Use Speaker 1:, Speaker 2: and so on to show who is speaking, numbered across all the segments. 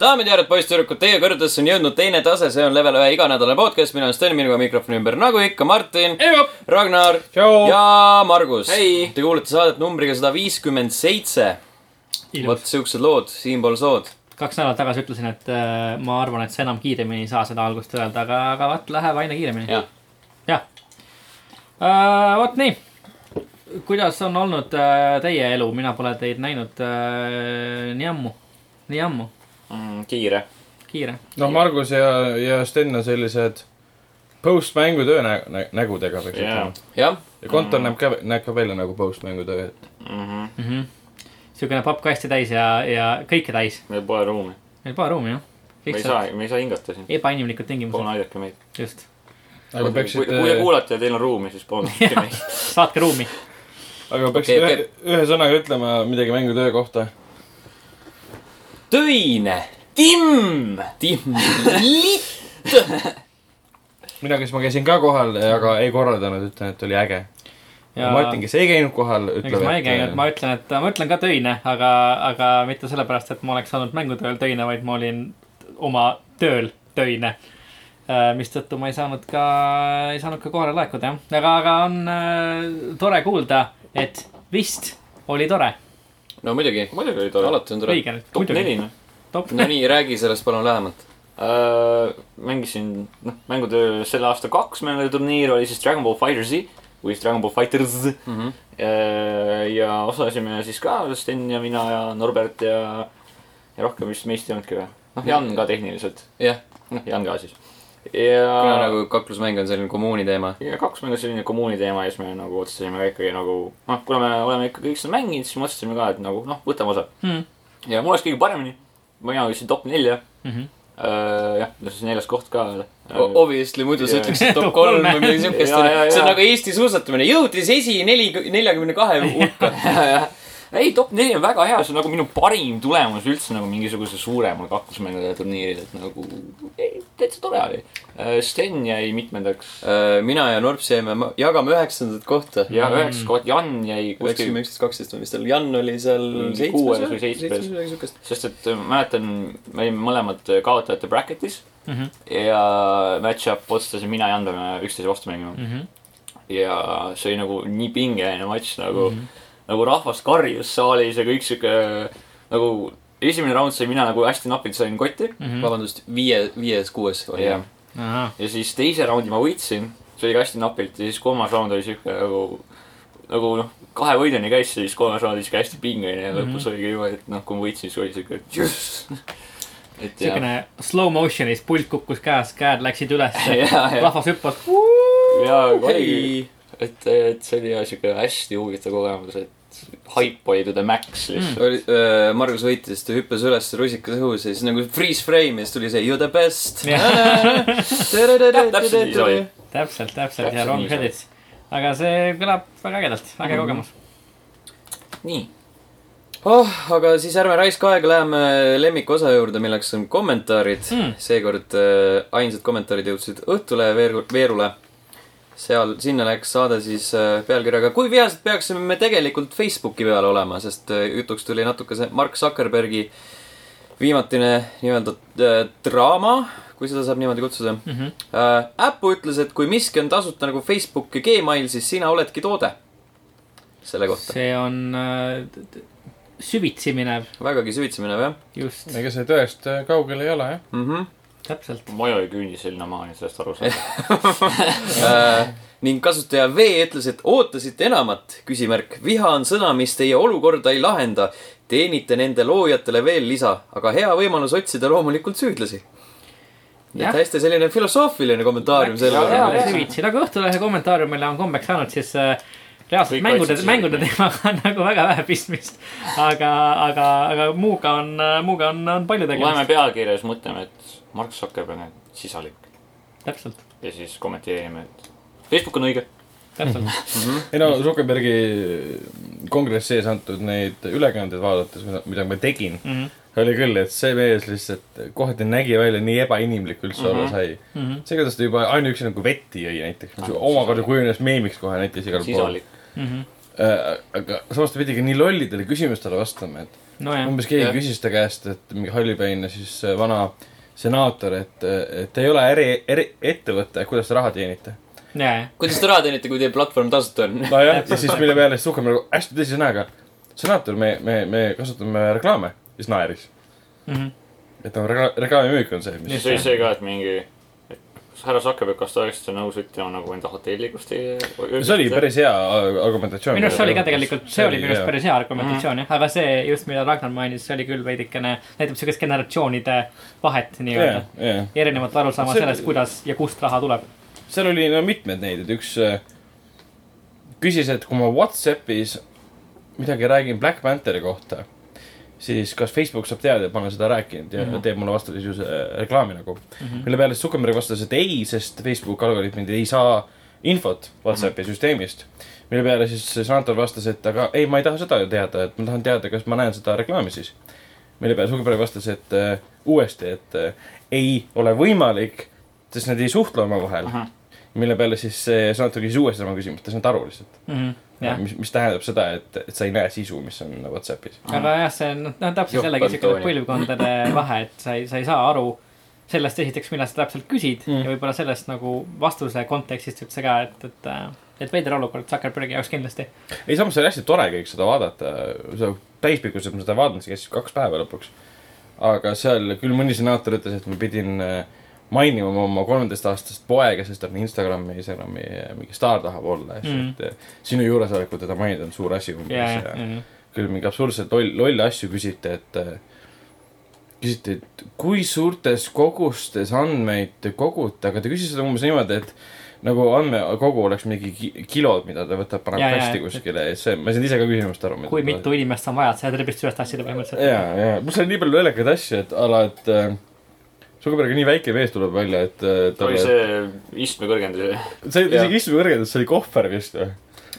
Speaker 1: daamid ja härrad , poisssüdrukud , teie kõrvadesse on jõudnud teine tase , see on level ühe iganädalane podcast , mina olen Sten , minuga mikrofoni ümber , nagu ikka , Martin , Ragnar
Speaker 2: Tšau.
Speaker 1: ja Margus
Speaker 3: Hei.
Speaker 1: Te kuulete saadet numbriga sada viiskümmend seitse . vot
Speaker 2: ilus .
Speaker 1: siuksed lood , siinpool sood .
Speaker 2: kaks nädalat tagasi ütlesin , et äh, ma arvan , et sa enam kiiremini ei saa seda algust öelda , aga , aga vot läheb aina kiiremini .
Speaker 3: jah ,
Speaker 2: jah äh, . vot nii . kuidas on olnud äh, teie elu , mina pole teid näinud äh, nii ammu , nii ammu ,
Speaker 3: Mm, kiire .
Speaker 2: kiire .
Speaker 4: noh , Margus ja , ja Sten on sellised post-mängu töö nä- , nä- , nägudega võiks
Speaker 3: jaa
Speaker 4: ütelda .
Speaker 1: jah ,
Speaker 4: ja kontor näeb ka , näeb ka välja nagu post-mängu töö , et
Speaker 2: niisugune pappkasti täis ja , ja kõike täis .
Speaker 3: meil pole ruumi .
Speaker 2: meil pole ruumi , jah .
Speaker 3: me ei saa , me ei saa hingata siin .
Speaker 2: ebainimlikud
Speaker 3: palun
Speaker 2: tingimused ,
Speaker 3: aidake meid .
Speaker 2: just .
Speaker 4: aga
Speaker 3: kui
Speaker 4: peaksid , äh,
Speaker 3: kui te kuulate ja teil on ruumi , siis palun aidake meid .
Speaker 2: saatke ruumi .
Speaker 4: aga peaksid
Speaker 1: Okei,
Speaker 4: okay, okay. ühe , ühe sõnaga ütlema midagi mängutöö kohta .
Speaker 1: töine ,
Speaker 3: Tim ,
Speaker 1: timm ,
Speaker 4: mina , kes ma käisin ka kohal , aga ei korraldanud , ütlen , et oli äge . ja Martin , kes ei käinud kohal ,
Speaker 2: ega
Speaker 4: ütleb , äh,
Speaker 2: ma ei käinud ,
Speaker 3: äh,
Speaker 2: ma ütlen , et ma ütlen ka töine , aga , aga mitte sellepärast , et ma oleks olnud mängutööl töine , vaid ma olin oma tööl töine . mistõttu ma ei saanud ka , ei saanud ka kohale laekuda jah , aga , aga on äh, tore kuulda , et vist oli tore .
Speaker 1: no muidugi ,
Speaker 3: muidugi oli tore .
Speaker 1: alati on tore .
Speaker 2: õige nüüd ,
Speaker 3: top neli
Speaker 2: muidugi .
Speaker 3: noh .
Speaker 2: top
Speaker 1: no . nii , räägi sellest palun lähemalt .
Speaker 3: Äh, mängisin , noh , mängutöö selle aasta kaks mänguturniir oli siis Dragon Ball Fighter Z või siis Dragon Ball Fighters mm .
Speaker 1: Mhm.
Speaker 3: -hmm. ja osalesime siis ka Sten ja mina ja Norbert ja , ja rohkem vist meist ei olnudki või ? noh , Jan ka tehniliselt ,
Speaker 1: jah ,
Speaker 3: noh , Jan ka siis .
Speaker 1: kuna
Speaker 3: ja ,
Speaker 1: nagu kaklusmäng on selline kommuuni teema .
Speaker 3: ja kaks mängu selline kommuuni teema ja siis me nagu otsustasime ka ikkagi nagu , noh , kuna me oleme ikka kõik seda mänginud , siis me otsustasime ka , et nagu noh , võtame osa .
Speaker 2: Hmm.
Speaker 3: ja mul läks kõige paremini , mina ütlesin top nelja
Speaker 2: Mm -hmm.
Speaker 3: uh, . jah , see on neljas koht ka .
Speaker 1: Obviously , muidu sa
Speaker 3: Jaa.
Speaker 1: ütleksid top
Speaker 2: Top
Speaker 1: kolm
Speaker 2: kolme.
Speaker 1: või midagi siukest .
Speaker 3: Jaa, jaa,
Speaker 1: see on
Speaker 3: jaa.
Speaker 1: nagu Eesti suusatamine , jõudis esi neli , neljakümne kahe hulka .
Speaker 3: ei , top neli on väga hea , see on nagu minu parim tulemus üldse nagu mingisuguse suurema kaklusmängude turniiril , et nagu ei, täitsa tore oli . Sten jäi mitmendaks
Speaker 1: mina ja Norps jäime , jagame üheksandat kohta .
Speaker 3: ja üheksas mm. koht , Jan jäi kuskil
Speaker 1: üheksakümmend , üksteist , kaksteist on vist seal , Jan oli seal
Speaker 3: Mingi
Speaker 1: seitsmes
Speaker 3: kuues või seitsmes.
Speaker 1: midagi siukest .
Speaker 3: sest et äh, mäletan , me olime mõlemad äh, kaotajate bracket'is
Speaker 2: Mm -hmm.
Speaker 3: ja match-up otsustasin mina ja Jan peame üksteise vastu mängima
Speaker 2: Mm -hmm.
Speaker 3: ja see oli nagu nii pingeline matš nagu mm , -hmm. nagu rahvas karjus saalis ja kõik sihuke nagu esimene round sain mina nagu hästi napilt sain kotti
Speaker 1: Mhm.
Speaker 2: Mm -hmm.
Speaker 1: vabandust , viie , viies , kuues oli
Speaker 3: ja
Speaker 1: jah .
Speaker 2: ahah ,
Speaker 3: ja siis teise raundi ma võitsin , see oli ka hästi napilt ja siis kolmas raund oli siuke nagu , nagu noh , kahe võiduni käis , siis kolmas raund oli siuke hästi pingeline ja mm -hmm. lõpus oligi niimoodi , et noh , kui ma võitsin , siis oli siuke , et jess . et jah ,
Speaker 2: siukene slow motion'is pult kukkus käes , käed läksid ülesse ,
Speaker 3: ja , ja ,
Speaker 2: rahvas hüppas .
Speaker 3: ja oligi ,
Speaker 1: ei ,
Speaker 3: et , et see oli jah siuke hästi huvitav kogemus , et haip oli to the max
Speaker 4: Mm.
Speaker 3: lihtsalt
Speaker 1: oli , Margus võitis , ta hüppas üles rusikas õhus ja siis nagu freeze frame ja siis tuli see you the best .
Speaker 3: täpselt nii see oli.
Speaker 2: täpselt , täpselt ja roll
Speaker 3: Täpselt nii Mhm. see on.
Speaker 2: credits . aga see kõlab väga ägedalt , äge kogemus .
Speaker 3: mm. . nii ,
Speaker 1: oh , aga siis ärme raiska aega , läheme lemmikosa juurde , milleks on kommentaarid
Speaker 2: Mm.
Speaker 1: mm. . seekord äh, ainsad kommentaarid jõudsid Õhtulehe veer- , Veerule . seal , sinna läks saade siis äh, pealkirjaga Kui vihased peaksime me tegelikult Facebooki peal olema , sest äh, jutuks tuli natuke see Mark Zuckerbergi viimatine nii-öelda äh, draama , kui seda saab niimoodi kutsuda mm .
Speaker 2: Mhm.
Speaker 1: -hmm. Äh, Äpu ütles , et kui miski on tasuta nagu Facebook ja Gmail , siis sina oledki toode . selle kohta .
Speaker 2: see on äh, t- t- süvitsi minev ,
Speaker 1: vägagi süvitsi minev jah
Speaker 2: just ,
Speaker 4: ega see tõest äh, kaugel ei ole , jah .
Speaker 1: mm . -hmm
Speaker 2: täpselt .
Speaker 3: ma ei ole küünis sinnamaani sellest aru saanud .
Speaker 1: Äh, ning kasutaja V ütles , et ootasite enamat , küsimärk . viha on sõna , mis teie olukorda ei lahenda . teenite nende loojatele veel lisa , aga hea võimalus otsida loomulikult süüdlasi .
Speaker 2: Jah.
Speaker 1: et hästi selline filosoofiline kommentaarium
Speaker 3: Jah,
Speaker 1: sellele .
Speaker 3: jah.
Speaker 2: süvitsi , nagu Õhtulehe kommentaariumile on kombeks saanud , siis äh, reaalselt
Speaker 3: Kõik
Speaker 2: mängude
Speaker 3: otsid ,
Speaker 2: mängude
Speaker 3: süüdi.
Speaker 2: teemaga on nagu väga vähe pistmist . aga , aga , aga muuga on , muuga on , on palju
Speaker 3: loeme
Speaker 2: tegemist .
Speaker 3: pealkirja , siis mõtleme , et Mark Zuckerberg on sisalik
Speaker 2: täpselt ,
Speaker 3: ja siis kommenteerime , et Facebook on õige .
Speaker 2: täpselt .
Speaker 4: ei no Zuckerbergi kongressi ees antud neid ülekandeid vaadates , mida ma tegin ,
Speaker 3: Mhm.
Speaker 4: oli küll , et see mees lihtsalt kohati nägi välja nii ebainimlik üldse mm -hmm.
Speaker 3: Mhm.
Speaker 4: olla sai mm . -hmm. see , kuidas ta juba ainuüksi nagu vett jõi näiteks , mis omakorda kujunes meemiks kohe näiteks igal pool .
Speaker 3: Ah, sisalik .
Speaker 4: aga samas ta pidi ka nii lollidele küsimustele vastama , et
Speaker 2: nojah ,
Speaker 4: umbes keegi
Speaker 3: Jah.
Speaker 4: küsis ta käest , et mingi hallipäine siis äh, vana senaator , et , et te ei ole äri , äri , ettevõte , kuidas te raha teenite ?
Speaker 2: jajah .
Speaker 1: kuidas te raha teenite , kui teie platvorm tasuta on ?
Speaker 4: nojah , ja siis mille peale siis Suhkam nagu hästi tõsise näoga , senaator , me , me , me kasutame reklaame , siis naeris .
Speaker 2: Mhm.
Speaker 4: et noh , reklaamimüük on see ,
Speaker 3: ja
Speaker 4: mis
Speaker 3: see oli see ka , et mingi , härra Zuckerberg , kas te oleksite nõus ütlema nagu enda hotelli , kus teie .
Speaker 4: see oli . päris hea äh, argumentatsioon .
Speaker 2: minu arust see oli ka tegelikult , see oli minu arust päris hea argumentatsioon jah , aga see just , mida Ragnar mainis , see oli küll veidikene , näitab siukest generatsioonide vahet
Speaker 4: jah
Speaker 2: nii-öelda .,
Speaker 4: jah ,
Speaker 2: erinevat arusaama
Speaker 4: See-
Speaker 2: sellest , kuidas ja kust raha tuleb .
Speaker 4: seal oli no mitmeid neid , et üks äh, küsis , et kui ma Whatsappis midagi räägin Black Pantheri kohta , siis kas Facebook saab teada , et ma olen seda rääkinud ja mm -hmm. teeb mulle vastu sisuse reklaami nagu mm . -hmm. mille peale Zuckerberg vastas , et ei , sest Facebooki algoritmid ei saa infot Whatsappi mm -hmm. süsteemist . mille peale siis Santor vastas , et aga ei , ma ei taha seda ju teada , et ma tahan teada , kas ma näen seda reklaami siis . mille peale Zuckerberg vastas , et äh, uuesti , et äh, ei ole võimalik , sest nad ei suhtle omavahel
Speaker 3: Ahah.
Speaker 4: mille peale siis see Santor küsis uuesti sama küsimust , ta ei saanud aru lihtsalt .
Speaker 2: Mhm. jah ,
Speaker 4: mis , mis tähendab seda , et , et sa ei näe sisu , mis on Whatsappis .
Speaker 2: aga jah , see on , noh , täpselt
Speaker 1: Jupp
Speaker 2: jällegi siukene
Speaker 1: Antoni.
Speaker 2: põlvkondade vahe , et sa ei , sa ei saa aru sellest esiteks , millest sa täpselt küsid ja võib-olla sellest nagu vastuse kontekstist üldse ka , et , et , et veider olukord Zuckerbergi jaoks kindlasti .
Speaker 4: ei , samas see oli hästi tore kõik seda vaadata , seda täispikkuselt ma seda vaatasin , see kestis kaks päeva lõpuks . aga seal küll mõni senaator ütles , et ma pidin äh, mainima oma- oma kolmeteistaastast poega , sest ta on Instagrami , Instagrami äh, mingi staar tahab olla , eks ju ,
Speaker 2: Mhm.
Speaker 4: et äh, sinu juuresolekul teda mainida on suur asi umbes
Speaker 2: ja ,
Speaker 4: ja,
Speaker 2: ja , ja ,
Speaker 4: küll mingi absurdselt loll , lolle asju küsiti , et äh, küsiti , et kui suurtes kogustes andmeid te kogute , aga ta küsis seda umbes niimoodi , et nagu andmekogu oleks mingi ki- kilod , mida ta võtab , paneb
Speaker 2: Ja, ja,
Speaker 4: kasti
Speaker 2: et-
Speaker 4: kuskile ja see , ma ei saanud ise ka küsimust aru .
Speaker 2: kui mitu inimest on vaja , et seda tribist ühest asjada põhimõtteliselt .
Speaker 4: ja , ja mul seal nii palju lollakaid asju , et ala , et äh, Zuckerbergi nii väike mees tuleb välja , et äh,
Speaker 3: ta oli
Speaker 4: talle ,
Speaker 3: see istme kõrgendus .
Speaker 4: see oli
Speaker 1: jah.
Speaker 4: isegi istume kõrgendus , see oli kohver vist või ?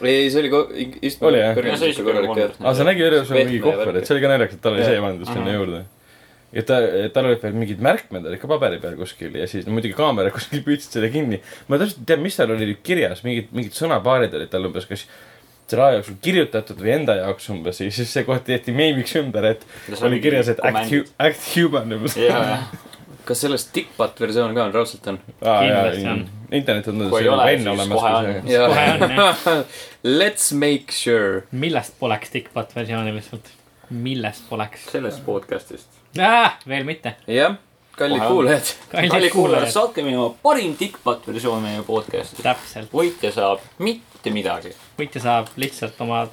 Speaker 1: ei , see oli ko- , istme
Speaker 4: Oli, jah?
Speaker 3: Ja see oli siuke
Speaker 1: korralik jah .
Speaker 4: aa , see nägi välja , see oli mingi
Speaker 1: Pehme ja
Speaker 4: kohver ,
Speaker 1: värk.
Speaker 4: et see oli ka naljakas , et tal oli
Speaker 1: Jah.
Speaker 4: see pandud sinna juurde . ja ta , tal olid veel mingid märkmed olid ka paberi peal kuskil ja siis no muidugi kaamera kuskil püüdsid selle kinni . ma täpselt ei tea , mis seal oli kirjas , mingid , mingid sõnapaarid olid tal umbes , kas selle aja jooksul kirjutatud või enda jaoks umbes ja siis see koht tehti meemiks ümber , et oli kirjas , et act , act human umbes .
Speaker 3: ja , ja ,
Speaker 1: kas sellest tipp-patt versioon ka on , raudselt on ?
Speaker 2: kindlasti on. .
Speaker 4: internet on
Speaker 3: Kui ei ole, siis kohe on.
Speaker 4: olemas .
Speaker 2: kohe on jah .
Speaker 1: Let's make sure .
Speaker 2: millest poleks Dickbot versiooni lihtsalt ? millest poleks ?
Speaker 3: sellest podcast'ist .
Speaker 2: veel mitte .
Speaker 1: jah , kallid
Speaker 3: Kohe on.
Speaker 1: kuulajad .
Speaker 3: kallid
Speaker 2: kallid
Speaker 3: kuulajad ,
Speaker 2: kuulajad ,
Speaker 3: saatke meile oma parim tikkpatt versioon meie podcast'ist .
Speaker 2: täpselt ,
Speaker 3: võitja saab mitte midagi .
Speaker 2: võitja saab lihtsalt oma ,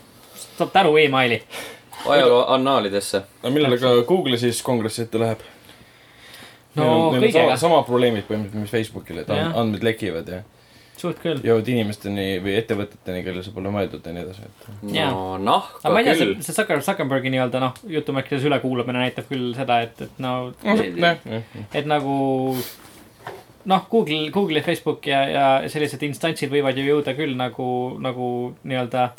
Speaker 2: saab tänu emaili .
Speaker 1: ajaloo annaalidesse .
Speaker 4: aga millele ka Google'i siis kongressi ette läheb ?
Speaker 2: no kõigega ,
Speaker 4: samad probleemid põhimõtteliselt , mis Facebookil , et
Speaker 2: Jah.
Speaker 4: and- andmed lekivad ja
Speaker 2: suht küll .
Speaker 4: jõuavad inimesteni või ettevõteteni , kellele see pole mõeldud ja nii edasi , et
Speaker 2: Jaa.
Speaker 1: no nahka
Speaker 2: aga ma ei tea ,
Speaker 1: küll
Speaker 2: see , see Zucker , Zuckerbergi nii-öelda noh , jutumärkides ülekuulamine näitab küll seda , et , et no , et
Speaker 4: nojah , jah .
Speaker 2: nagu noh , Google , Google ja Facebook ja , ja sellised instantsid võivad ju jõuda küll nagu , nagu nii-öelda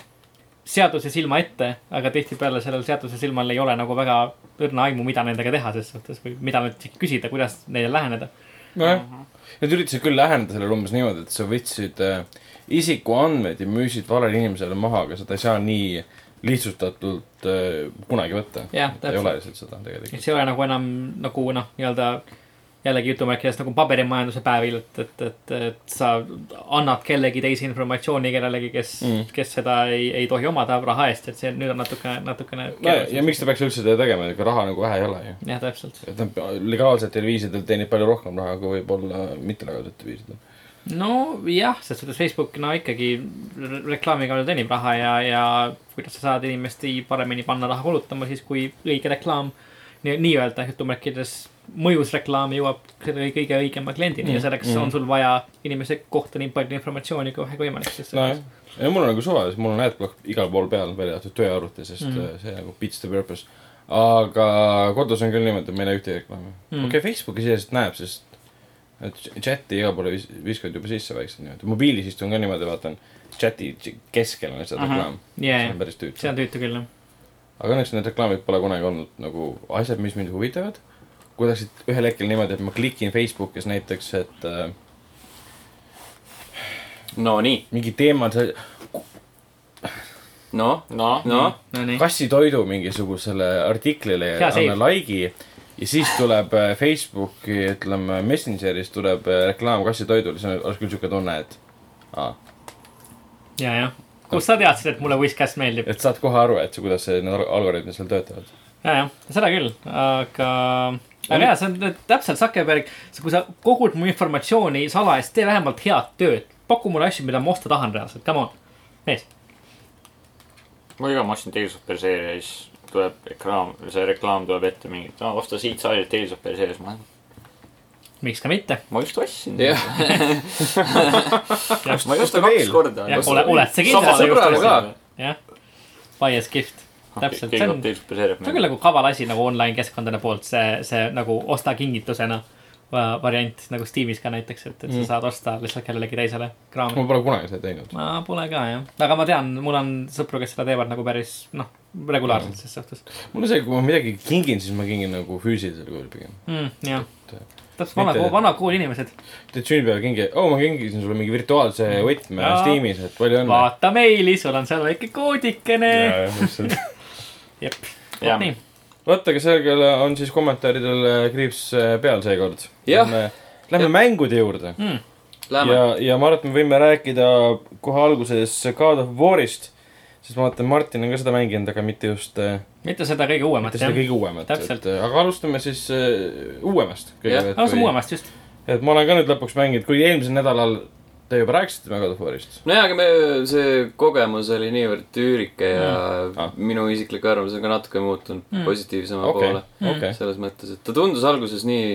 Speaker 2: seaduse silma ette , aga tihtipeale sellel seaduse silmal ei ole nagu väga õrna aimu , mida nendega teha ses suhtes või mida nüüd küsida , kuidas neile läheneda .
Speaker 4: nojah , nad üritasid küll läheneda sellele umbes niimoodi , et sa võtsid äh, isikuandmeid ja müüsid valele inimesele maha , aga seda ei saa nii lihtsustatult äh, kunagi võtta .
Speaker 2: Jah,
Speaker 4: ei
Speaker 2: täpselt.
Speaker 4: ole lihtsalt seda
Speaker 2: et
Speaker 4: tegelikult .
Speaker 2: see ei ole nagu enam nagu noh , nii-öelda jällegi jutumärkides nagu paberimajanduse päevil , et , et , et , et sa annad kellegi teise informatsiooni kellelegi , kes
Speaker 4: Mm.
Speaker 2: mm. , kes seda ei , ei tohi omada raha eest , et see nüüd on natuke , natukene
Speaker 4: no ja- ja . miks ta peaks üldse seda tegema , ega raha nagu vähe ei ole ju .
Speaker 2: jah , täpselt .
Speaker 4: et nad legaalsetel viisidel teenib palju rohkem raha , kui võib-olla mittelegaalsetel viisidel .
Speaker 2: nojah , selles suhtes Facebook , no ikkagi re- reklaami kaudu teenib raha ja , ja kuidas sa saad inimesti paremini panna raha kulutama siis , kui õige reklaam nii- nii-öelda jutumärkides mõjus reklaam jõuab selle kõige õigema kliendini mm. ja selleks mm. on sul vaja inimese kohta nii palju informatsiooni kui vähegi võimalik .
Speaker 4: nojah , Noh, ja mul on nagu suva , sest mul on adblock igal pool peal , välja arvatud tööarvuti , sest mm. see nagu beats the purpose . aga kodus on küll niimoodi , et ma ei näe ühtegi reklaami mm. . okei okay, , Facebooki sisest näeb , sest et chat'i igale poole vis- viskavad juba sisse vaikselt niimoodi . mobiilis istun ka niimoodi , vaatan chat'i ch- keskel on lihtsalt
Speaker 3: Ahah.
Speaker 4: reklaam . see
Speaker 2: jajah
Speaker 4: on , päris
Speaker 2: see
Speaker 4: tüütu .
Speaker 2: on tüütu küll jah .
Speaker 4: aga õnneks need reklaamid pole kunagi olnud nagu asjad , mis mind huvitavad . kuidas et ühel hetkel niimoodi , et ma klikin Facebookis näiteks , et äh,
Speaker 1: no nii ,
Speaker 4: mingi teema , see .
Speaker 1: noh ,
Speaker 3: noh ,
Speaker 1: noh ,
Speaker 2: Nonii .
Speaker 4: kassitoidu mingisugusele artiklile ja
Speaker 2: Hea save.
Speaker 4: anna like'i ja siis tuleb äh, Facebooki , ütleme Messengeris tuleb äh, reklaam kassitoidule , siis on- oleks küll siuke tunne , et aa,
Speaker 2: ja , jah . kust sa teadsid , et mulle Whiskas meeldib ?
Speaker 4: et saad kohe aru , et see- kuidas see, need al- algoritmid seal töötavad .
Speaker 2: ja , jah , seda küll , aga , aga jaa , see on tä- täpselt Zuckerberg , kui sa kogud mu informatsiooni salajas , tee vähemalt head tööd . paku mulle asju , mida ma osta tahan reaalselt , come on , mees .
Speaker 3: mul ka , ma ostsin Tales of Berseria ja siis tuleb reklaam , see reklaam tuleb ette mingi , et aa, osta siit saalilt Tales of Berseria , siis ma ,
Speaker 2: miks ka mitte ,
Speaker 3: ma just ostsin .
Speaker 1: Jah.
Speaker 3: ma ei
Speaker 4: Osta
Speaker 3: osta kaks
Speaker 4: veel.
Speaker 3: korda .
Speaker 2: Jah, ole- oled sa kindel, et sa just
Speaker 1: ostsid?
Speaker 2: jah . Bias gift , täpselt , see
Speaker 3: Noh, keegi
Speaker 2: on ,
Speaker 3: tuleb Tales of Berseria .
Speaker 2: see on küll nagu kaval asi nagu online keskkondade poolt , see , see nagu osta kingitusena va- variant nagu Steamis ka näiteks , et , et sa saad osta lihtsalt kellelegi teisele kraami .
Speaker 4: ma pole kunagi seda teinud .
Speaker 2: ma pole ka jah , aga ma tean , mul on sõpru , kes seda teevad nagu päris noh , regulaarselt ses suhtes
Speaker 4: mul on see , kui ma midagi kingin , siis ma kingin nagu füüsilisel kujul pigem .
Speaker 2: mm, . jah , täpselt vana
Speaker 4: Mitte-
Speaker 2: kool , vana kooli inimesed .
Speaker 4: teed sünnipäeva kingi , oo , ma kingisin sulle mingi virtuaalse võtme
Speaker 2: Mm. Jaa.
Speaker 4: Steamis , et palju õnne .
Speaker 2: vaata meili , sul on seal väike koodikene . jep ,
Speaker 3: Jah.
Speaker 2: vot nii .
Speaker 4: vot , aga sellega on siis kommentaaridel äh, kriips äh, peal seekord .
Speaker 1: Jah.
Speaker 4: Lähme mängude juurde
Speaker 2: Hmm.
Speaker 1: lähme .
Speaker 4: ja , ja ma arvan , et me võime rääkida kohe alguses God of War'ist , sest ma vaatan , Martin on ka seda mänginud , aga mitte just , mitte
Speaker 2: mitte seda kõige uuemat
Speaker 4: seda
Speaker 2: jah .
Speaker 4: kõige uuemat .
Speaker 2: Täpselt.
Speaker 4: aga alustame siis äh, uuemast kõigepealt .
Speaker 2: alustame . uuemast just .
Speaker 4: et ma olen ka nüüd lõpuks mänginud , kuigi eelmisel nädalal te juba rääkisite me God of War'ist .
Speaker 1: nojah , aga me , see kogemus oli niivõrd üürike ja mm.
Speaker 4: Ah.
Speaker 1: ah. minu isiklik arvamus on ka natuke muutunud mm. positiivsema okay.
Speaker 4: okei
Speaker 1: poole ,.
Speaker 2: Mm.
Speaker 4: okei .
Speaker 1: selles mõttes , et ta tundus alguses nii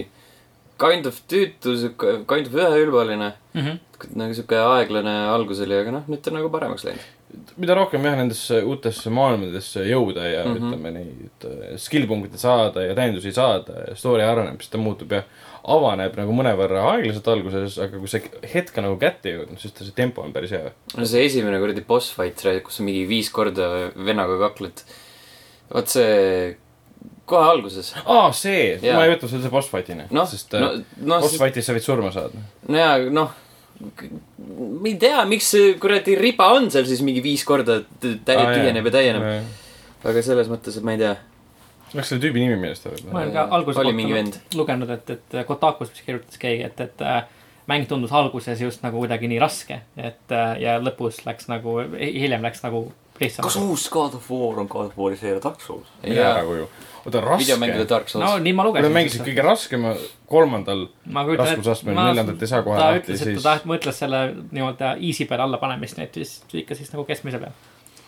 Speaker 1: kind of tüütu , kind of üheülbaline
Speaker 2: Mm -hmm.
Speaker 1: nagu sihuke aeglane algus oli , aga noh , nüüd ta on nagu paremaks läinud .
Speaker 4: mida rohkem jah , nendesse uutesse maailmadesse jõuda ja mm
Speaker 1: Mhm.
Speaker 4: -hmm. ütleme neid äh, skill punkte saada ja täiendusi saada ja story areneb , siis ta muutub jah , avaneb nagu mõnevõrra aeglaselt alguses , aga kui see hetk on nagu kätte jõudnud , siis ta , see tempo on päris hea .
Speaker 1: no see esimene kuradi boss fight , kus sa mingi viis korda vennaga kakled . vot see kohe alguses .
Speaker 4: aa , see ,
Speaker 1: Jaa.
Speaker 4: ma ei võtnud seda boss fight'ina
Speaker 1: noh ,
Speaker 4: sest
Speaker 1: no
Speaker 4: no, ,
Speaker 1: noh ,
Speaker 4: boss fight'is sa võid surma saada .
Speaker 1: no ja noh , ma ei tea , miks see kuradi riba on seal siis mingi viis korda t- täi-
Speaker 4: Aa, jaa.
Speaker 1: tühjeneb ja täieneb , aga selles mõttes , et ma ei tea .
Speaker 4: läks selle tüübi nimi meelest
Speaker 2: ma
Speaker 4: ära võib-olla .
Speaker 2: olen ka alguse
Speaker 1: oli mingi vend .
Speaker 2: lugenud , et , et äh, Kotakus vist kirjutas keegi , et , et äh, mäng tundus alguses just nagu kuidagi nii raske , et äh, ja lõpus läks nagu , hiljem läks nagu
Speaker 3: kas
Speaker 2: lihtsamaks .
Speaker 3: uus God of War on God of War'i seeria Dark Souls ?
Speaker 4: mine ära koju . oota ,
Speaker 1: videomängude
Speaker 4: raske .
Speaker 1: Dark
Speaker 2: no
Speaker 1: Souls .
Speaker 2: nii ma
Speaker 4: Nad
Speaker 2: lugesin .
Speaker 4: mängisid kõige raskema kolmandal
Speaker 2: ma kujutan
Speaker 4: raskusastmel , neljandat ei saa kohe
Speaker 2: ta
Speaker 4: lahti ,
Speaker 2: ütles , et ta
Speaker 4: siis .
Speaker 2: tahab , mõtles selle nii-öelda easy peale alla panemist , nii et siis ikka siis nagu keskmise peal .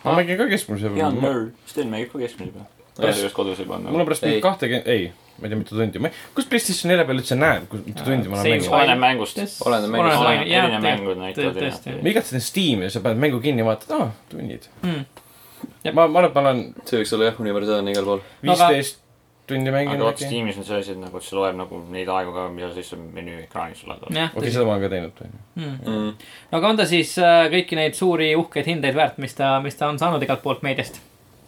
Speaker 4: ma mängin ka keskmise
Speaker 3: hea
Speaker 4: peale .
Speaker 3: nörd , Sten mängib ka keskmise peal . ta
Speaker 4: Kas-
Speaker 3: ei oleks Mm. kodus ei pannud
Speaker 4: mul on . pärast
Speaker 1: Ei.
Speaker 4: mingi kahtekümmend , ei , ma ei tea , mitu tundi , ma ei , kus PlayStation 4 peal üldse näeb , kus mitu tundi ma
Speaker 2: Same
Speaker 4: olen mänginud .
Speaker 3: oleneb mängust .
Speaker 1: Oleneb mängust.
Speaker 3: Oleneb- erinev mängud näitavad
Speaker 2: tõesti .
Speaker 4: ma igatsen Steam'i ja sa paned mängu kinni ja vaatad , aa , tunnid .
Speaker 2: Hmm. Jep.
Speaker 4: ma , ma arvan , et ma olen
Speaker 1: see võiks olla jah , universaalne igal pool .
Speaker 2: No aga-
Speaker 4: viisteist tundi
Speaker 3: aga
Speaker 4: mänginud
Speaker 3: vaata
Speaker 4: äkki .
Speaker 3: Steamis on see asi , et nagu et see loeb nagu neid aegu ka , mida siis on menüüekraanis sul on .
Speaker 2: jah ,
Speaker 4: okei ,
Speaker 2: tõsi . Hmm.
Speaker 4: seda ma olen ka teinud , onju .
Speaker 1: Mm.
Speaker 2: no aga on ta siis äh, kõiki neid suuri uhkeid hindeid väärt , mis ta , mis ta on saanud igalt poolt meediast ?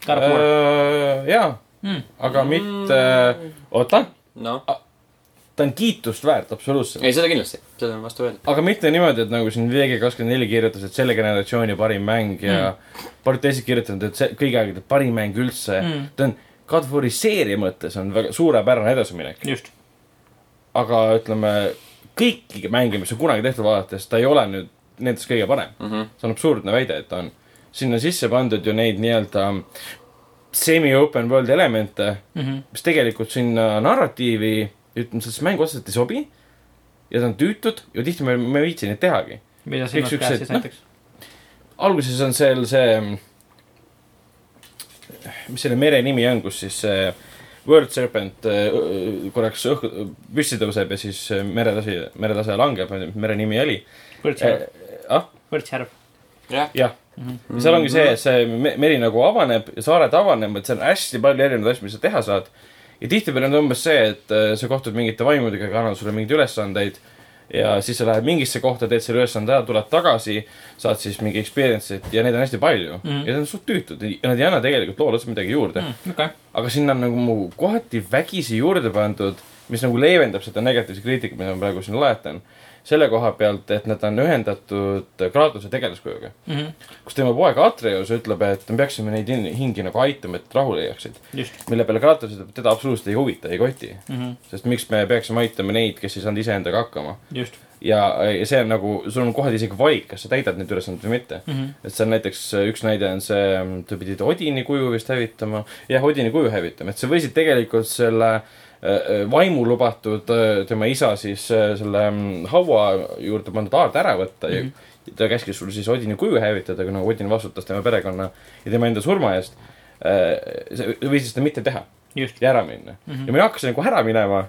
Speaker 2: Karpur .
Speaker 4: Äh, jaa
Speaker 2: Mm. ,
Speaker 4: aga mitte , oota ,
Speaker 1: noh ,
Speaker 4: ta on kiitust väärt , absoluutselt .
Speaker 1: ei seda kindlasti , seda on vastu öeldud .
Speaker 4: aga mitte niimoodi , et nagu siin VG24 kirjutas , et selle generatsiooni parim mäng ja paljud teised kirjutanud , et see kõigi aegade parim mäng üldse
Speaker 2: Mm.
Speaker 4: mm. . ta on , God of War'i seeria mõttes on väga suurepärane edasiminek .
Speaker 2: just .
Speaker 4: aga ütleme , kõiki mänge , mis on kunagi tehtud vaadates , ta ei ole nüüd nendest kõige parem mm .
Speaker 1: Mhm.
Speaker 4: see on absurdne väide , et ta on , sinna sisse pandud ju neid nii-öelda semi-open world elemente mm , -hmm. mis tegelikult sinna narratiivi , ütleme , sellesse mängu otseselt ei sobi ja ta on tüütud ja tihti me , me ei viitsi neid tehagi .
Speaker 2: mida silmas
Speaker 4: Üks- üks
Speaker 2: peas
Speaker 4: hetk,
Speaker 2: siis
Speaker 4: noh.
Speaker 2: näiteks ?
Speaker 4: alguses on seal see , mis selle mere nimi on , kus siis see World Serpent äh, ö- korraks õhku , püsti tõuseb ja siis äh, meretasi , meretase langeb , ma ei tea , mis mere nimi oli .
Speaker 2: Võrtsjärv ,
Speaker 4: ah ,
Speaker 2: Võrtsjärv .
Speaker 3: jah ,
Speaker 4: jah . ja seal ongi see , see me- meri nagu avaneb ja saared avanevad , seal on hästi palju erinevaid asju , mis sa teha saad . ja tihtipeale on ta umbes see , et äh, sa kohtud mingite vaimudega , kes annavad sulle mingeid ülesandeid ja siis sa lähed mingisse kohta , teed selle ülesande ära , tuled tagasi , saad siis mingi experience'it ja neid on hästi palju mm . -hmm. ja need on suht tüütud ja nad ei anna tegelikult loole otseselt midagi juurde mm .
Speaker 2: okei ,
Speaker 4: aga sinna on nagu kohati vägisi juurde pandud , mis nagu leevendab seda negatiivset kriitikat , mida ma praegu siin oletan . selle koha pealt , et nad on ühendatud Kratose tegelaskujuga .
Speaker 2: Mhm.
Speaker 4: kus tema poeg Atreus ütleb , et me peaksime neid in- hingi nagu aitama , et rahule jääksid .
Speaker 2: just . Mhm.
Speaker 4: mille peale Kratos ütleb , et teda absoluutselt ei huvita , ei koti . sest miks me peaksime aitama neid , kes ei saanud iseendaga hakkama .
Speaker 2: just .
Speaker 4: ja ja see on nagu , sul on kohati isegi valik , kas sa täidad neid ülesandeid või mitte .
Speaker 2: Mhm.
Speaker 4: et seal näiteks äh, üks näide on see , sa pidid Odini kuju vist hävitama , jah , Odini kuju hävitama , et sa võisid tegelikult selle äh, vaimu lubatud äh, tema isa siis äh, selle mm, haua juurde pandud haarde ära võtta mm -hmm. ja ta käskis sul siis Odini kuju hävitada , kuna Odin vastutas tema perekonna ja tema enda surma eest . Äh, sa võisid seda mitte teha
Speaker 2: just .
Speaker 4: ja ära minna mm . -hmm. ja ma hakkasin nagu ära minema .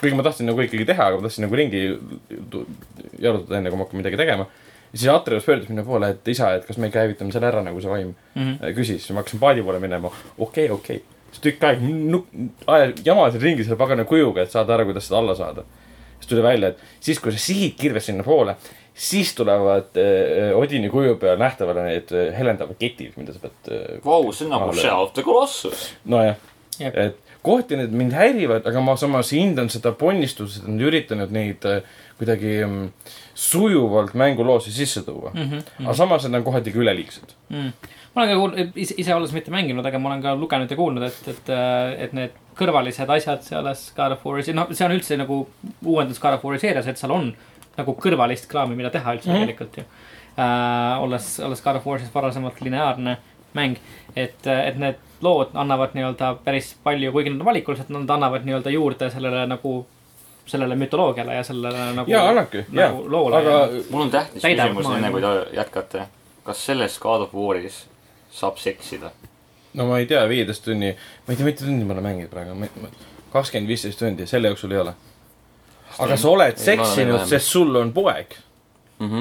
Speaker 4: kuigi ma tahtsin nagu ikkagi teha , aga ma tahtsin nagu ringi tu- jalutada , enne kui ma hakkan midagi tegema . ja siis Atreus pöördus minu poole , et isa , et kas me ikka hävitame selle ära , nagu see vaim mm
Speaker 2: Mhm.
Speaker 4: -hmm. küsis . ma hakkasin paadi poole minema , okei , okei . siis tükk aega nuk- , jamasin ringi selle pagana kujuga , et saada ära , kuidas seda alla saada . siis tuli välja , et siis , kui sa sihid kirves sinnapoole , siis tulevad äh, Odini kuju peal nähtavale need äh, helendavad ketid , mida sa pead äh,
Speaker 3: Vau , see on nagu
Speaker 4: Vale.
Speaker 3: Shadow of the Colossus .
Speaker 4: nojah
Speaker 2: Jep. ,
Speaker 4: et kohti need mind häirivad , aga ma samas hindan seda ponnistust , et nad on üritanud neid äh, kuidagi mm, sujuvalt mänguloosse sisse tuua mm .
Speaker 2: Mhm.
Speaker 4: -hmm. aga samas nad on kohati ka üleliigsed .
Speaker 2: mm. . ma olen ka kuulnud , ise , ise olles mitte mänginud , aga ma olen ka lugenud ja kuulnud , et , et , et need kõrvalised asjad selles God of War'is , no see on üldse nagu uuendus God of War'i seerias , et seal on nagu kõrvalist kraami , mida teha üldse mm
Speaker 4: Mhm.
Speaker 2: -hmm. tegelikult ju äh, . olles , olles God of War'is varasemalt lineaarne mäng , et , et need lood annavad nii-öelda päris palju , kuigi nad on valikulised , nad annavad nii-öelda juurde sellele nagu , sellele mütoloogiale ja sellele nagu .
Speaker 4: jaa , annabki , jaa .
Speaker 2: nagu loole
Speaker 4: aga
Speaker 2: ja-
Speaker 3: mul on tähtis
Speaker 2: Täidab
Speaker 3: küsimus ,
Speaker 2: maailma.
Speaker 3: enne kui te jätkate . kas selles God of War'is saab seksida ?
Speaker 4: no ma ei tea , viieteist tunni , ma ei tea , mitu tundi ma olen mänginud praegu , kakskümmend , viisteist tundi , selle jooksul ei ole . aga sa oled
Speaker 1: Ei, ma olen
Speaker 4: seksinud ,
Speaker 1: vähem.
Speaker 4: sest sul on poeg .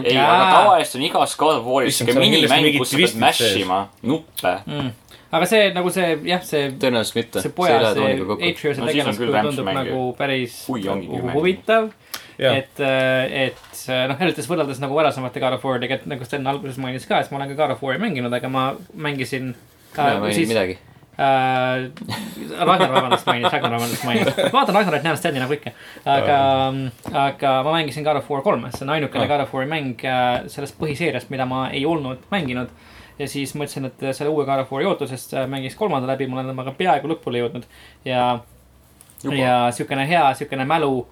Speaker 3: ei ,
Speaker 2: Jaa.
Speaker 3: aga tavaliselt on igas God of War'is
Speaker 4: Issand,
Speaker 3: siuke
Speaker 4: seal on kindlasti
Speaker 3: minimäng ,
Speaker 4: mingid
Speaker 3: kus sa pead
Speaker 4: twistid
Speaker 3: mash
Speaker 4: sees.
Speaker 3: ima nuppe .
Speaker 2: mm. . aga see nagu see jah , see
Speaker 1: tõenäoliselt mitte .
Speaker 2: see poja , see
Speaker 1: kokku .
Speaker 2: Atreuse
Speaker 3: No siis on
Speaker 2: tegelaskuju
Speaker 3: küll
Speaker 2: tundub
Speaker 3: rämpsmäng ju.
Speaker 2: nagu päris
Speaker 3: Kui ongi
Speaker 2: nagu
Speaker 3: kümme.
Speaker 2: huvitav .
Speaker 4: jah ,
Speaker 2: et , et noh , eriti võrreldes nagu varasemate God of War'idega , et nagu Sten alguses mainis ka , et ma olen ka God of War'i mänginud , aga ma mängisin .
Speaker 1: ma ei maininud
Speaker 2: äh,
Speaker 1: midagi .
Speaker 2: Ragnar , vabandust , mainis , Ragnar , vabandust , mainis . vaatan Ragnarit , näen Steni nagu ikka . aga , aga ma mängisin God of War kolme , see on ainukene
Speaker 4: Ah.
Speaker 2: God of War'i mäng äh, sellest põhiseeriast , mida ma ei olnud mänginud . ja siis mõtlesin , et selle uue God of War'i ootusest äh, mängiks kolmanda läbi , ma olen temaga peaaegu lõpule jõudnud ja
Speaker 3: Juba.
Speaker 2: ja siukene hea , siukene mälu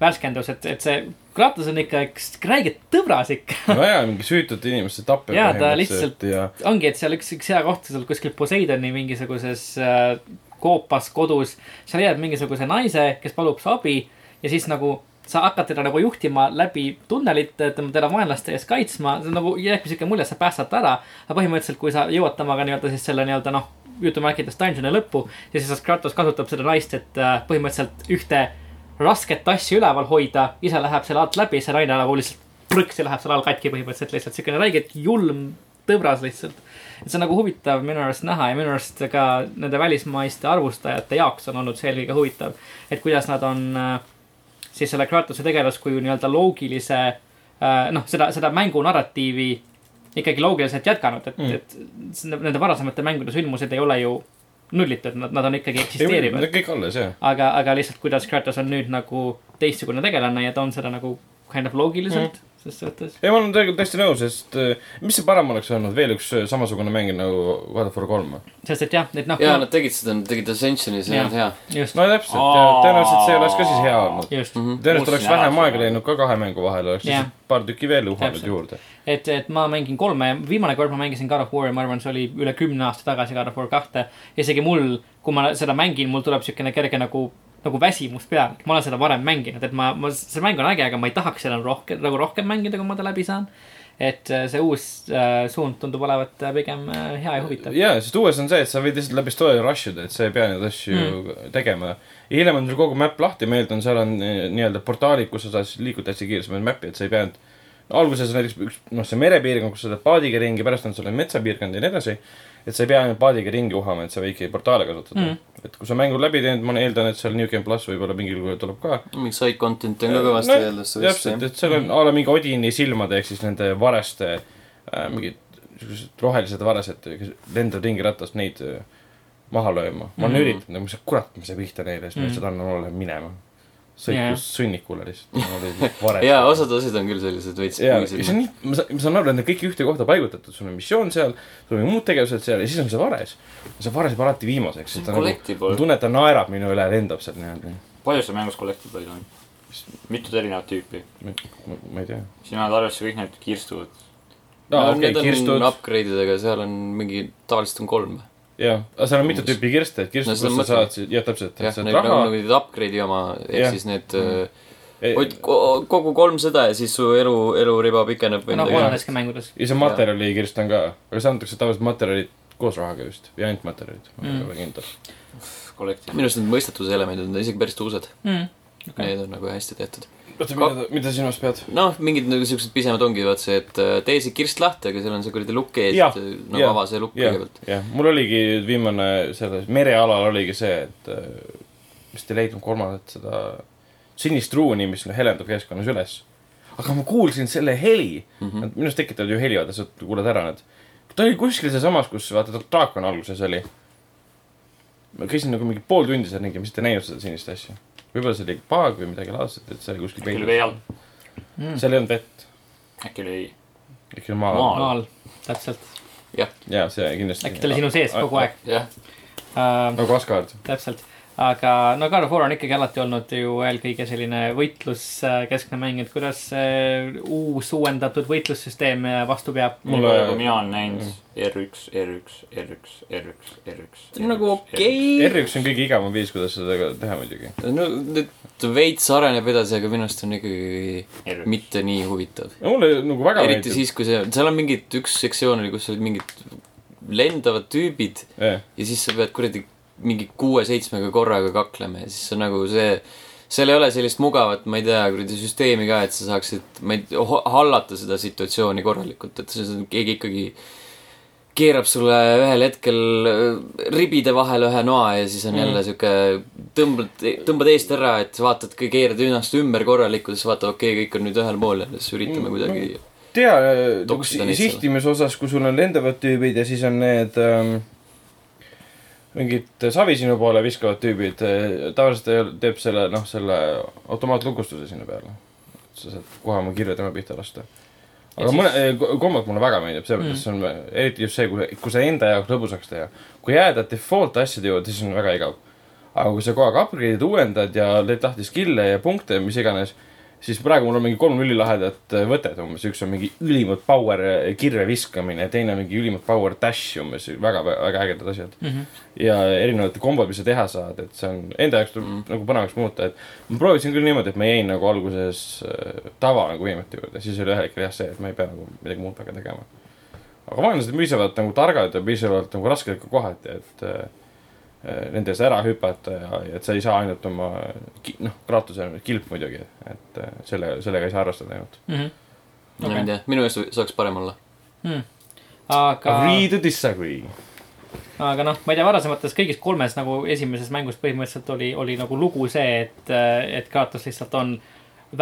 Speaker 2: värskendus , et , et see Kratos on ikka üks räiget tõbras ikka .
Speaker 4: nojah , mingi süütute inimeste tapja .
Speaker 2: Jaa, ta lihtsalt-
Speaker 4: ja
Speaker 2: ongi , et seal üks , üks hea koht seal kuskil Poseidoni mingisuguses äh, koopas kodus , sa leiad mingisuguse naise , kes palub su abi ja siis nagu sa hakkad teda nagu juhtima läbi tunnelite , tema , teda vaenlaste ees kaitsma , see on nagu jääbki siuke mulje , sa päästad ta ära . aga põhimõtteliselt , kui sa jõuad temaga nii-öelda siis selle nii-öelda noh , jutumärkides dungeon'i lõppu , ja siis Kratos kasutab seda naist , et äh, põhimõtteliselt ühte rasket asja üleval hoida , ise läheb selle alt läbi , see naine nagu lihtsalt prõks ja läheb selle all katki põhimõtteliselt lihtsalt siukene räigelt julm tõbras lihtsalt . et see on nagu huvitav minu arust näha ja minu arust ka nende välismaiste arvustajate jaoks on olnud see eelkõige huvitav , et kuidas nad on äh, siis selle Kratose tegelaskuju nii-öelda loogilise äh, noh , seda , seda mängu narratiivi ikkagi loogiliselt jätkanud , et mm. , et s- nende varasemate mängude sündmused ei ole ju nullitud , nad , nad on ikkagi
Speaker 4: ei ,
Speaker 2: eksisteerivad .
Speaker 4: nad kõik alles jah .
Speaker 2: aga , aga lihtsalt , kuidas Kratos on nüüd nagu teistsugune tegelane ja ta on seda nagu kind of loogiliselt
Speaker 4: Mhm.
Speaker 2: mm. , selles suhtes .
Speaker 4: ei , ma olen tegelikult täiesti nõus , sest äh, mis see parem oleks olnud , veel üks äh, samasugune mäng nagu God of War kolm või ?
Speaker 2: sest et jah , et noh .
Speaker 1: jaa , nad tegid seda , nad tegid Ascensioni , see ei
Speaker 2: Jah.
Speaker 1: olnud hea .
Speaker 2: just ,
Speaker 4: no täpselt , tõenäoliselt see oleks ka siis hea olnud .
Speaker 2: just mm . -hmm.
Speaker 1: Mhm.
Speaker 4: tõenäoliselt oleks
Speaker 3: Muutsin ära
Speaker 4: vähem
Speaker 3: selle.
Speaker 4: aega läinud ka kahe mängu vahel , oleks
Speaker 2: Jah.
Speaker 4: lihtsalt paar tükki veel uhanud
Speaker 2: Täpselt.
Speaker 4: juurde .
Speaker 2: et , et ma mängin kolme , viimane kord ma mängisin God of War'i , ma arvan , see oli üle kümne aasta tagasi God of War kahte . isegi mul , kui ma seda mängin , mul tuleb siukene kerge nagu , nagu väsimus peale , ma olen seda varem mänginud , et ma , ma , see mäng on äge , aga ma ei tahaks seda rohkem , nagu rohkem mängida , kui ma ta läbi saan . et äh, see uus äh, suund tundub olevat äh, pigem äh, hea ja huvitav .
Speaker 4: jaa , sest uues on see , et sa võid lihtsalt läbi story rush ida , et sa ei pea neid asju mm. tegema . ja hiljem on sul kogu map lahti , ma eeldan , seal on eh, nii-öelda portaalid , kus sa saad siis liikuda hästi kiiresti mööda map'i , et sa ei pea nüüd alguses on näiteks üks , noh , see merepiirkond , kus sa teed paadiga ringi , pärast on sul metsapiirkond ja nii edasi . et sa ei pea ainult paadiga ringi uhama , et sa võidki portaale kasutada mm. . et kui sa mängu läbi teinud , ma eeldan , et seal New Game Plus võib-olla mingil kujul tuleb ka
Speaker 1: mingi side content'i on ka kõvasti
Speaker 4: Nojah,
Speaker 1: öeldud
Speaker 4: täpselt , et seal on a la mingi Odini silmade ehk siis nende vareste äh, mingid siuksed rohelised varesed , kes lendavad ringi ratast neid äh, maha lööma . ma olen nagu
Speaker 1: Mhm.
Speaker 4: üritanud , aga ma ütlesin , kurat , ma ei saa pihta neile , siis ma lihtsalt annan olla minema .
Speaker 2: Jaa.
Speaker 4: sõikus sõnnikule lihtsalt .
Speaker 1: jaa , osad asjad on küll sellised veits noh.
Speaker 4: jaa , see on
Speaker 1: puisid .
Speaker 4: nii , ma saan , ma saan aru , et need kõik ühte kohta paigutatud , sul on missioon seal , sul on muud tegevused seal ja siis on see vares . see vares jääb alati viimaseks , sest ta nagu ,
Speaker 3: Collectible
Speaker 4: ma . tunnen , et ta naerab minu üle ja lendab seal nii-öelda .
Speaker 3: palju seal mängus collectible'id on ? mitut erinevat tüüpi ?
Speaker 4: ma ei tea .
Speaker 3: sina oled arvesse kõik need kirstuvad .
Speaker 4: aa , okei , kirstud
Speaker 1: on , upgrade idega , seal on mingi , tavaliselt on kolm .
Speaker 4: jah , aga seal on mitu
Speaker 1: Umbes.
Speaker 4: tüüpi kirste , et kirstu
Speaker 1: No
Speaker 4: no, ,
Speaker 1: seda
Speaker 4: kus
Speaker 1: ma
Speaker 4: sa saad siis , jah , täpselt ,
Speaker 1: jah
Speaker 4: et , saad
Speaker 1: neil
Speaker 4: raha
Speaker 1: nagu , need upgrade'i oma , ehk
Speaker 4: Jah.
Speaker 1: siis need
Speaker 4: Mhm.
Speaker 1: eh, hoid ko- kogu kolm seda ja siis su elu , eluriba pikeneb või
Speaker 2: noh ,
Speaker 1: midagi .
Speaker 2: oleneski mängudes .
Speaker 4: ja see materjali kirst on ka , aga see antakse tavaliselt materjalid koos rahaga vist ja ainult materjalid , ma ei
Speaker 2: Mm.
Speaker 4: ole kindel .
Speaker 3: Collectible .
Speaker 1: minu arust need mõistatuse elemendid on isegi päris tuusad .
Speaker 2: Okei.
Speaker 1: Need on nagu hästi tehtud .
Speaker 4: oota ,
Speaker 1: mida
Speaker 4: mida , mida sinu arust pead ?
Speaker 1: noh , mingid nagu siuksed pisemad ongi , vaat see , et äh, tee see kirst lahti , aga seal on see kuradi lukk ees ,
Speaker 4: Jah,
Speaker 1: et äh, no
Speaker 4: jah,
Speaker 1: ava see lukk
Speaker 4: jah.
Speaker 1: kõigepealt .
Speaker 4: jah , mul oligi viimane selles merealal oligi see , et äh, vist ei leidnud kolmandat seda sinist ruuni , mis noh, helendab keskkonnas üles . aga ma kuulsin selle heli mm ,
Speaker 1: Mhm.
Speaker 4: -hmm. minu arust tekitavad ju heli , vaata sa kuuled ära need . ta oli kuskil sealsamas , kus vaata draakon alguses oli . ma käisin nagu mingi pool tundi seal ringi , ma lihtsalt ei näinud seda sinist asja . võib-olla see oli paag või midagi laadset , et see oli kuskil
Speaker 3: äkki oli vee
Speaker 4: peidus .
Speaker 3: all ,
Speaker 4: seal ei olnud vett ,
Speaker 3: äkki oli ,
Speaker 4: ikka oli maa
Speaker 3: Maa.
Speaker 4: all .
Speaker 2: maal , täpselt .
Speaker 4: jaa , see kindlasti .
Speaker 2: äkki ta oli sinu sees kogu aeg .
Speaker 3: jah ,
Speaker 4: nagu Asgard .
Speaker 2: täpselt , aga no God of War on ikkagi alati olnud ju eelkõige selline võitluskeskne mäng , et kuidas see uus uuendatud võitlussüsteem äh, vastu peab .
Speaker 3: nii
Speaker 4: Mul- Mulle-
Speaker 3: palju kui mina olen näinud R1 , R1 , R1 , R1 , R1 .
Speaker 1: see on nagu . okei okay. .
Speaker 4: R1 on kõige igavam viis , kuidas seda teha muidugi .
Speaker 1: no nüüd veits areneb edasi , aga minu arust on ikkagi
Speaker 3: R1 .
Speaker 1: mitte nii huvitav .
Speaker 4: no mulle nagu väga
Speaker 1: eriti siis , kui see , seal on mingid , üks sektsioon oli , kus olid mingid lendavad tüübid
Speaker 4: jah ,
Speaker 1: ja siis sa pead kuradi mingi kuue-seitsmega korraga kaklema ja siis on nagu see , seal ei ole sellist mugavat , ma ei tea , kuradi süsteemi ka , et sa saaksid , ma ei tea , hallata seda situatsiooni korralikult , et see- see on keegi ikkagi keerab sulle ühel hetkel äh, ribide vahel ühe noa ja siis on mm. jälle sihuke , tõmbad , tõmbad eest ära , et vaatad , keerad ennast ümber korralikult , siis vaatad , okei okay, , kõik on nüüd ühel pool ja siis üritame
Speaker 4: Mm,
Speaker 1: kuidagi
Speaker 4: tea ,
Speaker 1: Toksida neid seal.
Speaker 4: sihtimise osas , kui sul on lendavad tüübid ja siis on need ähm, mingid savi sinu poole viskavad tüübid , tavaliselt ta teeb selle , noh , selle automaatlukustuse sinna peale . sa saad kohe oma kirja tema pihta lasta . aga
Speaker 2: Ja
Speaker 4: mõne , kombat mulle väga meeldib , sellepärast mm. see on eriti just see , kui , kui sa enda jaoks lõbusaks teha . kui jääda default asjade juurde , siis on väga igav . aga kui sa kogu aeg upgrade'id , uuendad ja teed lahti skill'e ja punkte , mis iganes , siis praegu mul on mingi kolm ülilahedat äh, võtet umbes , üks on mingi ülimalt power äh, kirve viskamine , teine on mingi ülimalt power dash umbes , väga , väga ägedad asjad mm .
Speaker 2: Mhm.
Speaker 4: ja erinevate kombod , mis sa teha saad , et see on enda jaoks tuleb mm. nagu põnevaks muuta , et ma proovisin küll niimoodi , et ma jäin nagu alguses äh, tava nagu võimete juurde , siis oli ühel hetkel jah see , et ma ei pea nagu midagi muud väga tegema . aga vaenlased on piisavalt nagu targad ja piisavalt nagu rasked ka kohati , et äh, nende ees ära hüpata ja , ja et sa ei saa ainult oma , noh , kraatuse on kilp muidugi , et äh, selle , sellega ei saa arvestada ainult .
Speaker 2: mhm,
Speaker 1: okay. , ma ei tea , minu meelest saaks parem olla .
Speaker 2: aga ,
Speaker 4: Agree to disagree .
Speaker 2: aga noh , ma ei tea , varasemates kõigis kolmes nagu esimeses mängus põhimõtteliselt oli , oli nagu lugu see , et , et Kratos lihtsalt on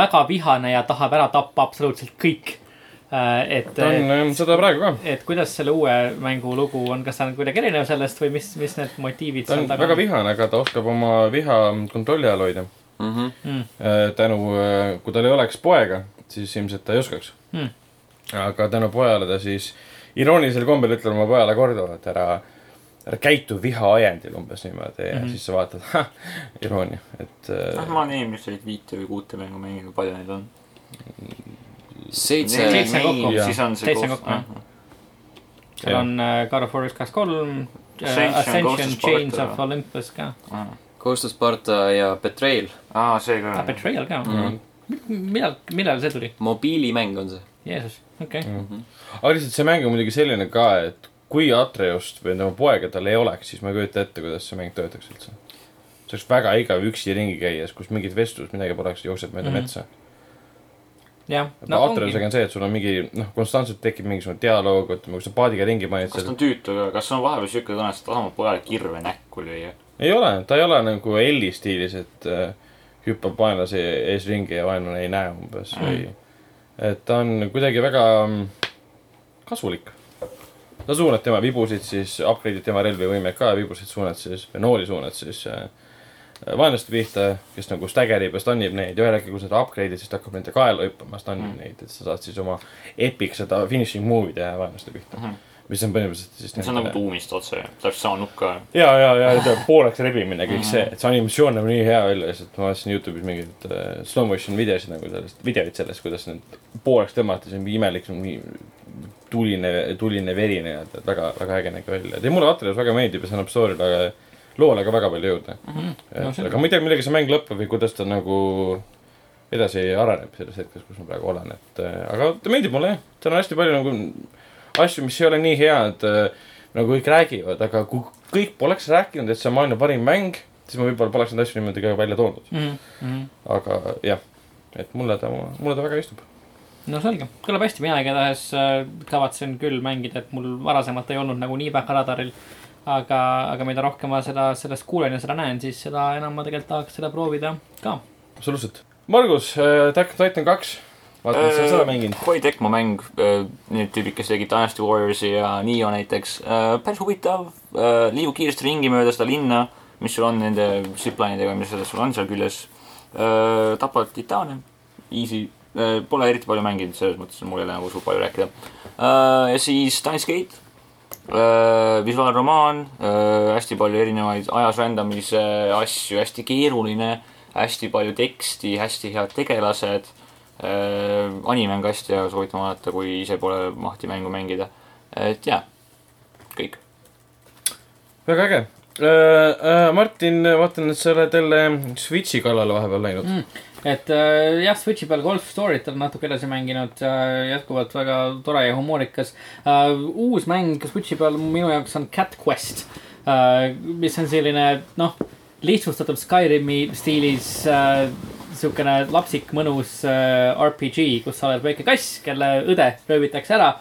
Speaker 2: väga vihane ja tahab ära tappa absoluutselt kõik . et . äh,
Speaker 4: ta on ähm, seda praegu ka ,
Speaker 2: et kuidas selle uue mängu lugu on , kas ta on kuidagi erinev sellest või mis , mis need motiivid
Speaker 4: ta on väga vihane , aga ta oskab oma viha kontrolli all hoida .
Speaker 2: mm. .
Speaker 4: Äh, tänu , kui tal ei oleks poega , siis ilmselt ta ei oskaks
Speaker 2: Mm. .
Speaker 4: aga tänu pojale ta siis iroonilisel kombel ütleb oma pojale korduvalt ära , ära käitu viha ajendil umbes niimoodi ja mm
Speaker 2: Mhm.
Speaker 4: -hmm. siis sa vaatad , ahah , iroonia , et
Speaker 3: noh ,
Speaker 4: äh,
Speaker 3: ma olen eelmist olid viite või kuute mängu mänginud , palju neid on ?
Speaker 1: seitse ,
Speaker 2: Seitse kokku.
Speaker 3: siis on see
Speaker 2: Seitse
Speaker 3: koos ,
Speaker 2: kokku, jah.
Speaker 3: jah .
Speaker 2: seal on äh, God of War üks , kaks , kolm .
Speaker 3: Ascension, Ghost
Speaker 2: Ascension
Speaker 3: of ,
Speaker 2: Chains
Speaker 3: Sparta.
Speaker 2: of Olympus ka .
Speaker 1: Ghost of Sparta ja Betrayal ,
Speaker 3: aa , see ka
Speaker 2: Ah, . Betrayal ka mm. . millal , millal see tuli ?
Speaker 1: mobiilimäng on see .
Speaker 2: Jeesus , okei okay. .
Speaker 4: Mm. aga lihtsalt see mäng on muidugi selline ka , et kui Atreust või tema poega tal ei oleks , siis ma ei kujuta ette , kuidas see mäng töötaks üldse . see oleks väga igav üksi ringi käies , kus mingit vestlust , midagi poleks , jookseb mööda
Speaker 2: Mhm.
Speaker 4: mm -hmm. metsa .
Speaker 2: jah ,
Speaker 4: no,
Speaker 2: no ongi .
Speaker 4: Atreusega on see , et sul on mingi noh , konstantselt tekib mingisugune dialoog , ütleme , kui sa paadiga ringi panid
Speaker 3: kas ta
Speaker 4: seal
Speaker 3: on . tüütu ka , kas on vahepeal siuke tunne , et sa tahad oma pojale kirve näkku lüüa ?
Speaker 4: ei ole , ta ei ole nagu Elli stiilis , et äh, hüppab vaenlase ees ringi ja vaenlane ei näe umbes
Speaker 3: Mm.
Speaker 4: või . et ta on kuidagi väga mm, kasulik . sa suunad tema vibusid siis , upgrade'id tema relvi võimeid ka , vibusid suunad siis , või nooli suunad siis äh, vaenlaste pihta , kes nagu staggerib ja stunnib neid ja ühel hetkel , kui sa seda upgrade'id , siis ta hakkab nende kaela hüppama , stunnib mm. neid , et sa saad siis oma epic seda finishing move'i teha vaenlaste pihta mm .
Speaker 3: Mhm.
Speaker 4: -hmm. mis on põhimõtteliselt siis .
Speaker 3: see on nagu tuumist otse , täpselt sama nukk ka .
Speaker 4: ja , ja , ja ta pooleks rebimine , kõik see , et see animatsioon näeb nii hea välja , lihtsalt ma vaatasin Youtube'is mingeid äh, slow motion videosid nagu sellest , videoid sellest , kuidas need pooleks tõmmati , see on mingi imelik , mingi tuline , tuline veri nii-öelda , et väga , väga äge nägi välja . ja mulle Atlas väga meeldib ja see annab story'le , loole ka väga palju jõuda mm .
Speaker 2: Mhm. No
Speaker 4: -hmm.
Speaker 2: selge.
Speaker 4: aga ma ei tea , millega see mäng lõpeb või kuidas ta nagu edasi areneb selles hetkes , kus ma praegu olen , et äh, aga ta meeldib mulle jah , seal on hästi palju nagu asju , mis ei ole nii head äh, nagu kõik räägivad , aga kui kõik poleks rääkinud , et see on maailma parim mäng , siis ma võib-olla poleks neid asju niimoodi ka välja toonud .
Speaker 2: Mhm,
Speaker 4: aga jah , et mulle ta , mulle ta väga istub .
Speaker 2: no selge , kõlab hästi , mina igatahes äh, kavatsen küll mängida , et mul varasemalt ei olnud nagu nii väga radaril . aga , aga mida rohkem ma seda , sellest kuulen ja seda näen , siis seda enam ma tegelikult tahaks seda proovida ka .
Speaker 4: absoluutselt . Margus äh, , Attack on Titan kaks , vaatan , sa oled
Speaker 2: Äh.
Speaker 4: seda mänginud .
Speaker 3: Koi Äh, Tecmo mäng , need tüübid , kes tegid Dynasty Warriorsi ja Nio näiteks , päris huvitav , liigub kiiresti ringi mööda seda linna , mis sul on nende ziplainidega , mis seal sul on seal küljes , tapad titaane , easy , pole eriti palju mänginud , selles mõttes mul ei ole nagu suur palju rääkida . ja siis Dance Gate , Äh, visuaalromaan , äh, hästi palju erinevaid ajas rändamise asju , hästi keeruline , hästi palju teksti , hästi head tegelased äh, anime on ka hästi hea , soovitan vaadata , kui ise pole mahti mängu mängida . et jaa , kõik .
Speaker 4: väga äge . Äh, Martin , vaatan , et sa oled jälle Switch'i kallale vahepeal läinud mm. .
Speaker 2: et äh, jah , Switchi peal Golf Story't olen natuke edasi mänginud äh, , jätkuvalt väga tore ja humoorikas äh, . uus mäng Switchi peal minu jaoks on Cat Quest äh, , mis on selline noh , lihtsustatud Skyrimi stiilis äh, siukene lapsik mõnus äh, RPG , kus sa oled väike kass , kelle õde röövitakse ära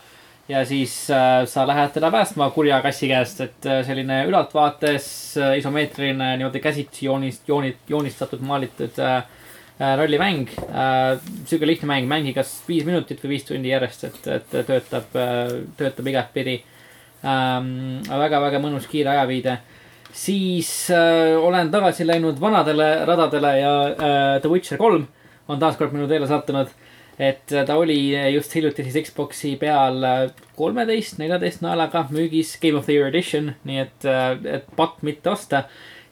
Speaker 2: ja siis äh, sa lähed teda päästma kurja kassi käest , et äh, selline ülaltvaates äh, isomeetriline niimoodi käsitsi joonist , joonid , joonistatud , maalitud äh, äh, rollimäng äh, . sihuke lihtne mäng , mängi kas viis minutit või viis tundi järjest , et , et töötab äh, , töötab igatpidi ähm, . väga-väga mõnus kiire ajaviide . siis äh, olen tagasi läinud vanadele radadele ja äh, The Witcher kolm on taas kord minu teele sattunud . et äh, ta oli just hiljuti siis Xbox'i peal kolmeteist , neljateist naelaga müügis Game of the Year edition , nii et , et pakk mitte osta .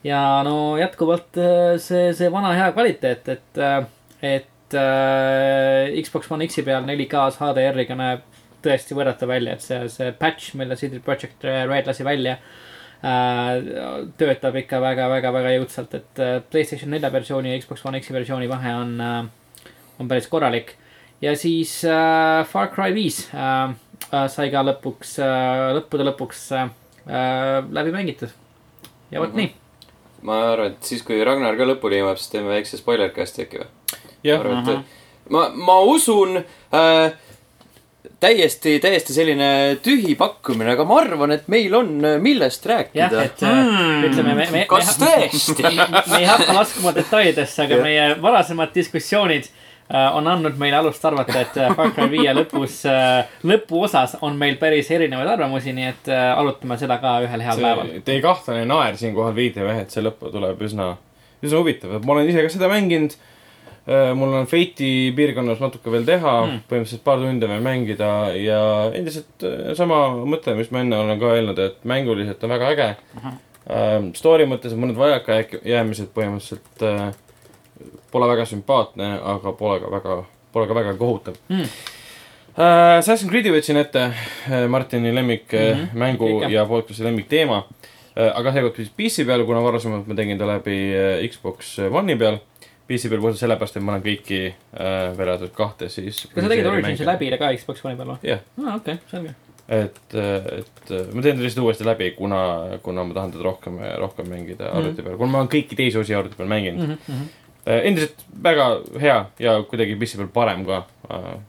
Speaker 2: ja no jätkuvalt äh, see , see vana hea kvaliteet , et , et äh, Xbox One X-i peal 4K-s HDR-iga näeb tõesti võrratu välja , et see , see patch , mille CD Projekt Red lasi välja äh, , töötab ikka väga-väga-väga jõudsalt , et äh, Playstation nelja versiooni ja Xbox One X-i versiooni vahe on äh, , on päris korralik . ja siis äh, Far Cry viis äh, äh, sai ka lõpuks äh, , lõppude lõpuks äh, äh, läbi mängitud . ja vot
Speaker 1: Mhm.
Speaker 2: nii ,
Speaker 1: ma arvan , et siis , kui Ragnar ka lõpuni jõuab , siis teeme väikse spoiler cast'i äkki või ?
Speaker 4: jah ,
Speaker 1: arvan , et ma , ma usun äh, täiesti , täiesti selline tühi pakkumine , aga ma arvan , et meil on , millest rääkida
Speaker 2: jah ,. et äh, ütleme , me , me ,
Speaker 3: kas
Speaker 2: me ,
Speaker 3: tõesti ?
Speaker 2: me ei hakka laskuma detailidesse , aga meie varasemad diskussioonid äh, on andnud meile alust arvata , et äh, Far Cry viie lõpus , lõpuosas on meil päris erinevaid arvamusi , nii et äh, arutame seda ka ühel heal päeval .
Speaker 4: see teie kahtlane naer siinkohal viitab jah , et see lõpp tuleb üsna , üsna huvitav , et ma olen ise ka seda mänginud . mul on Fate'i piirkonnas natuke veel teha
Speaker 2: Hmm.
Speaker 4: mm. , põhimõtteliselt paar tundi on veel mängida ja endiselt äh, sama mõte , mis ma enne olen ka öelnud , et mänguliselt on väga äge uh . -huh. Story mõttes on mõned vajakajäämised põhimõtteliselt äh, pole väga sümpaatne , aga pole ka väga , pole ka väga kohutav
Speaker 2: Mm.
Speaker 4: Äh, Assassin's Creed'i võtsin ette , Martini lemmikmängu mm
Speaker 2: Mhm, Ikka.
Speaker 4: -hmm. ja podcast'i lemmikteema . Äh, aga seekord siis PC peal , kuna varasemalt ma tegin ta läbi äh, Xbox One'i peal . PC peal puhtalt sellepärast , et ma olen kõiki äh, välja arvatud kahte siis .
Speaker 2: kas sa tegid Originsi ? läbi ka Xbox One'i peal või ?
Speaker 4: jah ,
Speaker 2: aa , Ah, okei , selge .
Speaker 4: et , et äh, ma teen ta lihtsalt uuesti läbi , kuna , kuna ma tahan teda rohkem , rohkem mängida arvuti mm -hmm. peal , kuna ma olen kõiki teisi osi arvuti peal mänginud
Speaker 2: Mhm,
Speaker 4: mm . -hmm. endiselt väga hea ja kuidagi PC peal parem ka .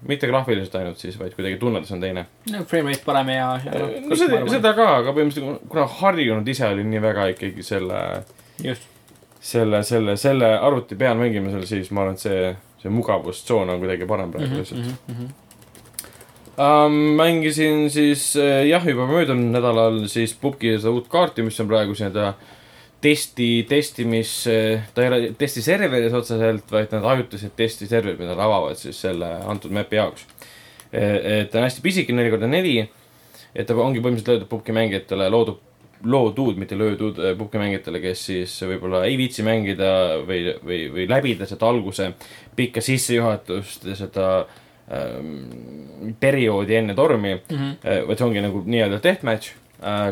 Speaker 4: mitte graafiliselt ainult siis , vaid kuidagi tunnetus on teine .
Speaker 2: no frame rate parem ja , ja
Speaker 4: no seda , seda ka , aga põhimõtteliselt kuna harjunud ise olin nii väga ikkagi selle ,
Speaker 2: just .
Speaker 4: selle , selle , selle arvuti peal mängimisel , siis ma arvan , et see , see mugavustsoon on kuidagi parem
Speaker 2: Mhm,
Speaker 4: praegu lihtsalt mm . -hmm. Um, mängisin eh, siis äh, jah , juba möödunud nädalal siis Pupki seda uut kaarti , mis on praegu siin ta testi , testimis , ta ei ole testiserveris otseselt , vaid nad ajutised testiserverid , mida nad avavad siis selle antud map'i jaoks . et ta on hästi pisike , neli korda neli . et ta ongi põhimõtteliselt löödud pubgimängijatele , loodud , loodud , mitte löödud eh, pubgimängijatele , kes siis võib-olla ei viitsi mängida või , või , või läbida seda alguse pikka sissejuhatust ja seda ähm, perioodi enne tormi
Speaker 2: Mhm.
Speaker 4: Eh, vaid see ongi nagu nii-öelda deathmatch ,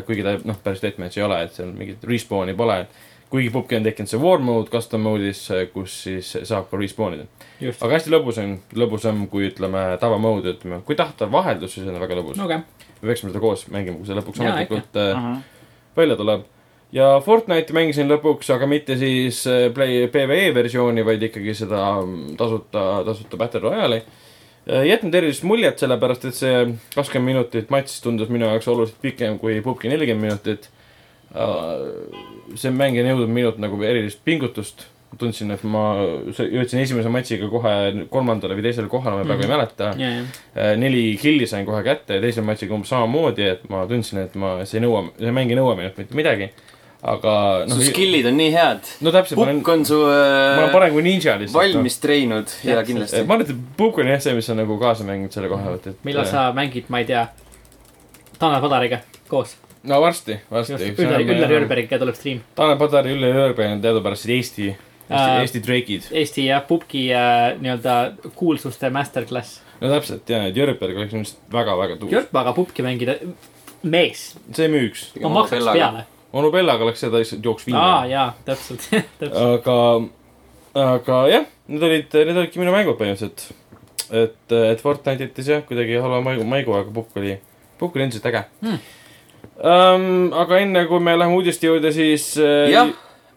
Speaker 4: kuigi ta noh , päris deathmatch ei ole , et seal mingit respawn'i pole . kuigi pubki on tekkinud see war mode custom mode'is , kus siis saab ka respawn ida .
Speaker 2: just ,
Speaker 4: aga hästi lõbus on , lõbusam kui ütleme tava mode , ütleme , kui tahta vaheldust , siis on ta väga lõbus no. .
Speaker 2: okei ,
Speaker 4: me peaksime seda koos mängima , kui see lõpuks
Speaker 2: Jaa,
Speaker 4: ametlikult äh,
Speaker 3: -hmm.
Speaker 4: välja tuleb . ja Fortnite'i mängisin lõpuks , aga mitte siis äh, Play , PVE versiooni , vaid ikkagi seda mm, tasuta , tasuta Battle Royale'i . jätnud erilist muljet , sellepärast et see kakskümmend minutit matš tundus minu jaoks oluliselt pikem kui pubki nelikümmend minutit . see mäng ei nõudnud minult nagu erilist pingutust . tundsin , et ma see- jõudsin esimese matšiga kohe kolmandale või teisele kohale , ma praegu ei mäleta .
Speaker 2: ja , ja ,
Speaker 4: Äh, neli killi sain kohe kätte ja teise matšiga umbes samamoodi , et ma tundsin , et ma , see ei nõua , see mäng ei nõua minult mitte midagi . aga noh,
Speaker 1: su skill'id on nii head .
Speaker 4: no täpselt , ma olen
Speaker 1: Pukk , on su
Speaker 4: ma olen
Speaker 1: äh,
Speaker 4: parem kui ninja lihtsalt .
Speaker 1: valmis treeninud ja kindlasti .
Speaker 4: ma arvan , et Pukk on jah see , mis on nagu kaasa mänginud selle koha pealt , et .
Speaker 2: millal sa mängid , ma ei tea , Tanel Padariga koos ,
Speaker 4: no varsti , varsti .
Speaker 2: Üllar , Üllar . Jörbergiga tuleb stream .
Speaker 4: Tanel Padar ja Üllar Jörberg on teadupärast Eesti , Eesti ,
Speaker 2: Äh,
Speaker 4: Eesti Drake'id .
Speaker 2: Eesti ja Pupki äh, nii-öelda kuulsuste masterclass .
Speaker 4: no täpselt ja , et Jörberg oleks minu arust väga-väga tuus .
Speaker 2: Jörp aga Pupki mängida , mees ,
Speaker 4: see müüks .
Speaker 2: ma maksaks peale .
Speaker 4: onu Bellaga oleks seda lihtsalt jooks
Speaker 2: aa
Speaker 4: viimane .
Speaker 2: jaa , täpselt , täpselt .
Speaker 4: aga , aga jah , need olid , need olidki minu mängud põhimõtteliselt . et , et Fortnite jättis jah , kuidagi halva maigu , maigu , aga Pukk oli , Pukk oli endiselt äge
Speaker 2: Hmm.
Speaker 4: Um, aga enne kui me läheme uudiste juurde , siis äh,
Speaker 1: jah ,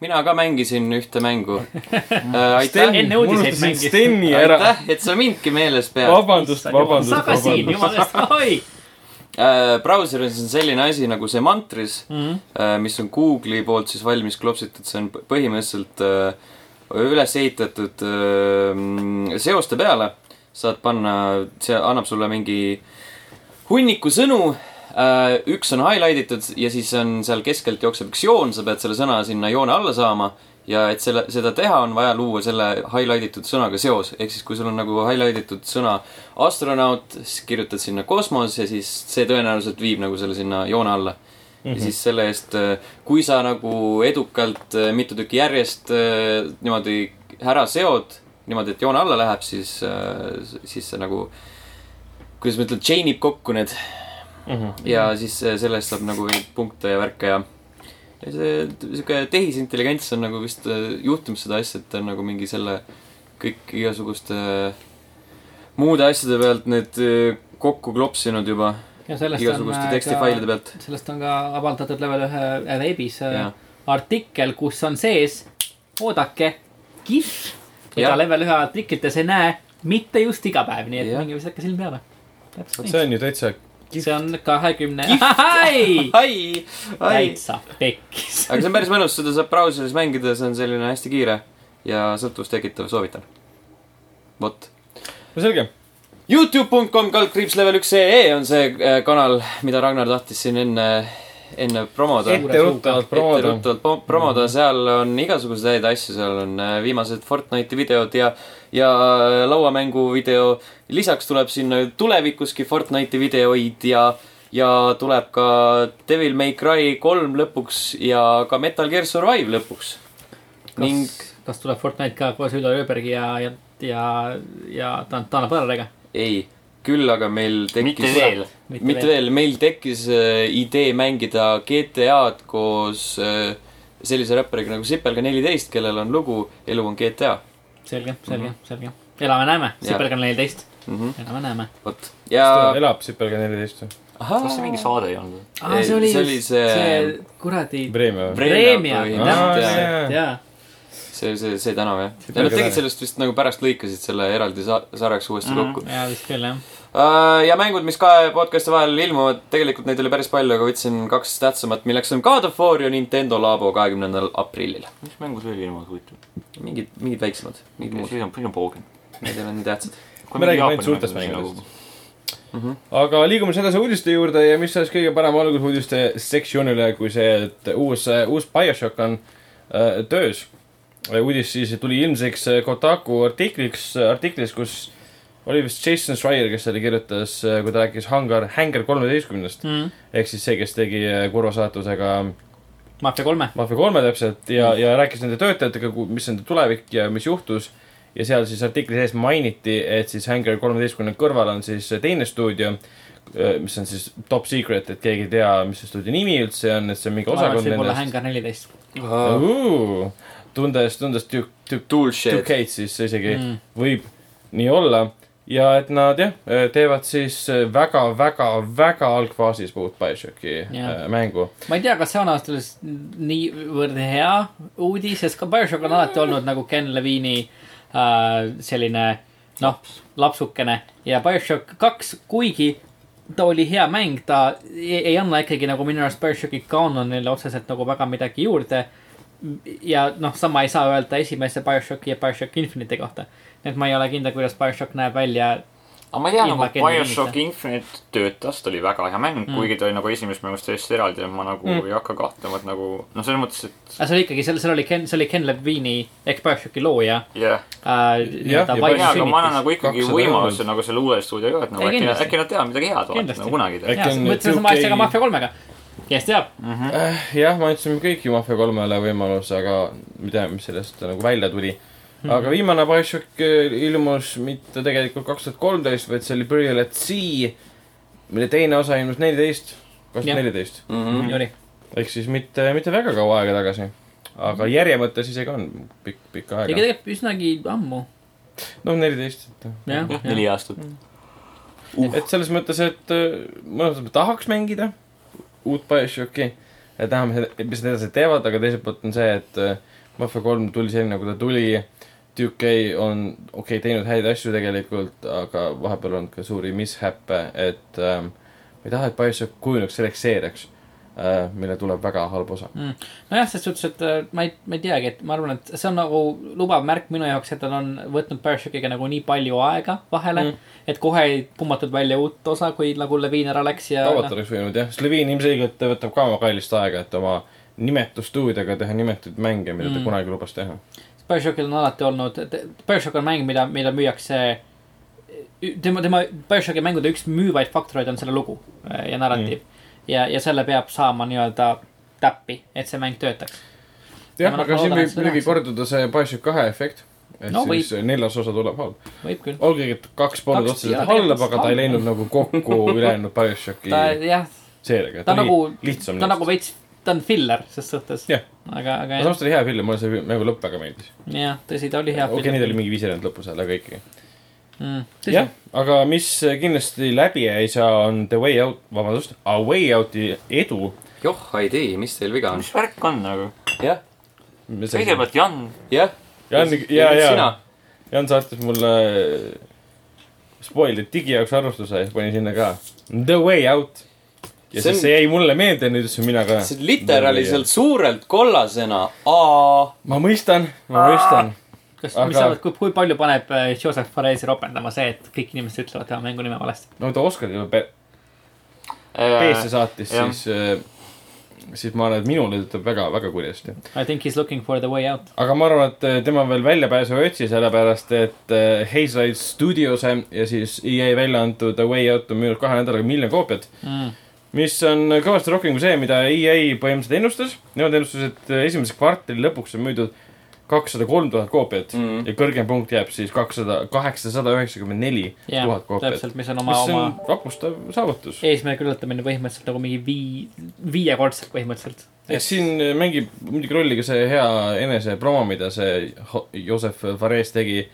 Speaker 1: mina ka mängisin ühte mängu äh, . aitäh ,
Speaker 2: Sten- enne uudiseid
Speaker 4: unustasin
Speaker 2: mängis.
Speaker 4: Steni ära ,
Speaker 1: aitäh , et sa mindki meeles pead .
Speaker 4: vabandust , vabandust ,
Speaker 2: sa ka siin ,
Speaker 4: vabandust .
Speaker 2: jumala eest , oi .
Speaker 1: Äh, brauseris on selline asi nagu see mantris
Speaker 2: Mhm.
Speaker 1: äh, , mis on Google'i poolt siis valmis klopsitud , see on p- põhimõtteliselt äh, üles ehitatud äh, mm, seoste peale . saad panna , see annab sulle mingi hunniku sõnu äh, . üks on highlight itud ja siis on seal keskelt jookseb üks joon , sa pead selle sõna sinna joone alla saama ja et selle , seda teha , on vaja luua selle highlight itud sõnaga seos , ehk siis kui sul on nagu highlight itud sõna astronaut , siis kirjutad sinna kosmos ja siis see tõenäoliselt viib nagu selle sinna joone alla mm . -hmm. ja siis selle eest , kui sa nagu edukalt äh, mitu tükki järjest äh, niimoodi ära seod , niimoodi , et joone alla läheb , siis , siis see nagu , kuidas ma ütlen , chain ib kokku need ja siis äh, selle eest saab nagu neid punkte ja värke ja , ja see sihuke tehisintelligents on nagu vist äh, juhtimas seda asja , et ta on nagu mingi selle kõik igasuguste eh, muude asjade pealt need äh, kokku klopsinud juba
Speaker 2: ja sellest on
Speaker 1: igasuguste
Speaker 2: äh,
Speaker 1: tekstifailide pealt .
Speaker 2: sellest on ka avaldatud level ühe äh, veebis äh,
Speaker 1: Jaa.
Speaker 2: artikkel , kus on sees , oodake , kihv , mida
Speaker 1: Jah.
Speaker 2: level ühe artiklites ei näe mitte just iga päev , nii et
Speaker 1: Jah.
Speaker 2: minge visake silm peale . täpselt
Speaker 4: see
Speaker 2: nii ,
Speaker 4: on ju täitsa ,
Speaker 2: see on kahekümne ,
Speaker 1: ai , ai ,
Speaker 2: täitsa pekkis .
Speaker 1: aga see on päris mõnus , seda saab brauseris mängida , see on selline hästi kiire ja sõltuvust tekitav , soovitan . vot
Speaker 4: no selge .
Speaker 1: Youtube.com kaldkriips level üks ee on see äh, kanal , mida Ragnar tahtis siin enne , enne promoda .
Speaker 2: Suure
Speaker 4: etteruttavalt promoda .
Speaker 1: etteruttavalt po- promoda , seal on igasuguseid häid asju , seal on äh, viimased Fortnite'i videod ja , ja äh, lauamängu video . lisaks tuleb sinna tulevikuski Fortnite'i videoid ja , ja tuleb ka Devil May Cry kolm lõpuks ja ka Metal Gear Survive lõpuks . ning
Speaker 2: kas , kas tuleb Fortnite ka koos Ülo Ööbergi ja , ja , ja , ja Tan- , Tanel Põdraga ?
Speaker 1: ei , küll aga meil
Speaker 3: mitte
Speaker 1: tekkis
Speaker 3: veel .
Speaker 1: mitte, mitte veel, veel , meil tekkis äh, idee mängida GTA-d koos äh, sellise räppariga nagu Sipelga14 , kellel on lugu Elu on GTA
Speaker 2: selge , selge , selge . elame-näeme ,
Speaker 1: Mhm. Jah.
Speaker 2: Sipelg on neliteist ,
Speaker 1: mm . -hmm.
Speaker 2: elame-näeme .
Speaker 1: vot ja .
Speaker 4: elab Sipelga neliteist või ?
Speaker 1: ahhaa
Speaker 3: kas see mingi saade ei olnud ?
Speaker 1: Aa, see oli
Speaker 2: see,
Speaker 1: just
Speaker 2: see...
Speaker 1: see
Speaker 2: kuradi
Speaker 4: Breemia või ?
Speaker 2: preemia ,
Speaker 1: Preemia
Speaker 2: täpselt ,
Speaker 4: põhimõtteliselt.
Speaker 2: jaa
Speaker 4: Aa,
Speaker 2: jaa.
Speaker 1: see , see , see tänav jah . ja
Speaker 4: Sipelga
Speaker 1: nad tegid
Speaker 4: tänav.
Speaker 1: sellest vist nagu pärast lõikasid selle eraldi sa- sarjaks uuesti mm
Speaker 3: Mhm.
Speaker 1: -hmm. kokku .
Speaker 2: jaa , vist küll jah .
Speaker 1: ja mängud , mis kahe podcast'i vahel ilmuvad , tegelikult neid oli päris palju , aga võtsin kaks tähtsamat , milleks on God of War ja Nintendo Labo kahekümnendal aprillil .
Speaker 3: mis mängu see oli niimoodi huvitav ?
Speaker 1: mingid , mingid väiksemad , mingid muud ,
Speaker 3: siis on , siis on poogen .
Speaker 1: need ei ole nii tähtsad .
Speaker 4: me räägime ainult suurtest mängudest . aga liigume siis edasi uudiste juurde ja mis oleks kõige parem algus uudiste sektsioonile , kui see , et uus , uus BioShock on äh, töös . uudis siis tuli ilmsiks äh, Kotaku artikliks , artiklis , kus oli vist Jason Schreier , kes selle kirjutas , kui ta rääkis Hangar , Hangar kolmeteistkümnest
Speaker 2: mm. .
Speaker 4: ehk siis see , kes tegi äh, kurva saatusega
Speaker 2: Mafia kolme .
Speaker 4: Mafia kolme täpselt ja mm. , ja rääkis nende töötajatega , mis nende tulevik ja mis juhtus . ja seal siis artikli sees mainiti , et siis Hangar kolmeteistkümne kõrval on siis teine stuudio , mis on siis top secret , et keegi ei tea , mis see stuudio nimi üldse on , et see on mingi osakond
Speaker 2: võib-olla
Speaker 4: nendest .
Speaker 2: Hängar neliteist .
Speaker 4: tundes , tundes Duke , Duke , Duke
Speaker 1: Toolshed .
Speaker 4: Cates siis isegi mm.
Speaker 2: Mm.
Speaker 4: võib nii olla ja et nad jah , teevad siis väga , väga , väga algfaasis uut BioShocki
Speaker 2: Jah.
Speaker 4: äh, mängu .
Speaker 2: ma ei tea , kas see on ausalt öeldes niivõrd hea uudis , sest ka BioShock on alati olnud nagu Ken Levine'i äh, selline noh , lapsukene ja BioShock kaks , kuigi ta oli hea mäng , ta ei, ei anna ikkagi nagu minu arust BioShocki kaanonile otseselt nagu väga midagi juurde . ja noh , sama ei saa öelda esimese BioShocki ja BioShock Infinite'i kohta . nii et ma ei ole kindel , kuidas BioShock näeb välja
Speaker 3: aga ma ei tea ,
Speaker 2: Ilma
Speaker 3: nagu
Speaker 2: Kenny
Speaker 3: BioShock Infinite töötas , ta oli väga hea mäng mm. , kuigi ta oli nagu esimesest mängust täiesti eraldi ja ma nagu mm. ei hakka kahtlema , et nagu noh , selles mõttes ,
Speaker 2: aga
Speaker 3: et
Speaker 2: Äh, see oli ikkagi , seal , seal oli Ken , see oli Ken Levine'i ehk BioShocki looja
Speaker 3: jah yeah. .
Speaker 2: äh, .
Speaker 4: ja
Speaker 3: ma ei tea , aga ma annan nagu ikkagi
Speaker 4: kakssada
Speaker 3: võimaluse
Speaker 4: eurot.
Speaker 3: nagu selle uue stuudioga , et nagu
Speaker 2: Ei,
Speaker 3: äkki ,
Speaker 2: kindlasti.
Speaker 3: äkki nad teavad midagi head , vaata ,
Speaker 2: Kindlasti.
Speaker 3: nagu kunagi ei tea .
Speaker 4: Äkki
Speaker 2: jaa ,
Speaker 4: on
Speaker 2: mõtlesin
Speaker 4: nüüd
Speaker 2: sama asja ka
Speaker 4: UK-
Speaker 2: Mafia kolmega . kes teab ,
Speaker 4: Äh, jah , me andsime kõiki Mafia kolmele võimaluse , aga ma ei tea , mis sellest nagu välja tuli . aga viimane BioShock äh, ilmus mitte tegelikult kaks tuhat kolmteist , vaid see oli Burial at Sea , mille teine osa ilmus neliteist ,
Speaker 2: Jah.
Speaker 4: kaks tuhat neliteist .
Speaker 3: Mhm.
Speaker 1: Mm -hmm.
Speaker 2: oli .
Speaker 4: ehk siis mitte , mitte väga kaua aega tagasi . aga järje mõttes isegi on pikk , pikk
Speaker 2: ja
Speaker 4: aega .
Speaker 2: tegelikult üsnagi ammu ,
Speaker 4: no neliteist , et
Speaker 2: jah .
Speaker 3: jah , Mhm. neli aastat .
Speaker 4: Mm. et selles mõttes , et äh, mõnes mõttes tahaks mängida uut BioShocki , et näeme , mis nad edasi teevad , aga teiselt poolt on see , et äh, Mafia kolm tuli selline , nagu ta tuli . Duke on okei okay, , teinud häid asju tegelikult , aga vahepeal on ka suuri mishäppe , et ähm, ma ei taha , et BioShock kujuneks selleks seeriaks äh, , mille tuleb väga halb osa .
Speaker 2: Mhm. nojah , selles suhtes , et äh, ma ei , ma ei teagi , et ma arvan , et see on nagu lubav märk minu jaoks , et tal on võtnud Berserkiga nagu nii palju aega vahele
Speaker 3: Mhm.
Speaker 2: mm. . et kohe ei pummatud välja uut osa , kui nagu Levin ära läks ja .
Speaker 4: Tavat oleks võinud jah , Slevin ilmselgelt võtab ka oma kallist aega , et oma nimetu stuudioga teha nimetuid mänge , mida ta
Speaker 2: Mm.
Speaker 4: mm. kunagi lubas teha .
Speaker 2: Berserkil on alati olnud , Berserk on mäng , mida , mida müüakse . tema , tema Berserki mängude üks müüvaid faktoreid on selle lugu äh, ja narratiiv mm. . ja , ja selle peab saama nii-öelda täppi , et see mäng töötaks .
Speaker 4: jah ,
Speaker 2: Ma nagu
Speaker 4: aga
Speaker 2: loodan, et
Speaker 4: siin võib
Speaker 2: seda
Speaker 4: muidugi
Speaker 2: tehakse.
Speaker 4: korduda see Bioshock kahe efekt . et
Speaker 2: No
Speaker 4: no, siis neljas osa tuleb halb .
Speaker 2: võib küll .
Speaker 4: olgugi , et kaks polnud
Speaker 2: Kaks- jaa,
Speaker 4: otseselt
Speaker 2: tegelikult
Speaker 4: halb , aga ta ei
Speaker 2: halb.
Speaker 4: läinud nagu kokku ülejäänud Bioshocki
Speaker 2: ta jah ,
Speaker 4: seeriaga .
Speaker 2: ta nagu ,
Speaker 4: lihtsam
Speaker 2: ta . nagu veits , ta on filler ses suhtes .
Speaker 4: Jah.
Speaker 2: aga , aga
Speaker 4: aga
Speaker 2: jah ,
Speaker 4: samas ta oli hea film , mulle see mängu lõpp väga meeldis .
Speaker 2: jah , tõsi , ta oli hea
Speaker 4: okei , neid oli mingi viis erinevat lõpus seal , aga ikkagi .
Speaker 2: mingi
Speaker 4: jah , aga mis kindlasti läbi ei saa , on The Way Out , vabandust , A Way Out'i edu .
Speaker 1: joh , ei tee , mis teil viga on ?
Speaker 3: mis värk on nagu ?
Speaker 1: jah ,
Speaker 3: kõigepealt Jan ,
Speaker 1: jah .
Speaker 4: Jan , ja ,
Speaker 1: sina
Speaker 4: ja ,, Jan saatis mulle spoil'i digi jaoks arvustuse ja siis panin sinna ka The Way Out .
Speaker 1: See
Speaker 4: ja see
Speaker 1: on-
Speaker 4: siis see jäi mulle meelde , nüüd ütlesin mina ka .
Speaker 1: see on literaalselt . suurelt kollasena A .
Speaker 4: ma mõistan , ma mõistan .
Speaker 2: kas ,
Speaker 4: Aga-
Speaker 2: mis sa arvad , kui , kui palju paneb äh, Joseph Fares'i ropendama see , et kõik inimesed ütlevad tema mängu nime valesti ?
Speaker 4: no ta Oscari juba pe-
Speaker 3: äh,
Speaker 4: peesse saatis ,
Speaker 3: jah.
Speaker 4: siis , siis ma arvan , et minule ütleb väga , väga kurjasti .
Speaker 2: I think he is looking for the way out .
Speaker 4: aga ma arvan , et äh, tema veel väljapääsu ei otsi , sellepärast et äh, Hazelide Studios ja siis EA välja antud The Way Out on müünud kahe nädalaga miljon koopiat .
Speaker 2: mm. .
Speaker 4: mis on kõvasti rohkem kui see , mida EA põhimõtteliselt ennustas . Nemad ennustasid , et äh, esimese kvartali lõpuks on müüdud kakssada kolm tuhat koopiat
Speaker 1: Mhm.
Speaker 4: ja kõrgem punkt jääb siis kakssada , kaheksasada üheksakümmend neli
Speaker 2: jah
Speaker 4: tuhat , koopiat .
Speaker 2: täpselt , mis on oma ,
Speaker 4: mis
Speaker 2: oma
Speaker 4: on vapustav saavutus .
Speaker 2: eesmärgi ületamine põhimõtteliselt nagu mingi vii , viiekordselt põhimõtteliselt .
Speaker 4: et siin mängib muidugi rolli ka see hea enesepromo , mida see Ho- Joseph Fares tegi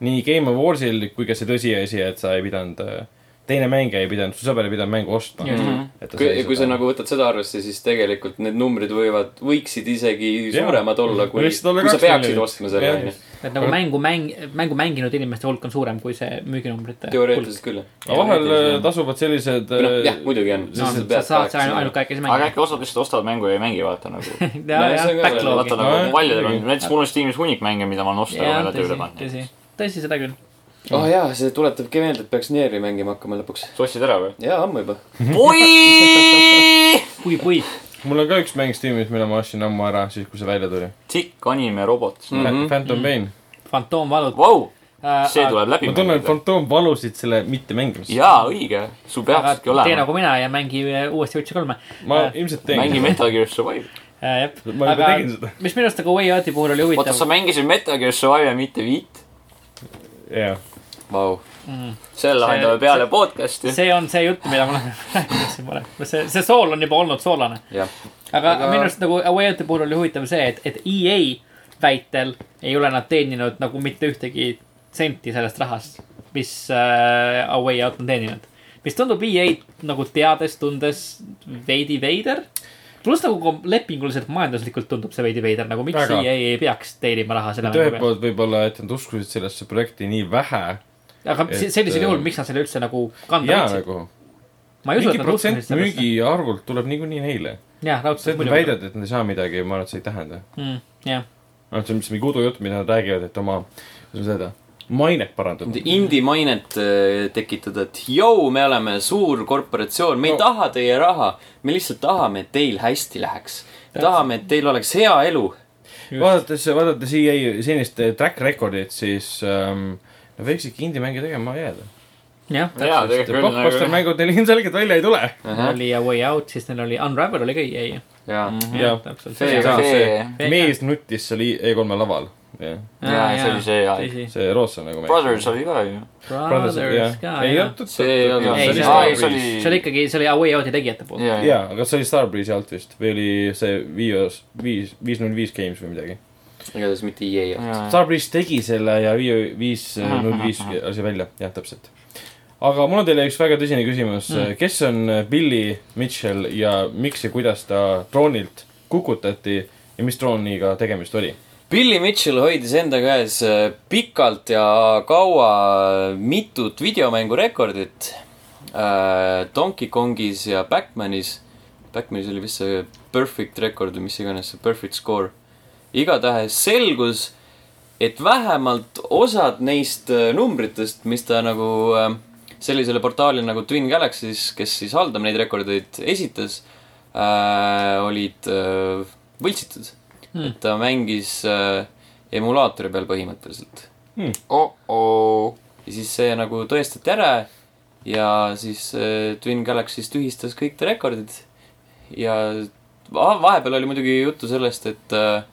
Speaker 4: nii Game Awardsil kui ka see tõsiasi , et sa ei pidanud , teine mängija ei pidanud , su sõber ei pidanud mängu ostma .
Speaker 2: Just.
Speaker 1: Mhm. kui , kui sa . nagu võtad seda arvesse , siis tegelikult need numbrid võivad , võiksid isegi
Speaker 4: Jah. Mhm.
Speaker 1: suuremad olla , kui ,
Speaker 4: Võiksid olla
Speaker 1: kui sa
Speaker 4: kaks
Speaker 1: peaksid
Speaker 4: miljonit.
Speaker 1: ostma selle ,
Speaker 4: Jah.
Speaker 1: onju .
Speaker 2: et nagu mängu mäng , mängu mänginud inimeste hulk on suurem kui see müüginumbrite hulk .
Speaker 1: teoreetiliselt küll .
Speaker 4: aga vahel äh, tasuvad sellised .
Speaker 1: või
Speaker 4: äh,
Speaker 1: noh , jah , muidugi on .
Speaker 2: No, sa saad seal ainult kahekesi
Speaker 3: aga
Speaker 2: mängida .
Speaker 3: äkki osad lihtsalt ostavad mängu ja ei mängi , vaata nagu .
Speaker 2: ja ,
Speaker 1: no
Speaker 2: ja
Speaker 1: see on ka
Speaker 3: vaata
Speaker 2: backlog'i .
Speaker 4: Nojah.
Speaker 3: nagu paljudel on , näiteks mul on Steamis hunnik mänge , mida ma olen ostnud , aga ma ei
Speaker 2: jah ,
Speaker 3: ole tööle
Speaker 2: tõsi ,
Speaker 3: pannud .
Speaker 2: tõsi , tõsi , seda küll .
Speaker 1: oh jaa , see tuletabki meelde , et peaks Nieri mängima hakkama lõpuks .
Speaker 3: sa ostsid ära või ?
Speaker 1: jaa , ammu juba .
Speaker 3: oi ,
Speaker 2: kui , kui ,
Speaker 4: mul on ka üks mäng Steamis , mille ma ostsin ammu ära , siis kui see välja tuli
Speaker 3: tikk animerobot .
Speaker 1: Mm.
Speaker 3: Vau
Speaker 1: Mhm.
Speaker 4: mm . Phantom Pain .
Speaker 2: fantoomvalud
Speaker 3: wow, ,
Speaker 2: äh,
Speaker 3: see tuleb läbi
Speaker 4: ma tunnen , et . Phantom valusid selle mitte mängimise .
Speaker 3: jaa , õige , sul peakski
Speaker 2: aga tee
Speaker 3: olema .
Speaker 2: nagu mina ja mängi äh, uuesti Witcher kolme .
Speaker 4: ma
Speaker 2: Äh,
Speaker 4: ilmselt
Speaker 3: mängi
Speaker 4: teen .
Speaker 3: Metal Gear Survive .
Speaker 2: jah ,
Speaker 4: ma juba
Speaker 2: aga
Speaker 4: tegin seda .
Speaker 2: mis minu arust nagu Way Out'i puhul oli
Speaker 3: oota ,
Speaker 2: huvitav
Speaker 3: sa . mängisid Metal Gear Survive'i , mitte viit ?
Speaker 4: jah .
Speaker 1: Vau .
Speaker 3: selle lahendame peale podcast'i .
Speaker 2: see on see jutt , mida ma olen rääkinud siin varem . see , see sool on juba olnud soolane .
Speaker 1: jah .
Speaker 2: aga
Speaker 1: Aga-
Speaker 2: minu arust nagu Way Out'i puhul oli huvitav see , et , et EA väitel ei ole nad teeninud nagu mitte ühtegi senti sellest rahast , mis äh, A Way Out on teeninud . mis tundub EA-d nagu teades , tundes veidi veider . pluss nagu kom- lepinguliselt majanduslikult tundub see veidi veider , nagu miks
Speaker 4: Väga.
Speaker 2: Väga. EA ei peaks teenima raha selle
Speaker 4: et ühelt
Speaker 2: mängu pealt .
Speaker 4: poolt võib-olla , et nad uskusid sellesse projekti nii vähe
Speaker 2: aga se-
Speaker 4: et,
Speaker 2: sellisel juhul ,
Speaker 4: äh,
Speaker 2: miks nad selle üldse nagu kanda
Speaker 4: ja
Speaker 2: võtsid ?
Speaker 4: nagu
Speaker 2: ma ei usu ,
Speaker 4: mingi
Speaker 2: et nad
Speaker 4: protsent
Speaker 2: uskusid sellesse .
Speaker 4: müügiarvult tuleb niikuinii neile .
Speaker 2: jah ,
Speaker 4: see ,
Speaker 2: raudselt
Speaker 4: et nad
Speaker 2: muidugi .
Speaker 4: väidavad , et nad ei saa midagi , ma arvan , et see ei tähenda .
Speaker 2: jah ,
Speaker 4: noh , see on lihtsalt mingi udujutt , mida nad räägivad , et oma , kuidas öelda , mainet parandada .
Speaker 1: Indie mainet äh, tekitada , et jõu , me oleme suur korporatsioon , me ei
Speaker 4: No.
Speaker 1: no. taha teie raha . me lihtsalt tahame , et teil hästi läheks . tahame , et teil oleks hea elu .
Speaker 4: vaadates , vaadates EA senist eh, track record'it , siis ähm, nad võiks ikka indie-mänge tegema jääda .
Speaker 2: jah .
Speaker 3: jaa , tegelikult küll
Speaker 4: blockbuster
Speaker 3: nagu .
Speaker 4: mängud neil ilmselgelt välja ei tule .
Speaker 1: Ahah.
Speaker 2: oli A Way Out , siis neil oli Unravel oli ka E EA .
Speaker 1: jaa .
Speaker 4: jah ,
Speaker 2: täpselt .
Speaker 1: See
Speaker 4: ka see
Speaker 3: Mhm. see ,
Speaker 4: mees nuttis seal I- E3-e laval .
Speaker 3: jaa , see oli see aeg .
Speaker 4: see rootslasena nagu
Speaker 3: Brothers oli ka ju .
Speaker 4: Brothers ,
Speaker 2: Brothers ka ,
Speaker 4: jah . ei
Speaker 2: jah .
Speaker 4: olnud .
Speaker 3: see ei olnud-
Speaker 2: Ei, see
Speaker 3: aa, ei, see oli-
Speaker 2: see oli ikkagi , see oli A Way Out'i tegijate poolt .
Speaker 3: jaa , jaa .
Speaker 4: jaa , aga see oli Starbreeze alt vist või oli see Vios , viis , viis null viis Games või midagi .
Speaker 1: igatahes mitte EA jah .
Speaker 4: Starbreeze tegi selle ja Vio viis null viis asi välja , jah , täpselt . aga mul on teile üks väga tõsine küsimus mm. , kes on Billy Mitchell ja miks ja kuidas ta troonilt kukutati ja mis trooniga tegemist oli ?
Speaker 1: Billy Mitchell hoidis enda käes äh, pikalt ja kaua äh, mitut videomängurekordit äh, Donkey Kongis ja Backmanis . Backmanis oli vist see perfect rekord või mis iganes see perfect score . igatahes selgus , et vähemalt osad neist äh, numbritest , mis ta nagu äh, sellisele portaalile nagu Twin Galaxies , kes siis haldab neid rekordeid , esitas , olid äh, võltsitud
Speaker 2: Hmm.
Speaker 1: et ta mängis äh, emulaatori peal põhimõtteliselt .
Speaker 3: Oh, oh-oo .
Speaker 1: ja siis see nagu tõestati ära ja siis äh, Twin Galaxies tühistas kõik ta rekordid . ja va- vahepeal oli muidugi juttu sellest , et äh,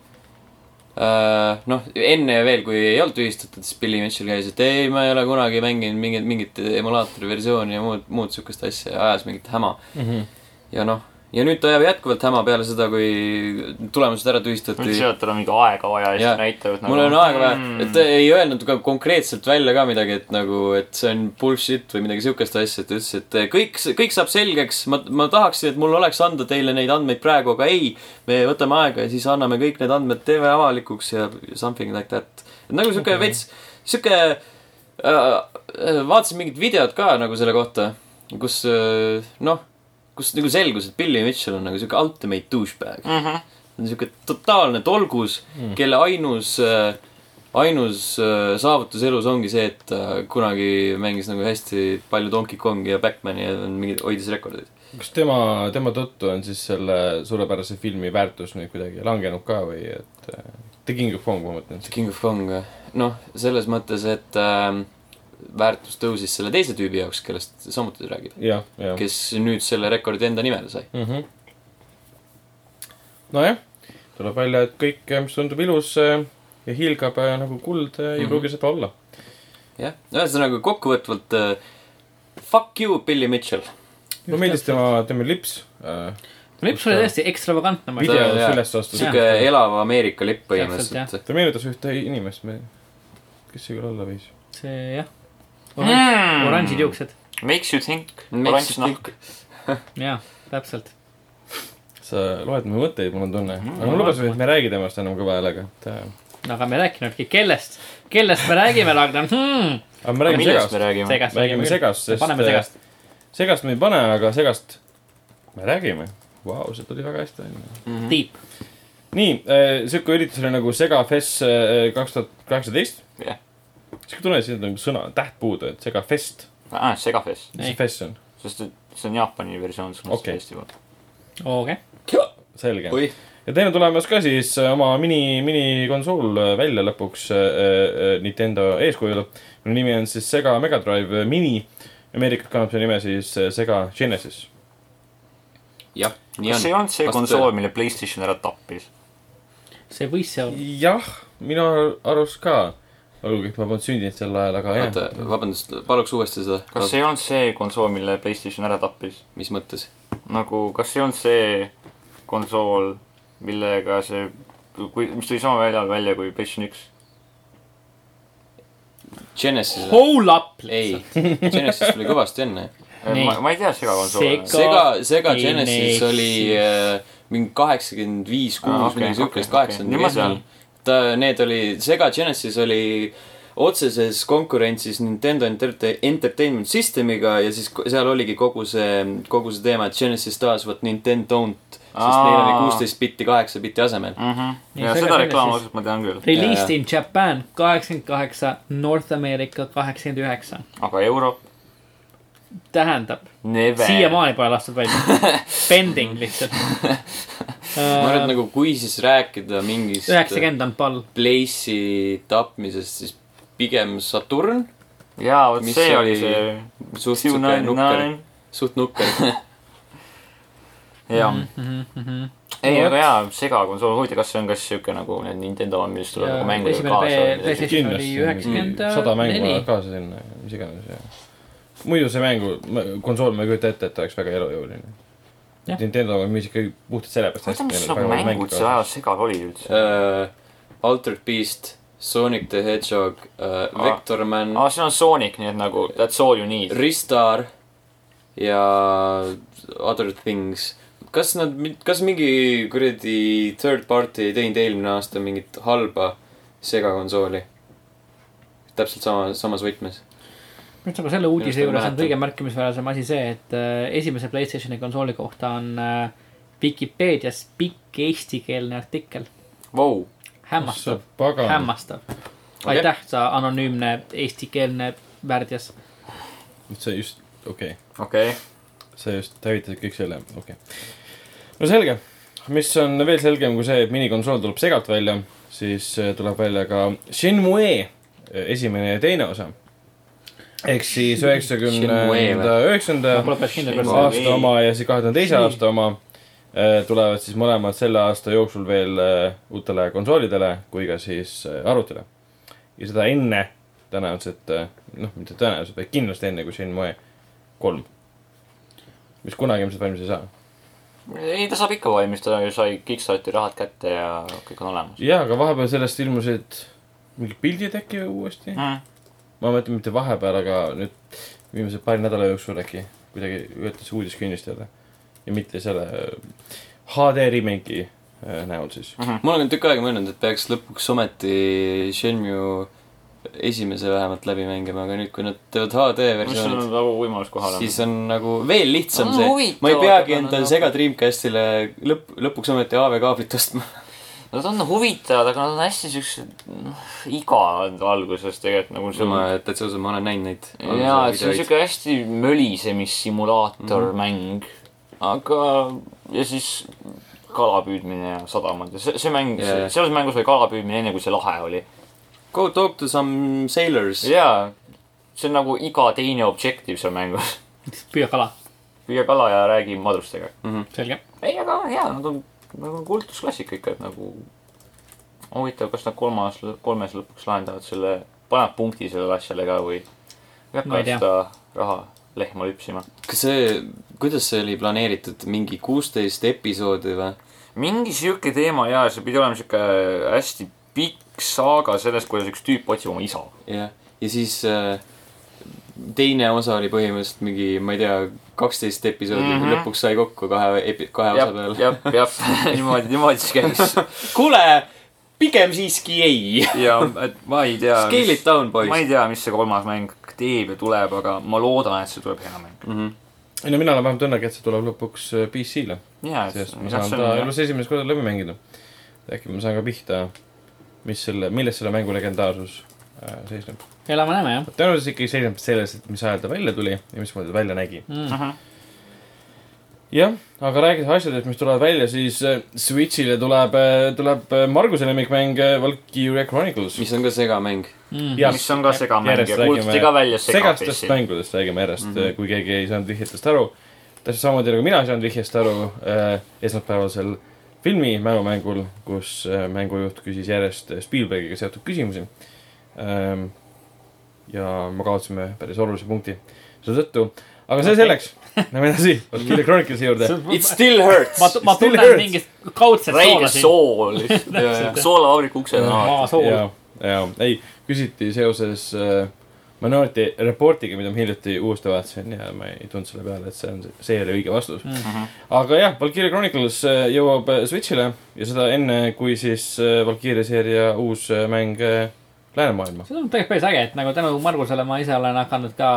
Speaker 1: äh, noh , enne veel , kui ei olnud tühistatud , siis Billy Mitchell käis , et ei , ma ei ole kunagi mänginud mingit , mingit emulaatori versiooni ja muud , muud sihukest asja ja ajas mingit häma . ja noh , ja nüüd ta jääb jätkuvalt häma peale seda , kui tulemused ära
Speaker 3: nüüd
Speaker 1: tühistati .
Speaker 3: sealt on mingi aega vaja ja
Speaker 1: Jaa.
Speaker 3: siis näitavad nagu-
Speaker 1: mul on aega vaja , et ta ei öelnud ka konkreetselt välja ka midagi , et nagu , et see on bullshit või midagi siukest asja , et ta ütles , et kõik , kõik saab selgeks , ma , ma tahaksin , et mul oleks anda teile neid andmeid praegu , aga ei , me võtame aega ja siis anname kõik need andmed TV avalikuks ja something like that . nagu siuke okay. veits , siuke äh, , vaatasin mingit videot ka nagu selle kohta , kus äh, noh , kus nagu selgus , et Billy Mitchell on nagu siuke ultimate douchebag .
Speaker 3: Mhm.
Speaker 1: ta on siuke totaalne tolgus mm. , kelle ainus , ainus äh, saavutus elus ongi see , et ta kunagi mängis nagu hästi palju Donkey Kongi ja Batman'i ja on mingeid , hoidis rekordeid .
Speaker 4: kas tema , tema tõttu on siis selle suurepärase filmi väärtus nüüd kuidagi langenud ka või et äh, The King of Kong , ma mõtlen .
Speaker 1: King of Kong , noh , selles mõttes , et ähm, väärtus tõusis selle teise tüübi jaoks , kellest samuti ta räägib ,
Speaker 4: jah , jah .
Speaker 1: kes nüüd selle rekordi enda nimele sai .
Speaker 4: mm . -hmm. nojah , tuleb välja , et kõik , mis tundub ilus äh, ja hiilgab äh, nagu kuld , ei
Speaker 1: Mhm.
Speaker 4: pruugi seda olla .
Speaker 1: jah , ühesõnaga kokkuvõtvalt äh, fuck you , Billy Mitchell .
Speaker 4: mulle meeldis tema , tema lips äh, .
Speaker 2: lips oli tõesti ekstravagantne , ma
Speaker 1: Video-
Speaker 2: ütlen .
Speaker 4: videos
Speaker 1: jaa.
Speaker 4: üles astus .
Speaker 1: sihuke
Speaker 4: ta
Speaker 1: elava Ameerika lipp
Speaker 2: Täpselt,
Speaker 1: põhimõtteliselt .
Speaker 4: meenutas ühte inimest , kes see küll olla võis .
Speaker 2: see jah .
Speaker 3: Mm.
Speaker 2: oranžid . juuksed .
Speaker 3: Makes you think .
Speaker 1: Makes
Speaker 3: oranž
Speaker 1: you
Speaker 3: nahk .
Speaker 2: jaa , täpselt .
Speaker 4: sa loed mu mõtteid , mul on tunne .
Speaker 3: Mhm.
Speaker 4: aga ma lubasin , et me ei räägi temast enam kõva häälega , et äh,
Speaker 2: aga me ei rääkinudki , kellest , kellest me räägime , Ragnar hmm. .
Speaker 4: aga me räägime
Speaker 3: millest me
Speaker 4: segast .
Speaker 3: räägime ?
Speaker 2: segast .
Speaker 4: räägime segast , sest
Speaker 2: paneme segast .
Speaker 4: äh, segast me ei pane , aga segast me räägime . Vau , see tuli väga hästi välja .
Speaker 2: Deep .
Speaker 4: nii , sihuke üritus oli nagu Segafest kaks tuhat kaheksateist .
Speaker 3: Jah.
Speaker 4: sihuke tunne , siin on nagu sõna , täht puudu , et Segafest .
Speaker 3: aa , Ah, segafest ,
Speaker 4: mis
Speaker 2: Ei.
Speaker 4: see fest on ?
Speaker 3: sest et see on Jaapani versioon , see on
Speaker 4: Okei.
Speaker 3: okay. Eesti poolt .
Speaker 2: okei .
Speaker 4: selge .
Speaker 1: oih ,
Speaker 4: ja teine tulemas ka siis äh, oma mini , minikonsool välja lõpuks äh, äh, Nintendo eeskujul . mille nimi on siis Sega Mega Drive Mini . Ameerikas kannab see nime siis äh, Sega Genesis .
Speaker 1: jah , nii
Speaker 3: kas see ei
Speaker 1: on .
Speaker 3: olnud see
Speaker 1: Vastab
Speaker 3: konsool ,
Speaker 1: tõele.
Speaker 3: mille Playstation ära tappis ?
Speaker 2: see võis see olla .
Speaker 4: jah , minu arust ka . olgugi , et ma polnud sündinud sel ajal , aga jah
Speaker 1: oota , vabandust , paluks uuesti seda
Speaker 3: kas , see ei olnud see konsool , mille Playstation ära tappis ?
Speaker 1: mis mõttes ?
Speaker 3: nagu , kas see on see konsool , millega see , kui , mis tuli sama väljal välja kui PlayStation üks ?
Speaker 1: Genesis ,
Speaker 2: Hole up
Speaker 1: ei
Speaker 2: lihtsalt .,
Speaker 1: Genesis oli kõvasti enne .
Speaker 2: Nii.
Speaker 3: Eh, ma , ma ei tea sega konsooli .
Speaker 2: Sega-
Speaker 1: Sega , Sega
Speaker 2: Ei,
Speaker 1: Genesis
Speaker 2: nee,
Speaker 1: oli äh, mingi kaheksakümmend viis ,
Speaker 3: Aa,
Speaker 1: kuus ,
Speaker 3: Ah, okei,
Speaker 1: midagi siukest ,
Speaker 3: okei, okei. Nüüd
Speaker 1: kaheksakümmend
Speaker 3: ma saan.
Speaker 1: viis . ta , need oli , Sega Genesis oli otseses konkurentsis Nintendo Enter- Entertainment Systemiga ja siis ko- seal oligi kogu see , kogu see teema , et Genesis taas vot Nintendo don't . sest neil oli
Speaker 3: Aa.
Speaker 1: kuusteist bitti kaheksa bitti asemel .
Speaker 2: Nii,
Speaker 3: Mhm.
Speaker 2: Sega
Speaker 3: ja seda
Speaker 2: Genesis.
Speaker 3: reklaamosust ma tean küll ,
Speaker 2: Released
Speaker 1: Jaa.
Speaker 2: in Japan kaheksakümmend kaheksa , North America kaheksakümmend üheksa .
Speaker 3: aga euro ?
Speaker 2: tähendab ,
Speaker 3: Never .
Speaker 2: siiamaani pole lastud välja . Pending lihtsalt .
Speaker 1: ma arvan , et nagu kui siis rääkida mingist
Speaker 2: Äh, üheksakümmend on pall .
Speaker 1: Place'i tapmisest , siis pigem Saturn ,
Speaker 3: jaa , vot
Speaker 1: Mis
Speaker 3: see oli
Speaker 1: oli-
Speaker 3: see .
Speaker 1: suht siuke nukker , suht nukker
Speaker 3: jah , ei , aga jaa , sega konsool , huvitav , kas see on kas siuke nagu need Nintendo on , mis tuleb nagu mängudega
Speaker 2: esimene P-
Speaker 3: kaasa või midagi siukest?
Speaker 2: PlayStation oli üheksakümmend
Speaker 4: sada mängu
Speaker 2: neli
Speaker 4: läheb . kaasa sinna , mis iganes ja . muidu see mängu , konsool , ma ei kujuta ette , et ta oleks väga elujõuline .
Speaker 2: Jah.
Speaker 4: Nintendo müüs ikka puhtalt sellepärast .
Speaker 3: huvitav , mis nagu mängud seal ajas segal olid üldse ?
Speaker 1: uh, Altered Beast , Sonic the Hedgehog uh, , Vector Man ah. ,
Speaker 3: aa , siin on Sonic , nii et nagu that's all you need .
Speaker 1: Ristar ja Other Things . kas nad , kas mingi kuradi third party ei teinud eelmine aasta mingit halba segakonsooli ? täpselt sama , samas võtmes .
Speaker 2: ühesõnaga selle uudise
Speaker 1: Just, ma
Speaker 2: juures on
Speaker 1: mäletan.
Speaker 2: kõige märkimisväärsem asi see , et äh, esimese Playstationi konsooli kohta on äh, Vikipeedias pikk eestikeelne artikkel .
Speaker 3: Vau ,
Speaker 2: hämmastav ,
Speaker 4: pagan ,
Speaker 2: hämmastav . aitäh , sa anonüümne eestikeelne värdjas .
Speaker 4: see just , okei okay. ,
Speaker 3: okei .
Speaker 4: sa just hävitasid kõik selle , okei okay. . no selge , mis on veel selgem kui see , et minikonsool tuleb segalt välja , siis äh, tuleb välja ka Shenmue äh, esimene ja teine osa . ehk siis
Speaker 1: Shenmue
Speaker 4: üheksakümnenda
Speaker 1: või?
Speaker 4: üheksanda
Speaker 2: ma pole päris kindel ,
Speaker 3: Ei, ma-
Speaker 2: kas
Speaker 4: aasta oma ja siis kahe tuhande teise aasta oma äh, tulevad siis mõlemad selle aasta jooksul veel äh, uutele konsoolidele kui ka siis äh, arvutile . ja seda enne tõenäoliselt , noh , mitte tõenäoliselt , vaid kindlasti enne kui Shenmue kolm . mis kunagi ilmselt valmis ei saa .
Speaker 3: ei , ta saab ikka valmis , ta ju sai Kickstarti rahad kätte ja kõik on olemas .
Speaker 4: jaa , aga vahepeal sellest ilmusid mingid pildid äkki uuesti . ma mõtlen mitte vahepeal , aga nüüd viimase paari nädala jooksul äkki kuidagi üritas uudis kinnistada . ja mitte selle äh, HD remake'i äh, näol siis .
Speaker 1: ma olen tükk aega mõelnud , et peaks lõpuks ometi Shenmue esimese vähemalt läbi mängima , aga nüüd , kui nad teevad HD
Speaker 3: mis on
Speaker 1: versioonid .
Speaker 3: nagu võimalus kohale
Speaker 1: siis on nagu veel lihtsam
Speaker 3: On
Speaker 1: see ,
Speaker 3: huvitav,
Speaker 1: ma ei peagi
Speaker 3: aga no
Speaker 1: endale
Speaker 3: nagu-
Speaker 1: sega Dreamcastile lõpp , lõpuks ometi AV kaablit ostma .
Speaker 3: Nad on huvitavad , aga nad on hästi siuksed , noh , igavad alguses tegelikult nagu see on .
Speaker 1: täitsa ausalt , ma olen näinud neid .
Speaker 3: jaa , et see on siuke hästi mölisemissimulaator mm -hmm. mäng . aga , ja siis kalapüüdmine ja sadamad ja see , see mäng
Speaker 1: Jaa,
Speaker 3: yeah.
Speaker 1: jaa. ,
Speaker 3: selles mängus oli kalapüüdmine enne , kui see lahe oli .
Speaker 1: Go talk to some sailors .
Speaker 3: jaa , see on nagu iga teine objektiiv seal mängus .
Speaker 2: püüa kala ,
Speaker 3: püüa kala ja räägi madrustega .
Speaker 2: selge .
Speaker 3: ei , aga hea , nad on , nad on kultusklassika ikka , et nagu huvitav , kas nad kolmas , kolmes lõpuks lahendavad selle , panevad punkti sellele asjale ka või peab
Speaker 2: Ma
Speaker 3: ka
Speaker 2: ei tea.
Speaker 3: seda raha lehma lüpsima .
Speaker 1: kas see , kuidas see oli planeeritud , mingi kuusteist episoodi või ?
Speaker 3: mingi sihuke teema ja see pidi olema sihuke äh, hästi pikk saaga sellest , kuidas üks tüüp otsib oma isa .
Speaker 1: jah , ja siis äh, teine osa oli põhimõtteliselt mingi , ma ei tea , kaksteist episoodi mm ,
Speaker 3: Mhm.
Speaker 1: -hmm. lõpuks sai kokku kahe epi- , kahe osa
Speaker 3: jah ,
Speaker 1: peale .
Speaker 3: jah , jah , niimoodi , niimoodi siis käis
Speaker 1: kuule , pigem siiski ei .
Speaker 3: ja et ma ei tea .
Speaker 1: Scale it down ,
Speaker 3: ma
Speaker 1: boys .
Speaker 3: ei tea , mis see kolmas mäng teeb ja tuleb , aga ma loodan , et see tuleb hea mäng .
Speaker 4: ei no mina olen vähemalt õnnelik , et see tuleb lõpuks äh, PC-le ,
Speaker 3: jaa ,
Speaker 4: sest
Speaker 3: et
Speaker 4: ma saan ta elus esimest korda läbi mängida . äkki ma saan ka pihta , mis selle , milles selle mängu legendaarsus äh, seisneb .
Speaker 2: elame-näeme jah .
Speaker 3: Mhm.
Speaker 4: tõenäoliselt ikkagi seisneb selles , et mis ajal ta välja tuli ja mismoodi ta välja nägi .
Speaker 2: Mm.
Speaker 4: jah , aga rääkides asjadest , mis tulevad välja , siis äh, Switch'ile tuleb , tuleb äh, Marguse lemmikmäng äh, Valkyria Chronicles .
Speaker 1: mis on ka segamäng .
Speaker 4: jah ,
Speaker 3: mis on ka segamäng
Speaker 4: järjest
Speaker 3: ja kuulutati
Speaker 4: räägime
Speaker 3: ka välja
Speaker 4: segastest
Speaker 3: segapissi .
Speaker 4: mängudest räägime järjest mm , -hmm. kui keegi ei saanud vihjetest aru . täpselt samamoodi nagu mina ei saanud vihjest aru äh, esmaspäevasel filmi mälumängul , kus äh, mängujuht küsis järjest eh, Spielbergiga seotud küsimusi ähm, . ja me kaotasime päris olulise punkti seetõttu , aga see
Speaker 2: Okei.
Speaker 4: selleks . Lähme edasi Valkyria Chroniclesi juurde .
Speaker 3: It still hurts
Speaker 2: ma , ma
Speaker 4: still
Speaker 2: tunnen
Speaker 4: hurts.
Speaker 2: mingit kaudset
Speaker 3: räige
Speaker 2: soola siin .
Speaker 3: sool , soolavabriku ukse taha .
Speaker 2: maasool .
Speaker 4: ja , ja ei , küsiti seoses äh, Minority Reportiga , mida ma hiljuti uuesti vaatasin ja ma ei tundnud selle peale , et see on , see ei ole õige vastus mm .
Speaker 2: Mhm.
Speaker 4: -hmm. aga jah , Valkyria Chronicles äh, jõuab äh, Switch'ile ja seda enne , kui siis äh, Valkyria seeria uus äh, mäng äh, läänemaailma .
Speaker 2: see tundub tegelikult päris äge , et nagu tänu Margusele ma ise olen hakanud ka ,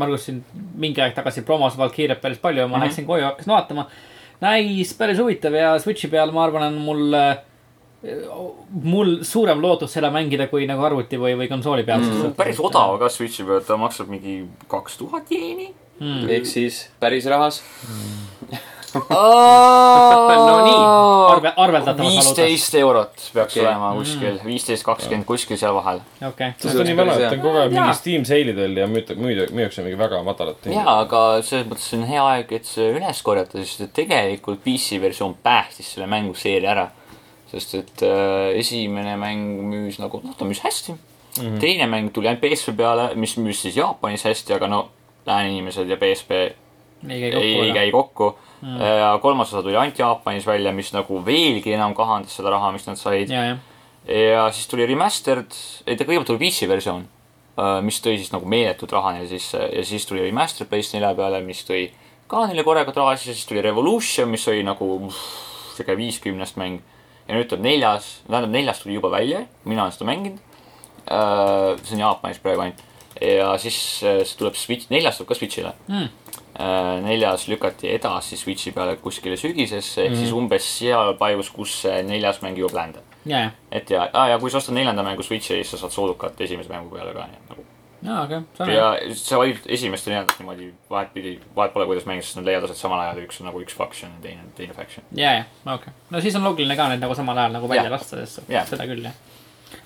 Speaker 2: Margus siin mingi aeg tagasi promos Valkyriat päris palju ja
Speaker 3: Mhm.
Speaker 2: ma mm -hmm. läksin koju , hakkasin vaatama . näis päris huvitav ja Switchi peal , ma arvan , on mul , mul suurem lootus seda mängida kui nagu arvuti või , või konsooli peal
Speaker 3: see on
Speaker 2: mm, .
Speaker 3: päris odav ka Switchi peal , ta maksab mingi kaks tuhat jeeni .
Speaker 1: ehk siis päris rahas .
Speaker 3: no
Speaker 2: arve , arveldatav .
Speaker 3: Oh, viisteist eurot peaks
Speaker 1: Okei.
Speaker 2: Mm.
Speaker 3: olema kuskil , viisteist , kakskümmend kuskil seal vahel .
Speaker 2: okei ,
Speaker 4: see on nii vana , et ta on kogu aeg
Speaker 2: Jaa.
Speaker 4: mingi Steam seilidel ja müüda- , müüda- , müüakse mingi väga madalat .
Speaker 3: ja , aga selles mõttes on hea aeg , et see üles korjata , sest et tegelikult PC versioon päästis selle mänguseeria ära . sest et äh, esimene mäng müüs nagu , noh ta müüs hästi mm .
Speaker 2: Mhm.
Speaker 3: -hmm. teine mäng tuli ainult PSP peale , mis müüs siis Jaapanis hästi , aga no lääne inimesed ja PSP
Speaker 2: ei käi kokku .
Speaker 3: ei, ei
Speaker 2: Mhm.
Speaker 3: käi kokku mm. . ja kolmas osa tuli ainult Jaapanis välja , mis nagu veelgi enam kahandas seda raha , mis nad said .
Speaker 2: ja , jah .
Speaker 3: ja siis tuli remastered , ei ta kõigepealt tuli PC versioon , mis tõi siis nagu meeletut raha neile sisse ja siis tuli remastered PS4 peale , mis tõi ka neile korraga raha sisse , siis tuli Revolution , mis oli nagu uff, sihuke viiskümnest mäng . ja nüüd tuleb neljas , tähendab neljas tuli juba välja , mina olen seda mänginud . see on Jaapanis praegu ainult ja siis äh, see tuleb Switch , neljas tuleb ka Switch'ile Äh,
Speaker 2: Mm. .
Speaker 3: neljas lükati edasi Switch'i peale kuskile sügisesse , ehk siis umbes sealpaigus , kus see neljas mäng jõuab läände
Speaker 2: ja , jah .
Speaker 3: et ja ah, , ja kui sa ostad neljanda mängu Switch'i , siis sa saad soodukat esimese mängu peale ka , nii et nagu .
Speaker 2: aa , okei , see on
Speaker 3: ja sa valid esimest ja neljandat niimoodi vahetpidi , vahet pole , kuidas mängida , sest nad leiavad asjad samal ajal ja üks on nagu üks faction ja teine , teine faction .
Speaker 2: ja , ja , okei . no siis on loogiline ka need nagu samal ajal nagu välja
Speaker 3: Jah.
Speaker 2: lasta , sest
Speaker 3: Jah.
Speaker 2: seda küll , jah .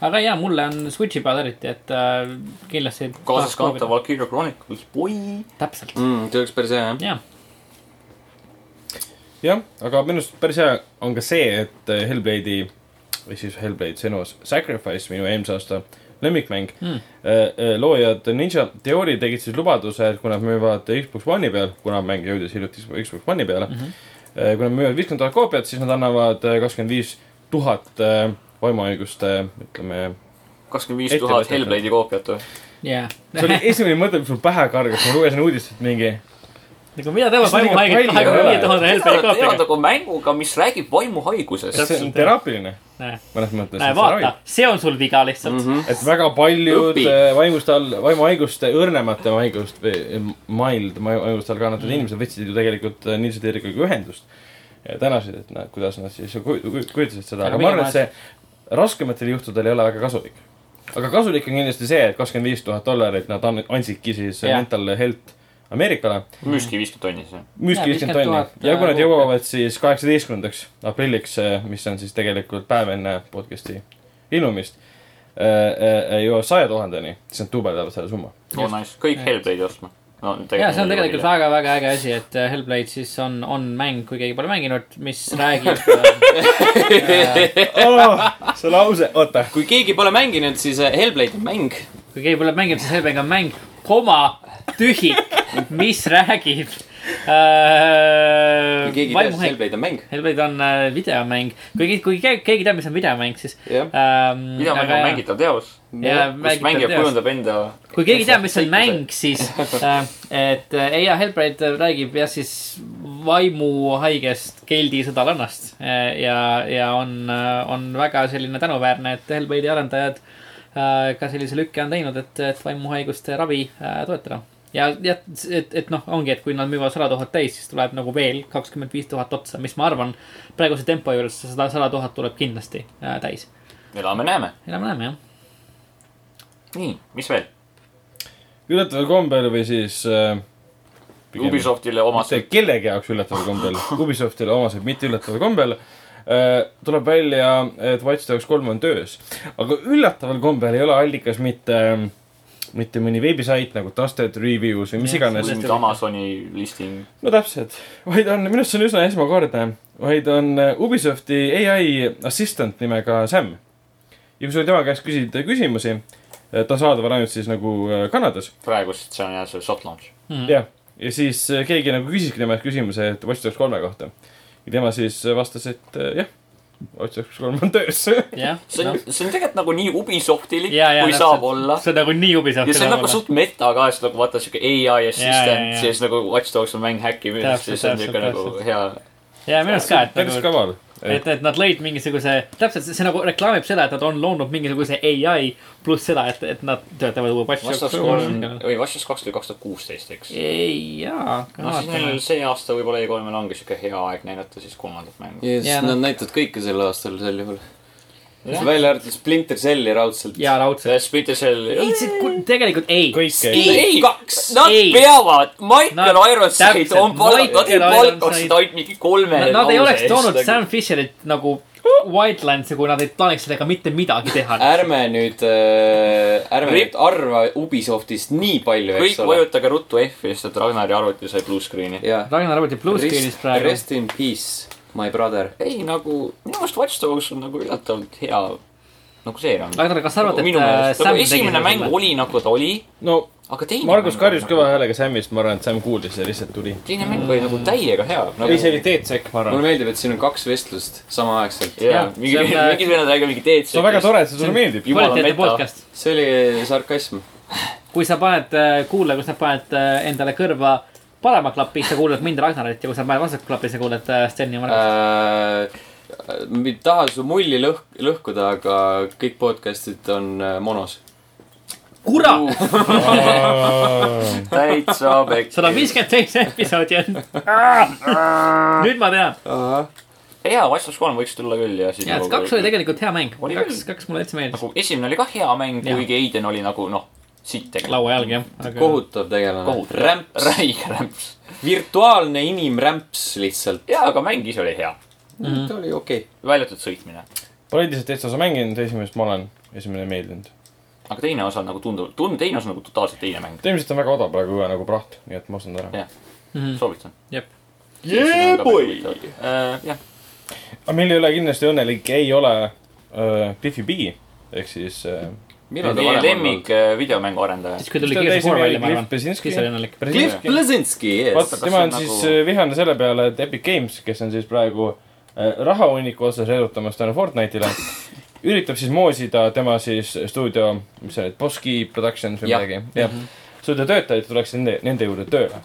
Speaker 2: aga ja , mulle on Switchi peal eriti , et äh, kindlasti .
Speaker 3: kaasas kantav . Valkyria Chronicles , oi .
Speaker 2: täpselt ,
Speaker 1: Mhm, see oleks päris hea jah .
Speaker 2: jah .
Speaker 4: jah , aga minu arust päris hea on ka see , et äh, Hellblade'i või siis Hellblade Senua's Sacrifice , minu eelmise aasta lemmikmäng
Speaker 2: Hmm.
Speaker 4: mm. . loojad Ninja Theory tegid siis lubaduse , et kui nad müüvad Xbox One'i peal , kuna mäng jõudis hiljuti Xbox One'i peale mm .
Speaker 2: Mhm.
Speaker 4: -hmm. kui nad müüvad viiskümmend tuhat koopiat , siis nad annavad äh, kakskümmend viis tuhat vaimuhaiguste , ütleme .
Speaker 3: kakskümmend viis
Speaker 4: Ettevõtete.
Speaker 3: tuhat Hellblade'i koopiat või ?
Speaker 2: jah .
Speaker 4: see oli esimene mõte , mis mul pähe kargas , ma lugesin uudist , et mingi
Speaker 2: nagu mida tema
Speaker 4: Kas nagu
Speaker 2: parim haige
Speaker 4: palju
Speaker 2: kahekümne
Speaker 4: ei
Speaker 2: viie
Speaker 4: ole?
Speaker 2: tuhande Hellbay
Speaker 3: teevad teevad
Speaker 2: koopiaga .
Speaker 3: nagu mänguga , mis räägib vaimuhaigusest .
Speaker 4: see on teraapiline
Speaker 2: näe ,
Speaker 4: mõnes mõttes .
Speaker 2: vaata , see on sul viga lihtsalt mm .
Speaker 4: et väga paljud
Speaker 3: Õpi.
Speaker 4: äh, vaimust all , vaimuhaiguste , õrnemate vaimust või eh, mild vaimu- vaimuste all kannatanud
Speaker 2: Mhm.
Speaker 4: mm. inimesed võtsid ju tegelikult äh, Nilsi Teerikuga ühendust . ja tänasid , et nad , kuidas nad siis ku- ku- kujutasid seda ,
Speaker 2: Aga
Speaker 4: aga ma arvan ,
Speaker 2: pigem
Speaker 4: et see raskematel juhtudel ei ole väga kasulik . aga kasulik on kindlasti see , et kakskümmend viis tuhat dollarit nad an- andsidki siis
Speaker 2: Jah.
Speaker 4: yeah. Mental Health Ameerikale ,
Speaker 3: müüski viiskümmend tonni siis .
Speaker 2: Jaa,
Speaker 4: müüski viiskümmend
Speaker 2: 50 000
Speaker 4: tonni ja kui nad
Speaker 2: ruupi.
Speaker 4: jõuavad siis kaheksateistkümnendaks aprilliks , mis on siis tegelikult päev enne podcast'i ilmumist , jõuab saja tuhandeni , siis nad duubeldavad selle summa .
Speaker 3: no Oh, nice , kõik Hellblade'i ostma . no
Speaker 2: ja see on tegelikult . väga-väga äge asi , et äh, Hellblade siis on , on mäng , kui keegi pole mänginud , mis räägib äh,
Speaker 4: Oh, see lause , oota .
Speaker 1: kui keegi pole mänginud , siis äh, Hellblade on mäng .
Speaker 2: kui keegi pole mänginud , siis Hellblade on mäng , koma , tühik , mis räägib äh,
Speaker 1: kui keegi ei tea , siis
Speaker 2: vaimuhaig-
Speaker 1: Hellblade on Mhm. mäng .
Speaker 2: Hellblade on äh, videomäng , kuigi , kui keegi, keegi teab , mis on videomäng , siis
Speaker 1: Jah.
Speaker 2: ähm,
Speaker 3: mida mängib
Speaker 2: aga jah.
Speaker 3: mängitav teos ,
Speaker 2: Jaa,
Speaker 3: kus
Speaker 2: mängitav
Speaker 3: mängija
Speaker 2: teos.
Speaker 3: kujundab enda .
Speaker 2: kui keegi teab , mis on mäng , siis äh, , et äh, Eija Hellblade räägib jah , siis vaimuhaigest keldi sõdalannast äh, ja , ja on , on väga selline tänuväärne , et Hellblade'i arendajad äh, ka sellise lükke on teinud , et , et vaimuhaiguste ravi äh, toetada . ja , ja et , et noh , ongi , et kui nad müüvad sada tuhat täis , siis tuleb nagu veel kakskümmend viis tuhat otsa , mis ma arvan , praeguse tempo juures seda sada tuhat tuleb kindlasti äh, täis .
Speaker 3: elame-näeme .
Speaker 2: elame-näeme jah .
Speaker 3: nii , mis veel ?
Speaker 4: üllataval kombel või siis äh, pigem .
Speaker 3: Ubisoftile omased
Speaker 4: mitte kellegi jaoks üllataval kombel , Ubisoftile omased mitte üllataval kombel , tuleb välja , et Watch Dogs kolm on töös . aga üllataval kombel ei ole allikas mitte , mitte mõni veebisait nagu Dusted Reviews või mis
Speaker 2: Jah,
Speaker 4: iganes .
Speaker 3: mingi Amazoni listing .
Speaker 4: no täpselt , vaid on , minu arust see on üsna esmakordne , vaid on äh, Ubisofti ai assistant nimega Sam . ja kui sa tema käest küsid äh, küsimusi , ta on saadaval ainult siis nagu äh, Kanadas
Speaker 3: praegust , see on jah see soft launch .
Speaker 4: jah , ja siis äh, keegi nagu küsiski tema käest küsimuse , et Watch Dogs kolme kohta . ja tema siis äh, vastas , et äh, jah , Watch Dogs kolm on töös .
Speaker 2: jah .
Speaker 3: see on , see on tegelikult nagu nii Ubisoftilik ,
Speaker 2: Jaa, jaa,
Speaker 3: kui
Speaker 2: täpselt.
Speaker 3: saab olla .
Speaker 2: see on nagu nii Ubisoft .
Speaker 3: ja see on nagu suht meta ka , sest nagu vaata siuke ai
Speaker 2: Jaa, jaa, jaa.
Speaker 3: assistant , siis nagu Watch Dogs on mäng häkkimine ,
Speaker 2: Täpselt,
Speaker 3: siis see on siuke
Speaker 2: täpselt,
Speaker 3: nagu hea .
Speaker 2: ja minu arust ka , et
Speaker 4: päris
Speaker 2: nagu ,
Speaker 4: kaval .
Speaker 2: et , et nad lõid mingisuguse , täpselt see, see nagu reklaamib seda , et nad on loonud mingisuguse ai pluss seda , et , et nad töötavad uue patch'i
Speaker 3: Watch Dogs kolm , või Watch Dogs kaks tuli kaks tuhat kuusteist , eks .
Speaker 2: ei , jaa .
Speaker 3: no siis neil see aasta võib-olla E3-l ongi siuke hea aeg näidata siis kolmandat mängu .
Speaker 1: ja siis
Speaker 2: Jaa,
Speaker 1: nad
Speaker 2: noh.
Speaker 1: näitavad kõike sel aastal sel juhul .
Speaker 3: Jah.
Speaker 1: välja arvatud Splinter Celli raudselt .
Speaker 2: jaa , raudselt .
Speaker 3: Splinter Cell .
Speaker 2: ei , see ku- tegelikult ei .
Speaker 4: kõike .
Speaker 3: ei ,
Speaker 1: kaks.
Speaker 3: nad
Speaker 2: Ei.
Speaker 3: peavad , Michael
Speaker 2: Nad-
Speaker 3: Ironside
Speaker 2: täpselt,
Speaker 3: on palgatud ,
Speaker 2: Michael
Speaker 3: palgatud
Speaker 2: Ironside.
Speaker 3: ainult mingi kolme .
Speaker 2: Nad, nad ei oleks toonud Sam Fisherit nagu Wildlandsi , kui nad ei plaaniks sellega mitte midagi teha .
Speaker 1: ärme nüüd , ärme
Speaker 3: Rip-
Speaker 1: nüüd arva Ubisoftist nii palju , eks
Speaker 3: kõik
Speaker 1: ole .
Speaker 3: vajutage ruttu F-i , sest et Ragnari arvuti sai blue screen'i .
Speaker 1: jaa .
Speaker 2: Ragnar Roberti Bluescreenis praegu .
Speaker 1: Rest in peace , my brother .
Speaker 3: ei nagu , minu meelest Watch Dogs on nagu üllatavalt hea nagu seeria .
Speaker 2: Ragnar , kas sa arvad , et
Speaker 3: minu
Speaker 2: äh,
Speaker 3: meelest ,
Speaker 2: Sam
Speaker 3: nagu
Speaker 2: tegi
Speaker 3: esimene
Speaker 2: selle
Speaker 3: mäng
Speaker 2: sulle?
Speaker 3: oli nagu ta oli ,
Speaker 4: no
Speaker 3: aga teine .
Speaker 4: Margus karjus kõva . häälega Samist , ma arvan , et Sam kuulis ja lihtsalt tuli .
Speaker 3: teine mäng oli nagu täiega hea
Speaker 4: ei , see
Speaker 3: nagu... .
Speaker 4: oli Teetsekk , ma arvan .
Speaker 1: mulle meeldib , et siin on kaks vestlust samaaegselt .
Speaker 3: jaa
Speaker 2: Jah, ,
Speaker 3: mingi ,
Speaker 2: see on, äh,
Speaker 3: mingi vene räägib mingi teed .
Speaker 4: see on väga . tore , et see sulle meeldib .
Speaker 3: jumala
Speaker 2: kvaliteetne
Speaker 3: meta.
Speaker 2: podcast .
Speaker 1: see oli sarkasm .
Speaker 2: kui sa paned äh, kuulaja , kui sa paned äh, endale kõrva parema klapi , sa kuulad mind , Ragnarit ja kui sa paned vasak klapi , sa kuulad äh, Steni oma äh, .
Speaker 1: ma ei taha su mulli lõhk- , lõhkuda , aga kõik podcast'id on äh, monos .
Speaker 2: kurat ,
Speaker 3: täitsa pekki .
Speaker 2: sada . viiskümmend seitse episoodi on . nüüd ma tean .
Speaker 3: hea , Watch Dogs kolm võiks tulla küll nagu- ja siis .
Speaker 2: ja , et kaks oli tegelikult hea mäng .
Speaker 3: Oli
Speaker 2: kaks
Speaker 3: küll. ,
Speaker 2: kaks mulle täitsa meeldis .
Speaker 3: nagu esimene oli ka hea mäng ,
Speaker 2: Jah.
Speaker 3: kuigi Aiden oli nagu noh , sitt tegelikult .
Speaker 2: laua jalg jah .
Speaker 1: kohutav tegelane .
Speaker 3: kohutav .
Speaker 1: rämps ,
Speaker 3: räige rämps .
Speaker 1: virtuaalne inimrämps lihtsalt .
Speaker 3: jaa , aga mäng ise oli hea . Mhm.
Speaker 1: ta oli okei .
Speaker 3: välja arvatud sõitmine .
Speaker 4: ma olen endiselt teist osa mänginud , esimest ma olen , esimene ei meeldinud .
Speaker 3: aga teine osa on nagu tundub , tund- , teine osa on nagu totaalselt teine mäng .
Speaker 4: ilmselt on väga odav praegu uue nagu praht , nii et ma ostan ta ära .
Speaker 3: jah , soovitan .
Speaker 2: jep .
Speaker 3: Yeah, boy! Äh, jah ,
Speaker 4: aga meil ei ole kindlasti õnnelik , ei ole äh, Cliffi B ehk siis äh,
Speaker 1: millal ta varem
Speaker 3: meie
Speaker 1: on olnud ?
Speaker 3: lemmik äh, videomängu arendaja .
Speaker 2: siis kui
Speaker 4: mis
Speaker 2: tuli
Speaker 4: ta
Speaker 2: Gears of
Speaker 4: teise
Speaker 2: War
Speaker 4: mehe oli?
Speaker 2: välja , ma
Speaker 4: Cliff
Speaker 2: arvan .
Speaker 4: Bleszinski?
Speaker 2: siis oli õnnelik .
Speaker 1: Cliff
Speaker 4: Brezinski.
Speaker 1: Blazinski ,
Speaker 4: vaata
Speaker 1: yes .,
Speaker 3: kas
Speaker 4: tema
Speaker 3: see
Speaker 4: on
Speaker 3: on
Speaker 4: siis
Speaker 3: nagu-
Speaker 4: nagu... vihane selle peale , et Epic Games , kes on siis praegu äh, rahahunniku otsas edutamas tänu Fortnite'ile , üritab siis moosida tema siis stuudio , mis see oli , Boski Productions või
Speaker 1: Jah.
Speaker 4: midagi , jah . stuudio töötajad tuleks nende , nende juurde tööle .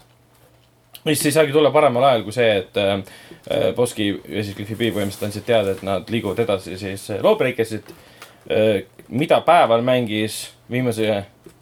Speaker 4: mis ei saagi tulla paremal ajal kui see , et äh, äh, Boski ja siis Cliffi B põhimõtteliselt andsid teada , et nad liiguvad edasi siis äh, loobreikesid äh, , mida päeval mängis viimase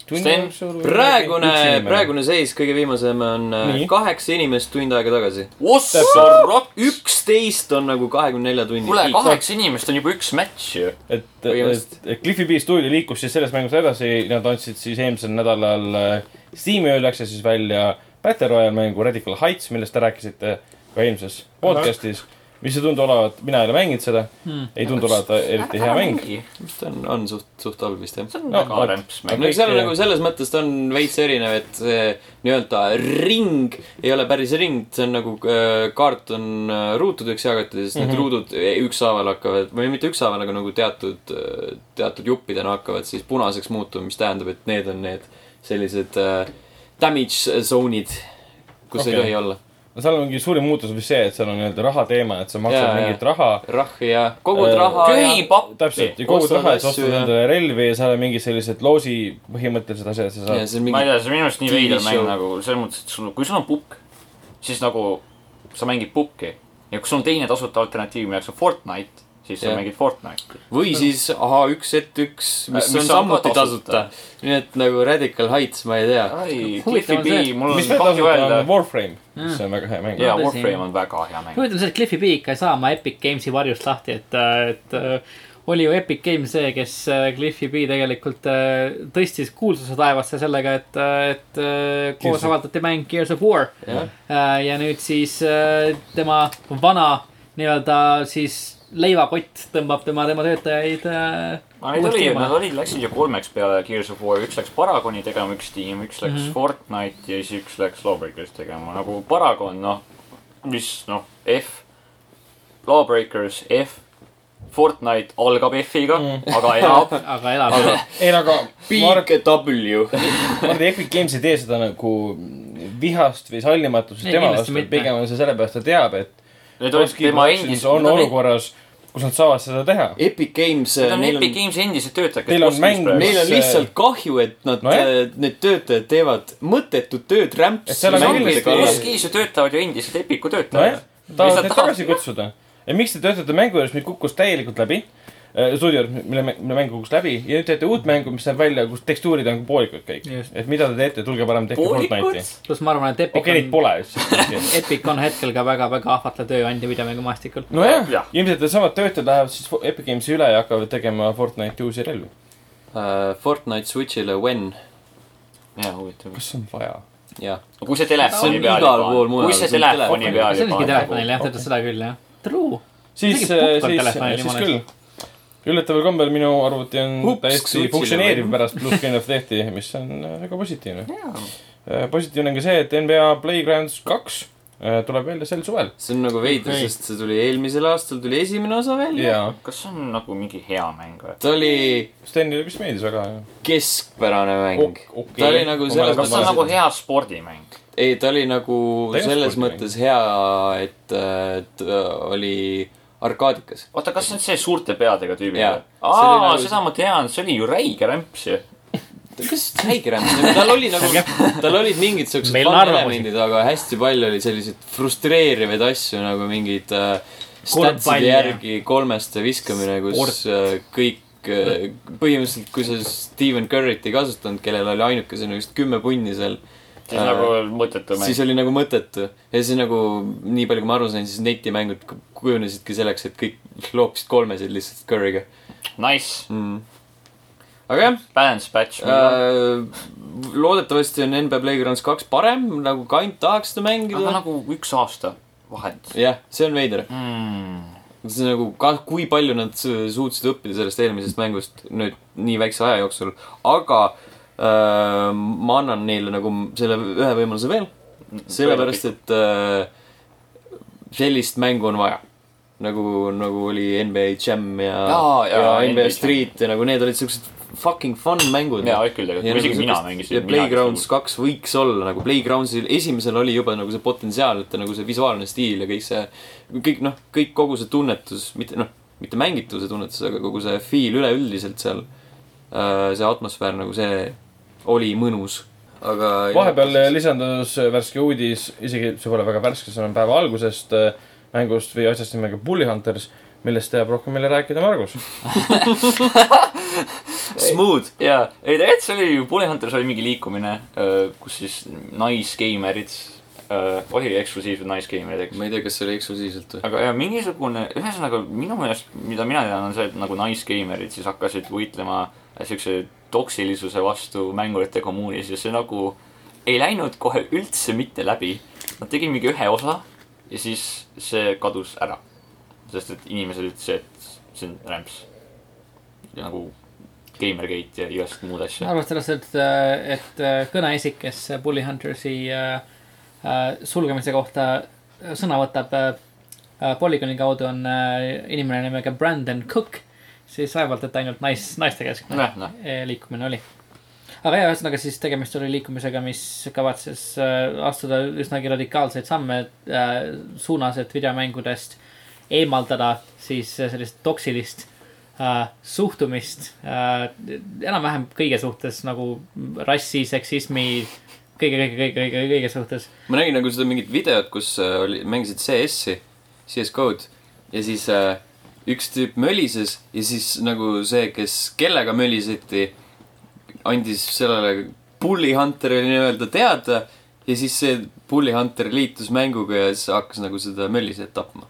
Speaker 3: Sten,
Speaker 4: jooksul-
Speaker 1: praegune
Speaker 4: üks inimene. ,
Speaker 1: praegune seis kõige viimasem on äh,
Speaker 4: Nii.
Speaker 1: kaheksa inimest tund aega tagasi .
Speaker 3: Ossarok ,
Speaker 1: üksteist on nagu kahekümne nelja tunni .
Speaker 3: kuule , kaheksa inimest on juba üks match ju .
Speaker 4: et ,
Speaker 1: Põhimõtteliselt.
Speaker 4: et Cliffi B stuudio liikus siis selles mängus edasi , nad andsid siis eelmisel nädalal äh, Steam'i ööl läks see siis välja Battle Royale mängu Radical Heights , millest te rääkisite ka eelmises podcast'is . mis ei tundu olevat , mina ei ole mänginud seda
Speaker 1: Hmm.
Speaker 4: mm. , ei tundu olevat eriti hea mäng .
Speaker 1: see on , on suht , suht halb vist jah .
Speaker 3: see on
Speaker 4: No,
Speaker 3: väga
Speaker 4: vot.
Speaker 3: rämps
Speaker 1: no
Speaker 3: mäng .
Speaker 4: Kõik-
Speaker 1: seal on nagu selles mõttes ta on veits erinev , et see nii-öelda ring ei ole päris ring , see on nagu äh, kaart on äh, ruutudeks jagatud ja siis
Speaker 4: Mhm.
Speaker 1: need ruudud ükshaaval hakkavad või mitte ükshaaval , aga nagu teatud , teatud juppidena hakkavad siis punaseks muutuma , mis tähendab , et need on need sellised äh, damage zone'id , kus okay.
Speaker 4: Okei.
Speaker 1: ei tohi olla
Speaker 4: no seal on mingi suurim muutus vist see , et seal on nii-öelda raha teema , et sa maksad
Speaker 1: Jaa,
Speaker 4: yeah,
Speaker 1: jaa.
Speaker 4: mingit yeah. raha .
Speaker 1: rahvi ja kogud
Speaker 4: Äh,
Speaker 1: raha ja
Speaker 3: köhipapp .
Speaker 4: täpselt , ja kogud
Speaker 1: ostad
Speaker 4: raha , et sa
Speaker 1: asju
Speaker 4: ostad
Speaker 1: ja-
Speaker 4: endale relvi ja seal on mingid sellised loosi põhimõttelised asjad , sa
Speaker 1: ja
Speaker 4: saad .
Speaker 1: see on
Speaker 3: ma ei
Speaker 1: mingi ,
Speaker 3: tea , see on minu arust nii
Speaker 1: TV
Speaker 3: veider mäng
Speaker 1: show.
Speaker 3: nagu selles mõttes , et sul , kui sul on pukk , siis nagu sa mängid pukki ja kui sul on teine tasuta alternatiiv , milleks on Fortnite , siis sa
Speaker 1: Jah.
Speaker 3: mängid Fortnite'i .
Speaker 1: või siis A1Z1 , mis
Speaker 3: Äh, Mis
Speaker 1: on
Speaker 3: on ka
Speaker 1: samuti tasuta
Speaker 3: tasuta. .
Speaker 1: nii et nagu Radical Heights , ma ei tea
Speaker 3: ai ,
Speaker 2: Huvitav
Speaker 3: Cliffi
Speaker 2: on see,
Speaker 3: B ,
Speaker 2: et-
Speaker 3: mul
Speaker 4: mis
Speaker 3: on
Speaker 4: veel
Speaker 3: kahju
Speaker 4: tasuta
Speaker 3: öelda
Speaker 4: on . Warframe ,
Speaker 1: Hmm.
Speaker 4: mis on väga hea mäng .
Speaker 3: jaa ,
Speaker 2: tõsi.
Speaker 3: Warframe on väga hea mäng .
Speaker 2: huvitav on see , et Cliffi B ikka ei saa oma Epic Games'i varjust lahti , et , et äh, oli ju Epic Games see , kes äh, Cliffi B tegelikult äh, tõstis kuulsuse taevasse sellega , et , et äh, koos
Speaker 4: Gears of-
Speaker 2: avaldati mäng Gears of War .
Speaker 1: jah ,
Speaker 2: ja nüüd siis äh, tema vana nii-öelda siis leivakott tõmbab tema , tema töötajaid . äh,
Speaker 3: aga neid oli , nad olid , läksid ju kolmeks peale Gears of War , üks läks Paragoni tegema , üks tiim , üks läks mm
Speaker 2: Mhm.
Speaker 3: -hmm. Fortnite'i ja siis üks läks Lawbreakers tegema , nagu Paragon , noh , mis noh , F , Lawbreakers , F , Fortnite algab F-iga mm. , aga elab .
Speaker 2: aga elab .
Speaker 4: ei , aga Mark ,
Speaker 1: W .
Speaker 4: ma arvan , et Epic Games ei tee seda nagu vihast või sallimatusest
Speaker 2: Ei,
Speaker 4: tema
Speaker 2: kindlasti
Speaker 4: vastu ,
Speaker 2: mitte.
Speaker 4: pigem on see sellepärast , ta teab , et
Speaker 3: Need olid
Speaker 4: Toski
Speaker 3: tema
Speaker 4: Productions
Speaker 3: endis ,
Speaker 4: on
Speaker 3: need olid-
Speaker 4: olukorras , kus nad saavad seda teha .
Speaker 1: Epic Games ,
Speaker 3: need on
Speaker 1: neil
Speaker 3: Epic Äh,
Speaker 1: on ,
Speaker 3: Games endised töötajad , kes
Speaker 4: Neil on mäng-
Speaker 3: praegu .
Speaker 1: neil on
Speaker 4: see-
Speaker 1: lihtsalt kahju , et nad äh,
Speaker 4: Nojah. ,
Speaker 1: need töötajad teavad mõttetut tööd
Speaker 4: Et
Speaker 1: rämps
Speaker 4: seal on
Speaker 1: mängude
Speaker 4: kindlasti-
Speaker 1: kallal .
Speaker 3: Toskis ju töötavad ju endised Epicu
Speaker 4: nojah
Speaker 3: töötajad .,
Speaker 4: tahavad
Speaker 3: Lihtsalt
Speaker 4: neid
Speaker 3: tahad-
Speaker 4: tagasi kutsuda . ja miks te töötate mängu juures , nüüd kukkus täielikult läbi äh, . stuudio , mille , mille mäng kukkus läbi ja nüüd teete uut mängu , mis läheb välja , kus tekstuurid on poolikud kõik .
Speaker 2: Just.
Speaker 4: et mida te teete , tulge parem tehke
Speaker 3: poolikud
Speaker 4: Fortnite'i .,
Speaker 2: pluss ma arvan , et Epic
Speaker 4: okei , neid
Speaker 2: on ,
Speaker 4: pole lihtsalt .
Speaker 2: Epic on hetkel ka väga-väga ahvatlev tööandja videomängumaastikul .
Speaker 4: nojah ja.
Speaker 3: Jah. ,
Speaker 4: ilmselt needsamad töötajad lähevad siis Fo- Epic Games'i üle ja hakkavad tegema Fortnite'i uusi relvi .
Speaker 1: Äh, Fortnite Switch'ile when ,
Speaker 3: jah , huvitav .
Speaker 4: kas on vaja ?
Speaker 1: jah .
Speaker 3: kui see
Speaker 1: See on
Speaker 3: telefoni peal
Speaker 1: igal
Speaker 3: juba
Speaker 1: pool
Speaker 3: on ,
Speaker 1: mujal,
Speaker 3: kui see
Speaker 1: see on
Speaker 3: telefoni
Speaker 1: telefoni
Speaker 3: peal
Speaker 2: see
Speaker 3: juba
Speaker 2: oligi
Speaker 3: on
Speaker 2: telefonil
Speaker 3: nagu .
Speaker 2: jah , ta ütles seda küll jah . True .
Speaker 4: siis ,
Speaker 2: Isegi puhk on
Speaker 4: siis ,
Speaker 2: telefonil
Speaker 4: siis
Speaker 2: jumala
Speaker 4: küll . üllataval kombel minu arvuti on
Speaker 1: Ups,
Speaker 4: Ups, täiesti
Speaker 1: switch'ile
Speaker 4: funktsioneeriv
Speaker 1: või?
Speaker 4: pärast Bluescreen of Death'i , mis on äh, väga positiivne . positiivne on ka see , et NBA Playgrounds kaks äh, tuleb välja sel suvel .
Speaker 1: see on nagu veider
Speaker 2: Okei.
Speaker 1: okay. , sest see tuli eelmisel aastal tuli esimene osa välja .
Speaker 4: jaa ,
Speaker 3: kas see on nagu mingi hea mäng või ?
Speaker 1: ta oli
Speaker 4: Stenile vist meeldis väga .
Speaker 1: keskpärane mäng
Speaker 4: Ok- okei.
Speaker 1: ta oli nagu
Speaker 4: Ma
Speaker 1: selles
Speaker 4: mäletan,
Speaker 3: kas see
Speaker 1: mõttes
Speaker 3: on , nagu hea spordimäng ?
Speaker 1: ei , ta oli nagu
Speaker 4: Ta ei ole
Speaker 1: selles
Speaker 4: spordimäng.
Speaker 1: mõttes hea , et , et äh, oli arkaadikas .
Speaker 3: oota , kas see on see suurte peadega tüübi
Speaker 1: Jaa.
Speaker 3: või ?
Speaker 1: See oli
Speaker 3: aa ,
Speaker 1: nagu-
Speaker 3: seda ma tean , see oli ju räige rämps ju .
Speaker 1: kas häige rämps , tal oli nagu , tal olid mingid siuksed
Speaker 2: Meil on
Speaker 1: fun
Speaker 2: arvamusi.
Speaker 1: elemendid , aga hästi palju oli selliseid frustreerivaid asju nagu mingid äh,
Speaker 2: Korvpall,
Speaker 1: statside
Speaker 2: jah.
Speaker 1: järgi kolmeste viskamine , kus äh, kõik äh, põhimõtteliselt , kui sa Steven Curry't ei kasutanud , kellel oli ainukesena vist kümme punni seal ,
Speaker 3: siis
Speaker 1: Äh,
Speaker 3: nagu mõttetu
Speaker 1: siis
Speaker 3: mäng .
Speaker 1: oli nagu mõttetu . ja siis nagu nii palju , kui ma aru sain , siis netimängud ku- kujunesidki selleks , et kõik loopisid kolmesid lihtsalt Curry'ga
Speaker 3: Nice ,
Speaker 1: mm. . aga jah
Speaker 3: balance patch .
Speaker 1: Äh, loodetavasti on NBA Playgrounds kaks parem , nagu Kain tahaks seda
Speaker 3: aga
Speaker 1: mängida .
Speaker 3: nagu üks aasta vahet .
Speaker 1: jah , see on veider .
Speaker 3: Mm.
Speaker 1: see on nagu ka , kui palju nad su- suutsid õppida sellest eelmisest mängust nüüd nii väikse aja jooksul , aga äh, ma annan neile nagu selle ühe võimaluse veel , sellepärast et äh, sellist mängu on vaja nagu , nagu oli NBA Jam ja ,
Speaker 3: Jaa,
Speaker 1: ja, ja
Speaker 3: jaa,
Speaker 1: NBA,
Speaker 3: NBA Jam.
Speaker 1: NBA Street ja nagu need olid siuksed fucking fun mängud .
Speaker 3: jaa , küll
Speaker 1: Ja
Speaker 3: tegelikult ,
Speaker 1: nagu
Speaker 3: isegi mina
Speaker 1: sihukest- ja
Speaker 3: mängisin .
Speaker 1: Playgrounds . kaks võiks olla nagu Playgroundsil , esimesel oli juba nagu see potentsiaal , et ta nagu see visuaalne stiil ja kõik see , kõik noh , kõik kogu see tunnetus , mitte noh , mitte mängituse tunnetus , aga kogu see feel üleüldiselt seal , see atmosfäär nagu see oli mõnus , aga
Speaker 4: vahepeal äh, lisandus värske uudis , isegi see pole väga värske , see on päeva algusest äh, mängust või asjast nimega Bully Hunters , millest teab rohkem meile rääkida Margus .
Speaker 1: smooth ,
Speaker 3: jaa , ei tegelikult see oli ju , Bully Hunters oli mingi liikumine , kus siis naisgeimerid , oli eksklusiivsed naisgeimerid , eks .
Speaker 1: ma ei tea , kas see oli eksklusiivselt või ?
Speaker 3: aga ja mingisugune , ühesõnaga minu meelest , mida mina tean , on see , et nagu naisgeimerid siis hakkasid võitlema äh, siukse toksilisuse vastu mängurite kommuunis ja see nagu ei läinud kohe üldse mitte läbi . Nad tegid mingi ühe osa ja siis see kadus ära . sest et inimesed ütlesid , et see on rämps . ja nagu Gamergate ja igast muud asja .
Speaker 2: arvestades , et , et eh, kõneisik , kes Bully Huntersi äh, äh, sulgemise kohta sõna võtab äh, äh, polügooni kaudu , on äh, inimene nimega Brandon Cook , siis vaevalt , et ainult nais , naiste keskne
Speaker 3: noh , noh ,
Speaker 2: eh, liikumine oli . aga jaa , ühesõnaga siis tegemist oli liikumisega , mis kavatses äh, astuda üsnagi radikaalseid samme äh, suunas , et videomängudest eemaldada siis äh, sellist toksilist äh, suhtumist äh, enam-vähem kõige suhtes nagu rassi , seksismi , kõige , kõige , kõige , kõige , kõige suhtes .
Speaker 1: ma nägin nagu seda mingit videot , kus äh, oli , mängisid CS-i , CS-code ja siis äh, üks tüüp mölises ja siis nagu see , kes , kellega möliseti , andis sellele Bully Hunterile nii-öelda teada ja siis see Bully Hunter liitus mänguga ja siis hakkas nagu seda mölisejat tapma .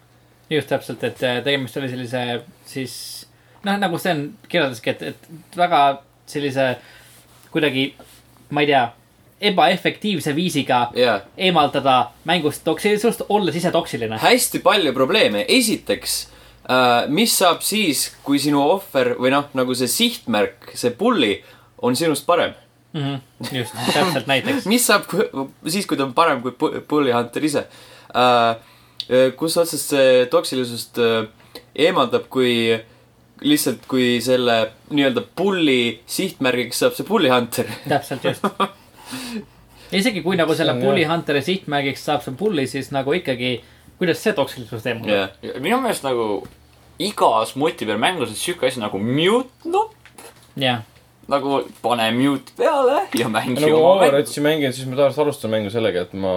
Speaker 2: just täpselt , et äh, tegemist oli sellise siis noh , nagu Sten kirjeldaski , et , et väga sellise kuidagi , ma ei tea , ebaefektiivse viisiga
Speaker 1: jaa .
Speaker 2: eemaldada mängust toksilisust , olles ise toksiline .
Speaker 1: hästi palju probleeme , esiteks äh, , mis saab siis , kui sinu ohver või noh , nagu see sihtmärk , see pulli on sinust parem .
Speaker 2: just , täpselt näiteks .
Speaker 1: mis saab kui, siis , kui ta on parem kui pu- pulli hunter ise äh, ? kus otsast see toksilisust äh, eemaldab , kui lihtsalt , kui selle nii-öelda pulli sihtmärgiks saab see pulli hunter .
Speaker 2: täpselt just . isegi kui nagu selle
Speaker 4: See on
Speaker 2: pulli
Speaker 4: jah.
Speaker 2: hunter'i sihtmärgiks saab see pulli , siis nagu ikkagi , kuidas see toksilisus teemab ?
Speaker 1: jah ,
Speaker 3: minu meelest nagu igas moti peal mängus on siuke asi nagu mute nupp ,
Speaker 2: jah ,
Speaker 3: nagu pane mute peale ja mängi
Speaker 4: nagu
Speaker 3: oma mängu .
Speaker 4: Overwatchi mänginud , siis ma tavaliselt alustan mängu sellega , et ma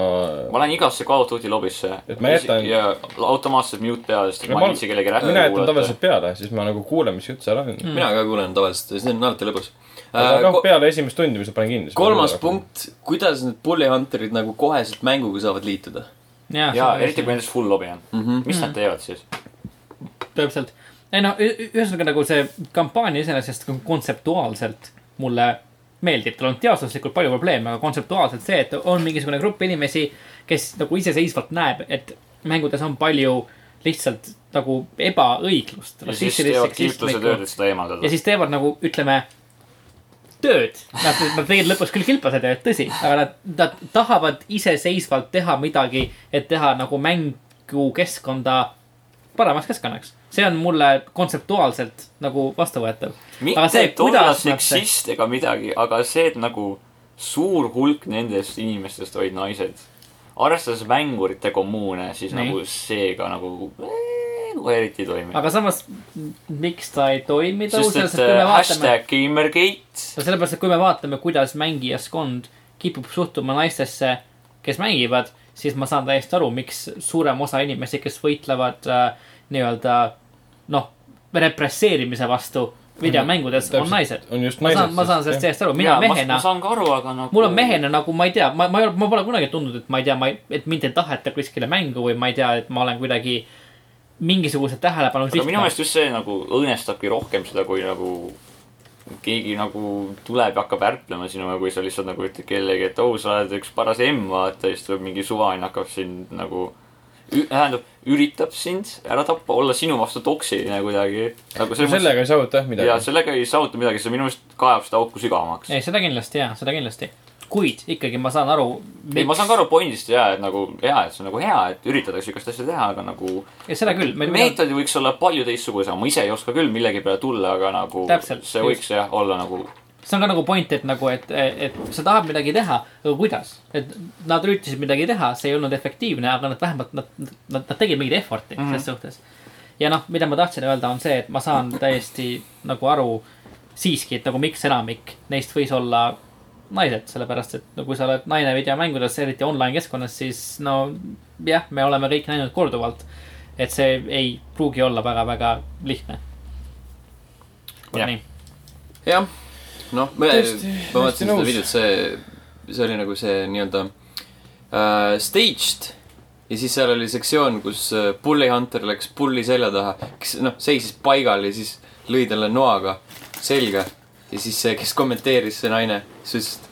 Speaker 3: ma lähen igasse Call of Duty lobisse .
Speaker 4: Et ma jätan-
Speaker 3: ja automaatselt mute peale , sest
Speaker 4: No
Speaker 3: ma
Speaker 4: ma-
Speaker 3: ei viitsi kellegi rähku
Speaker 4: mina jätan tavaliselt peale , siis ma nagu kuulen , mis jutt seal on .
Speaker 1: mina ka kuulen tavaliselt , see on alati lõbus
Speaker 4: aga noh , peale esimest tundi ma seda panen kinni .
Speaker 1: Äh, kolmas . punkt , kuidas need Bully Hunterid nagu koheselt mänguga saavad liituda ?
Speaker 2: jah .
Speaker 3: ja eriti kui nendes full lobi on mm .
Speaker 2: Mhm.
Speaker 3: -hmm. mis nad teevad siis ?
Speaker 2: täpselt . ei no , ühesõnaga nagu see kampaania iseenesest kon- kontseptuaalselt mulle meeldib , tal on teaduslikult palju probleeme , aga kontseptuaalselt see , et on mingisugune grupp inimesi , kes nagu iseseisvalt näeb , et mängudes on palju lihtsalt nagu ebaõiglust .
Speaker 3: ja siis teevad kilplased tööd , et seda eemaldada
Speaker 2: nagu- ja . siis teevad nagu , ütleme , tööd . Nad , nad tegid lõpus küll kilplased , tõsi , aga nad , nad tahavad iseseisvalt teha midagi , et teha nagu mängukeskkonda paremaks keskkonnaks . see on mulle kontseptuaalselt nagu vastuvõetav . aga
Speaker 3: mitte
Speaker 2: see ,
Speaker 3: et olla
Speaker 2: kuidas nad see ,
Speaker 3: seksist ega midagi , aga see , et nagu suur hulk nendest inimestest olid naised . arvestades mängurite kommuune , siis
Speaker 2: Nii.
Speaker 3: Nii. nagu seega nagu eh, nagu eriti ei toimi .
Speaker 2: aga samas , miks ta ei toimi
Speaker 3: sest
Speaker 2: tõusel ,
Speaker 3: et
Speaker 2: sest kui me
Speaker 3: äh,
Speaker 2: vaatame ,
Speaker 3: hashtag Gamergate ,
Speaker 2: no sellepärast , et kui me vaatame , kuidas mängijaskond kipub suhtuma naistesse , kes mängivad , siis ma saan täiesti aru , miks suurem osa inimesi , kes võitlevad äh, nii-öelda noh , represseerimise vastu videomängudes , on naised .
Speaker 4: on just
Speaker 2: ma
Speaker 4: naised .
Speaker 2: saan , ma saan sellest . täiesti aru , mina
Speaker 3: mina
Speaker 2: mehena
Speaker 3: ma saan ka aru , aga nagu
Speaker 2: mul on mehena nagu ma ei tea , ma , ma ei ole , ma pole kunagi tundnud , et ma ei tea , ma ei , et mind ei taheta kuskile mängu või ma ei tea , et ma olen kuidagi mingisuguse tähelepanu
Speaker 3: aga minu
Speaker 2: sihtmärk.
Speaker 3: meelest just see nagu õõnestabki rohkem seda , kui nagu keegi nagu tuleb ja hakkab ärplema sinuga , kui sa lihtsalt nagu ütled kellegi , et oh , sa oled üks paras emm , vaata , ja siis tuleb mingi suvaline hakkab sind nagu , tähendab , üritab sind ära tappa , olla sinu vastu toksiline kuidagi . nagu selles mõttes ,
Speaker 4: sellega ei saavuta jah
Speaker 3: ja
Speaker 4: midagi .
Speaker 3: sellega ei saavuta midagi , see minu meelest kaevab seda auku sügavamaks .
Speaker 2: ei , seda kindlasti ja , seda kindlasti . kuid ikkagi ma saan aru .
Speaker 3: ei , ma saan ka aru pointist ja , et nagu hea , et see on nagu hea , et üritatakse sihukest asja teha , aga nagu
Speaker 2: ja seda küll .
Speaker 3: meetod võiks olla palju teistsugusem , ma ise ei oska küll millegi peale tulla , aga nagu
Speaker 2: Täpselt,
Speaker 3: see võiks jah olla nagu
Speaker 2: see on ka nagu point , et nagu , et , et sa tahad midagi teha , aga kuidas ? et nad üritasid midagi teha , see ei olnud efektiivne , aga nad vähemalt , nad , nad , nad tegid mingit effort'i mm -hmm. selles suhtes . ja noh , mida ma tahtsin öelda , on see , et ma saan täiesti nagu aru siiski , et nagu miks enamik neist võis olla naised , sellepärast et no kui sa oled naine videomängudes , eriti online keskkonnas , siis no jah , me oleme kõik näinud korduvalt , et see ei pruugi olla väga-väga lihtne .
Speaker 3: Jah.
Speaker 2: nii ,
Speaker 1: jah , noh , ma
Speaker 4: Tõesti,
Speaker 1: ma
Speaker 4: hästi
Speaker 1: vaatasin seda
Speaker 4: nõus.
Speaker 1: videot , see , see oli nagu see nii-öelda äh, staged ja siis seal oli sektsioon , kus äh, Bully Hunter läks pulli selja taha , kes noh , seisis paigal ja siis lõi talle noaga selga ja siis see , kes kommenteeris , see naine , siis ütles ,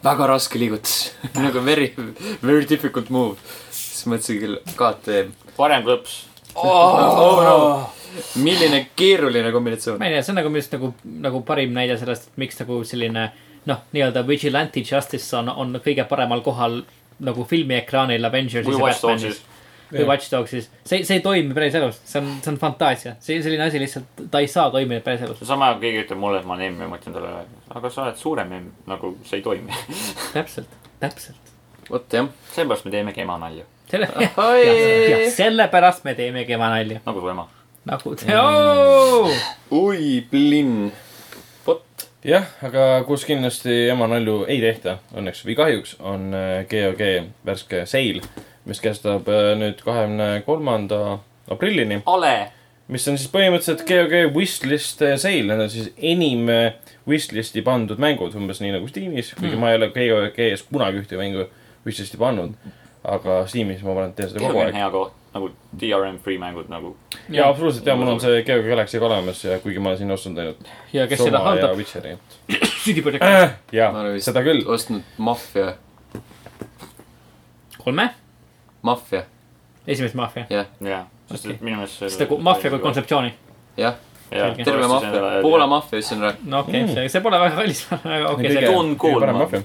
Speaker 1: et väga raske liigutus , nagu very , very difficult move . siis mõtlesin küll , KTM ,
Speaker 3: parem klõps .
Speaker 1: oh no , milline keeruline kombinatsioon
Speaker 2: ma . ei tea , see on nagu minu arust nagu , nagu parim näide sellest , et miks nagu selline noh , nii-öelda vigilante justice on , on kõige paremal kohal nagu filmiekraanil Avengersis
Speaker 3: kui
Speaker 2: ja
Speaker 3: Watch
Speaker 2: Batmanis
Speaker 3: Dogsis .
Speaker 2: või Watch Dogsis . see , see ei toimi päriselus , see on , see on fantaasia , see selline asi lihtsalt , ta ei saa toimida päriselus .
Speaker 3: seesama , kui keegi ütleb mulle , et ma olen emm ja ma ütlen talle , aga sa oled suurem emm , nagu see ei toimi .
Speaker 2: täpselt , täpselt .
Speaker 1: vot jah .
Speaker 3: seepärast me teemegi ema nalja ,
Speaker 2: selle ,
Speaker 1: Oi!
Speaker 2: ja sellepärast me teemegi ema nalja ,
Speaker 3: nagu su ema .
Speaker 2: nagu te oh! .
Speaker 1: oi , plinn . vot .
Speaker 4: jah , aga kus kindlasti ema nalju ei tehta , õnneks või kahjuks , on äh, GOG värske seil , mis kestab äh, nüüd kahekümne kolmanda aprillini .
Speaker 3: ale ,
Speaker 4: mis on siis põhimõtteliselt GOG wishlist eh, sale , need on siis enim eh, wishlisti pandud mängud , umbes nii nagu Steamis , kuigi mm. ma ei ole GOG-s kunagi ühte mängu wishlisti pannud .
Speaker 3: tegelikult on
Speaker 4: aeg .
Speaker 3: hea koht , nagu DRM-free mängud nagu .
Speaker 4: jaa , absoluutselt jaa , mul on see Geoga Galaxy ka olemas ja kuigi ma olen sinna ostnud ainult
Speaker 2: ja kes seda
Speaker 4: Soma ja
Speaker 2: haldab , Äh,
Speaker 4: Witcheri .
Speaker 2: CD Projekt
Speaker 1: Ma
Speaker 4: jaa
Speaker 1: olen , vist-
Speaker 4: seda küll .
Speaker 1: ostnud Mafia ,
Speaker 2: kolme ,
Speaker 1: Mafia ,
Speaker 2: esimest Mafia .
Speaker 3: jah , sest
Speaker 2: Okei.
Speaker 3: et minu meelest .
Speaker 2: seda kui- Mafia kui . kontseptsiooni .
Speaker 1: jah ,
Speaker 3: jah
Speaker 2: Selge. ,
Speaker 1: terve Mafia , Poola . Mafia , ütlesin ära .
Speaker 2: no okei
Speaker 4: Mm.
Speaker 2: okay, , see , see pole väga kallis , aga okei , see
Speaker 3: Kõige- Don Coleman.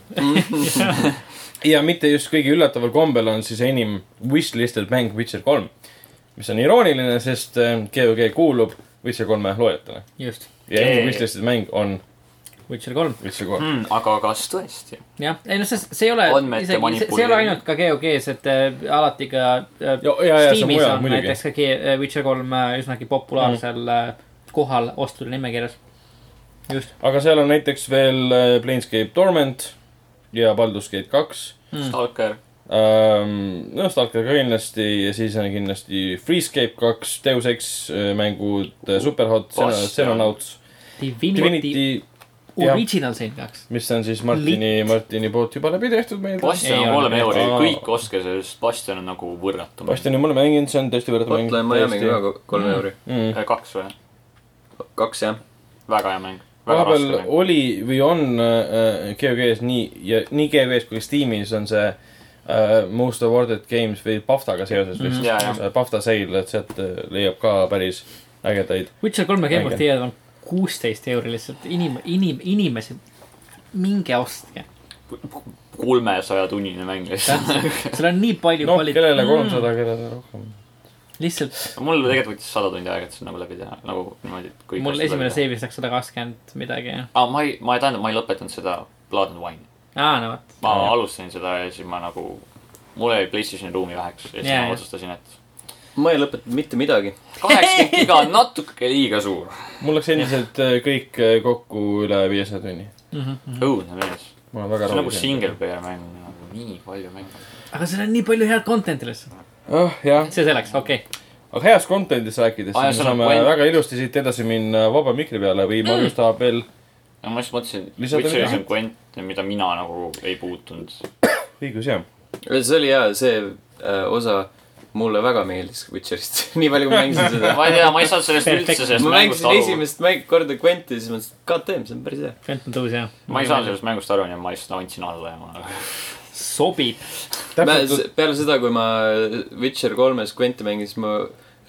Speaker 4: ja mitte just kõige üllataval kombel on siis enim wishlisted mäng Witcher kolm , mis on irooniline , sest äh, GOG kuulub Witcher kolme loojatele
Speaker 2: just ,
Speaker 4: ja enim
Speaker 3: Jee.
Speaker 4: wishlisted mäng on
Speaker 2: Witcher kolm ,
Speaker 4: Witcher kolm .
Speaker 3: Hmm, aga kas tõesti ?
Speaker 2: jah , ei noh , see , see ei ole see
Speaker 3: Andmete ,
Speaker 2: see ei ole
Speaker 3: manipuleerimine.
Speaker 2: ainult ka GOG-s , et äh, alati ka äh,
Speaker 4: ja , ja , ja see on
Speaker 2: Steamis
Speaker 4: mujal
Speaker 2: on
Speaker 4: muidugi .
Speaker 2: näiteks ka Ge- äh, Witcher kolm äh, üsnagi populaarsel mm. kohal ostude nimekirjas . just
Speaker 4: aga seal on näiteks veel äh, Planescape Torment ja Baldur's Gate kaks
Speaker 2: mm. .
Speaker 3: Stalker .
Speaker 4: um, . noh , Stalker ka kindlasti ja siis on kindlasti Freescape kaks , Deus Ex äh, mängud ,
Speaker 3: Oh,
Speaker 4: Superhot ,
Speaker 3: Bastion.
Speaker 4: Xenonauts ,
Speaker 2: Divinity
Speaker 4: Divinity , jah.
Speaker 2: Original siin peaks .
Speaker 4: mis on siis Martini , Martini poolt juba läbi tehtud meil .
Speaker 3: Bastion
Speaker 2: Ei
Speaker 3: on kolm
Speaker 2: ole.
Speaker 3: euri
Speaker 4: Aa. ,
Speaker 3: kõik ostke see , sest Bastion on nagu võrratu .
Speaker 4: Bastioni ma olen mänginud , see on tõesti võrratu mäng .
Speaker 1: Hotline Miami'ga ka ko- kolme euri ,
Speaker 4: mm. .
Speaker 3: Äh, kaks või ?
Speaker 1: kaks jah .
Speaker 3: väga hea mäng . väga raske
Speaker 4: vahepeal
Speaker 3: mäng .
Speaker 4: oli või on äh, GOG-s nii ja nii GOG-s kui ka Steamis on see Uh, most awarded games või Paftaga seoses vist
Speaker 3: Mhm. Jaa, jah.
Speaker 4: Äh, Pafta sale , et sealt äh, leiab ka päris ägedaid
Speaker 2: Witcher kolme Game of
Speaker 4: Äge.
Speaker 2: the Year on kuusteist euri lihtsalt inim- , inim- , inimesi , minge ostke .
Speaker 3: kolmesaja tunnine mäng lihtsalt .
Speaker 2: seal on nii palju
Speaker 4: noh ,
Speaker 2: kvali-
Speaker 4: kellele
Speaker 3: Mm.
Speaker 4: kolmsada , kellele rohkem .
Speaker 2: lihtsalt
Speaker 3: mul tegelikult võttis sada tundi aega , et see nagu läbi teha , nagu niimoodi , et kõik .
Speaker 2: mul esimene . seivis läks sada kakskümmend midagi ja ,
Speaker 3: aa , ma ei , ma ei tahtnud , ma ei lõpetanud seda Blood and Wine .
Speaker 2: aa no vot ,
Speaker 3: ma
Speaker 4: Aa.
Speaker 3: alustasin seda ja siis ma nagu , mul jäi Playstationi ruumi väheks ja siis
Speaker 2: Jaa,
Speaker 3: ma
Speaker 2: jah.
Speaker 3: otsustasin , et
Speaker 1: ma ei lõpetanud mitte midagi .
Speaker 3: kaheksakümmend giga on natuke liiga suur .
Speaker 4: mul läks endiselt äh, kõik äh, kokku üle viiesaja tunni . Mhm.
Speaker 3: õudne mees .
Speaker 4: ma olen
Speaker 3: see
Speaker 4: väga
Speaker 3: on nagu
Speaker 4: rahul .
Speaker 3: single player mäng , nagu nii palju mänge .
Speaker 2: aga seal on nii palju head content'i lihtsalt ,
Speaker 4: oh, . jah ,
Speaker 2: see selleks , okei okay. .
Speaker 4: aga heast content'ist rääkides ,
Speaker 3: Aa,
Speaker 4: me
Speaker 3: jah, seal on nagu
Speaker 4: saame
Speaker 3: point. Mm.
Speaker 4: väga ilusti siit edasi minna vaba mikri peale või Margus tahab veel
Speaker 3: ma just mõtlesin ,
Speaker 4: Lisada
Speaker 3: Witcheris
Speaker 4: midagi?
Speaker 3: on kvant , mida mina nagu ei puutunud .
Speaker 4: õigus jah .
Speaker 1: see oli hea , see äh, osa mulle väga meeldis Witcherist , nii palju kui ma mängisin seda .
Speaker 3: ma ei tea , ma ei saanud sellest üldse ,
Speaker 2: Perfekt.
Speaker 3: sellest
Speaker 1: ma
Speaker 3: mängust
Speaker 1: mängisin
Speaker 3: aru .
Speaker 1: esimest mäng, korda Quenti , siis mõtlesin , et god damn , see on päris hea .
Speaker 2: Fenton tõus jah .
Speaker 3: ma ei saanud . sellest mängust aru , nii et ma lihtsalt andsin alla ja ma
Speaker 2: sobib ,
Speaker 1: ma
Speaker 4: täpselt ,
Speaker 1: peale seda , kui ma Witcher kolmes Quenti mängin , siis ma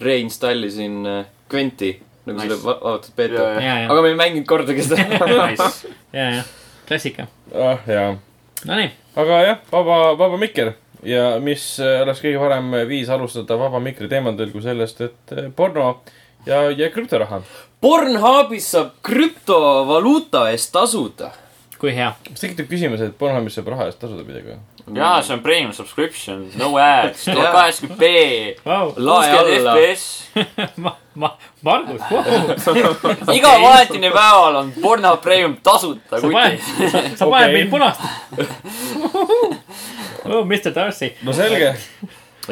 Speaker 1: reinstallisin äh, Quenti nagu
Speaker 3: Nice.
Speaker 1: nice. selle va- avatud beeta
Speaker 3: Jaa,
Speaker 1: yeah, .
Speaker 3: jaa.
Speaker 2: ja , ja ,
Speaker 1: aga ma ei mänginud kordagi seda .
Speaker 3: nice. .
Speaker 2: ja , ja , klassika .
Speaker 4: ah jaa .
Speaker 2: Nonii ,
Speaker 4: aga jah , vaba , vaba mikker ja mis äh, oleks kõige parem viis alustada vaba mikri teemadel kui sellest , et äh, porno ja , ja krüptoraha .
Speaker 1: Pornhubis saab krüptovaluuta eest tasuda .
Speaker 2: kui hea .
Speaker 4: kas tekitub küsimus , et Pornhubis saab raha eest tasuda midagi või ?
Speaker 3: jaa , see on premium subscription , no ads , tuhat
Speaker 1: Jaa.
Speaker 3: kaheksakümmend B ,
Speaker 2: Vau ,
Speaker 1: Lae
Speaker 3: kuuskümmend
Speaker 1: alla.
Speaker 3: FPS .
Speaker 2: ma , ma , Margus , sa
Speaker 3: iga vahetine päeval on Pornhub Premium tasuta
Speaker 2: paned
Speaker 3: kutis .,
Speaker 2: sa paned
Speaker 4: Okei.
Speaker 2: mind punast oh, . Mr Darcy ,
Speaker 4: no selge ,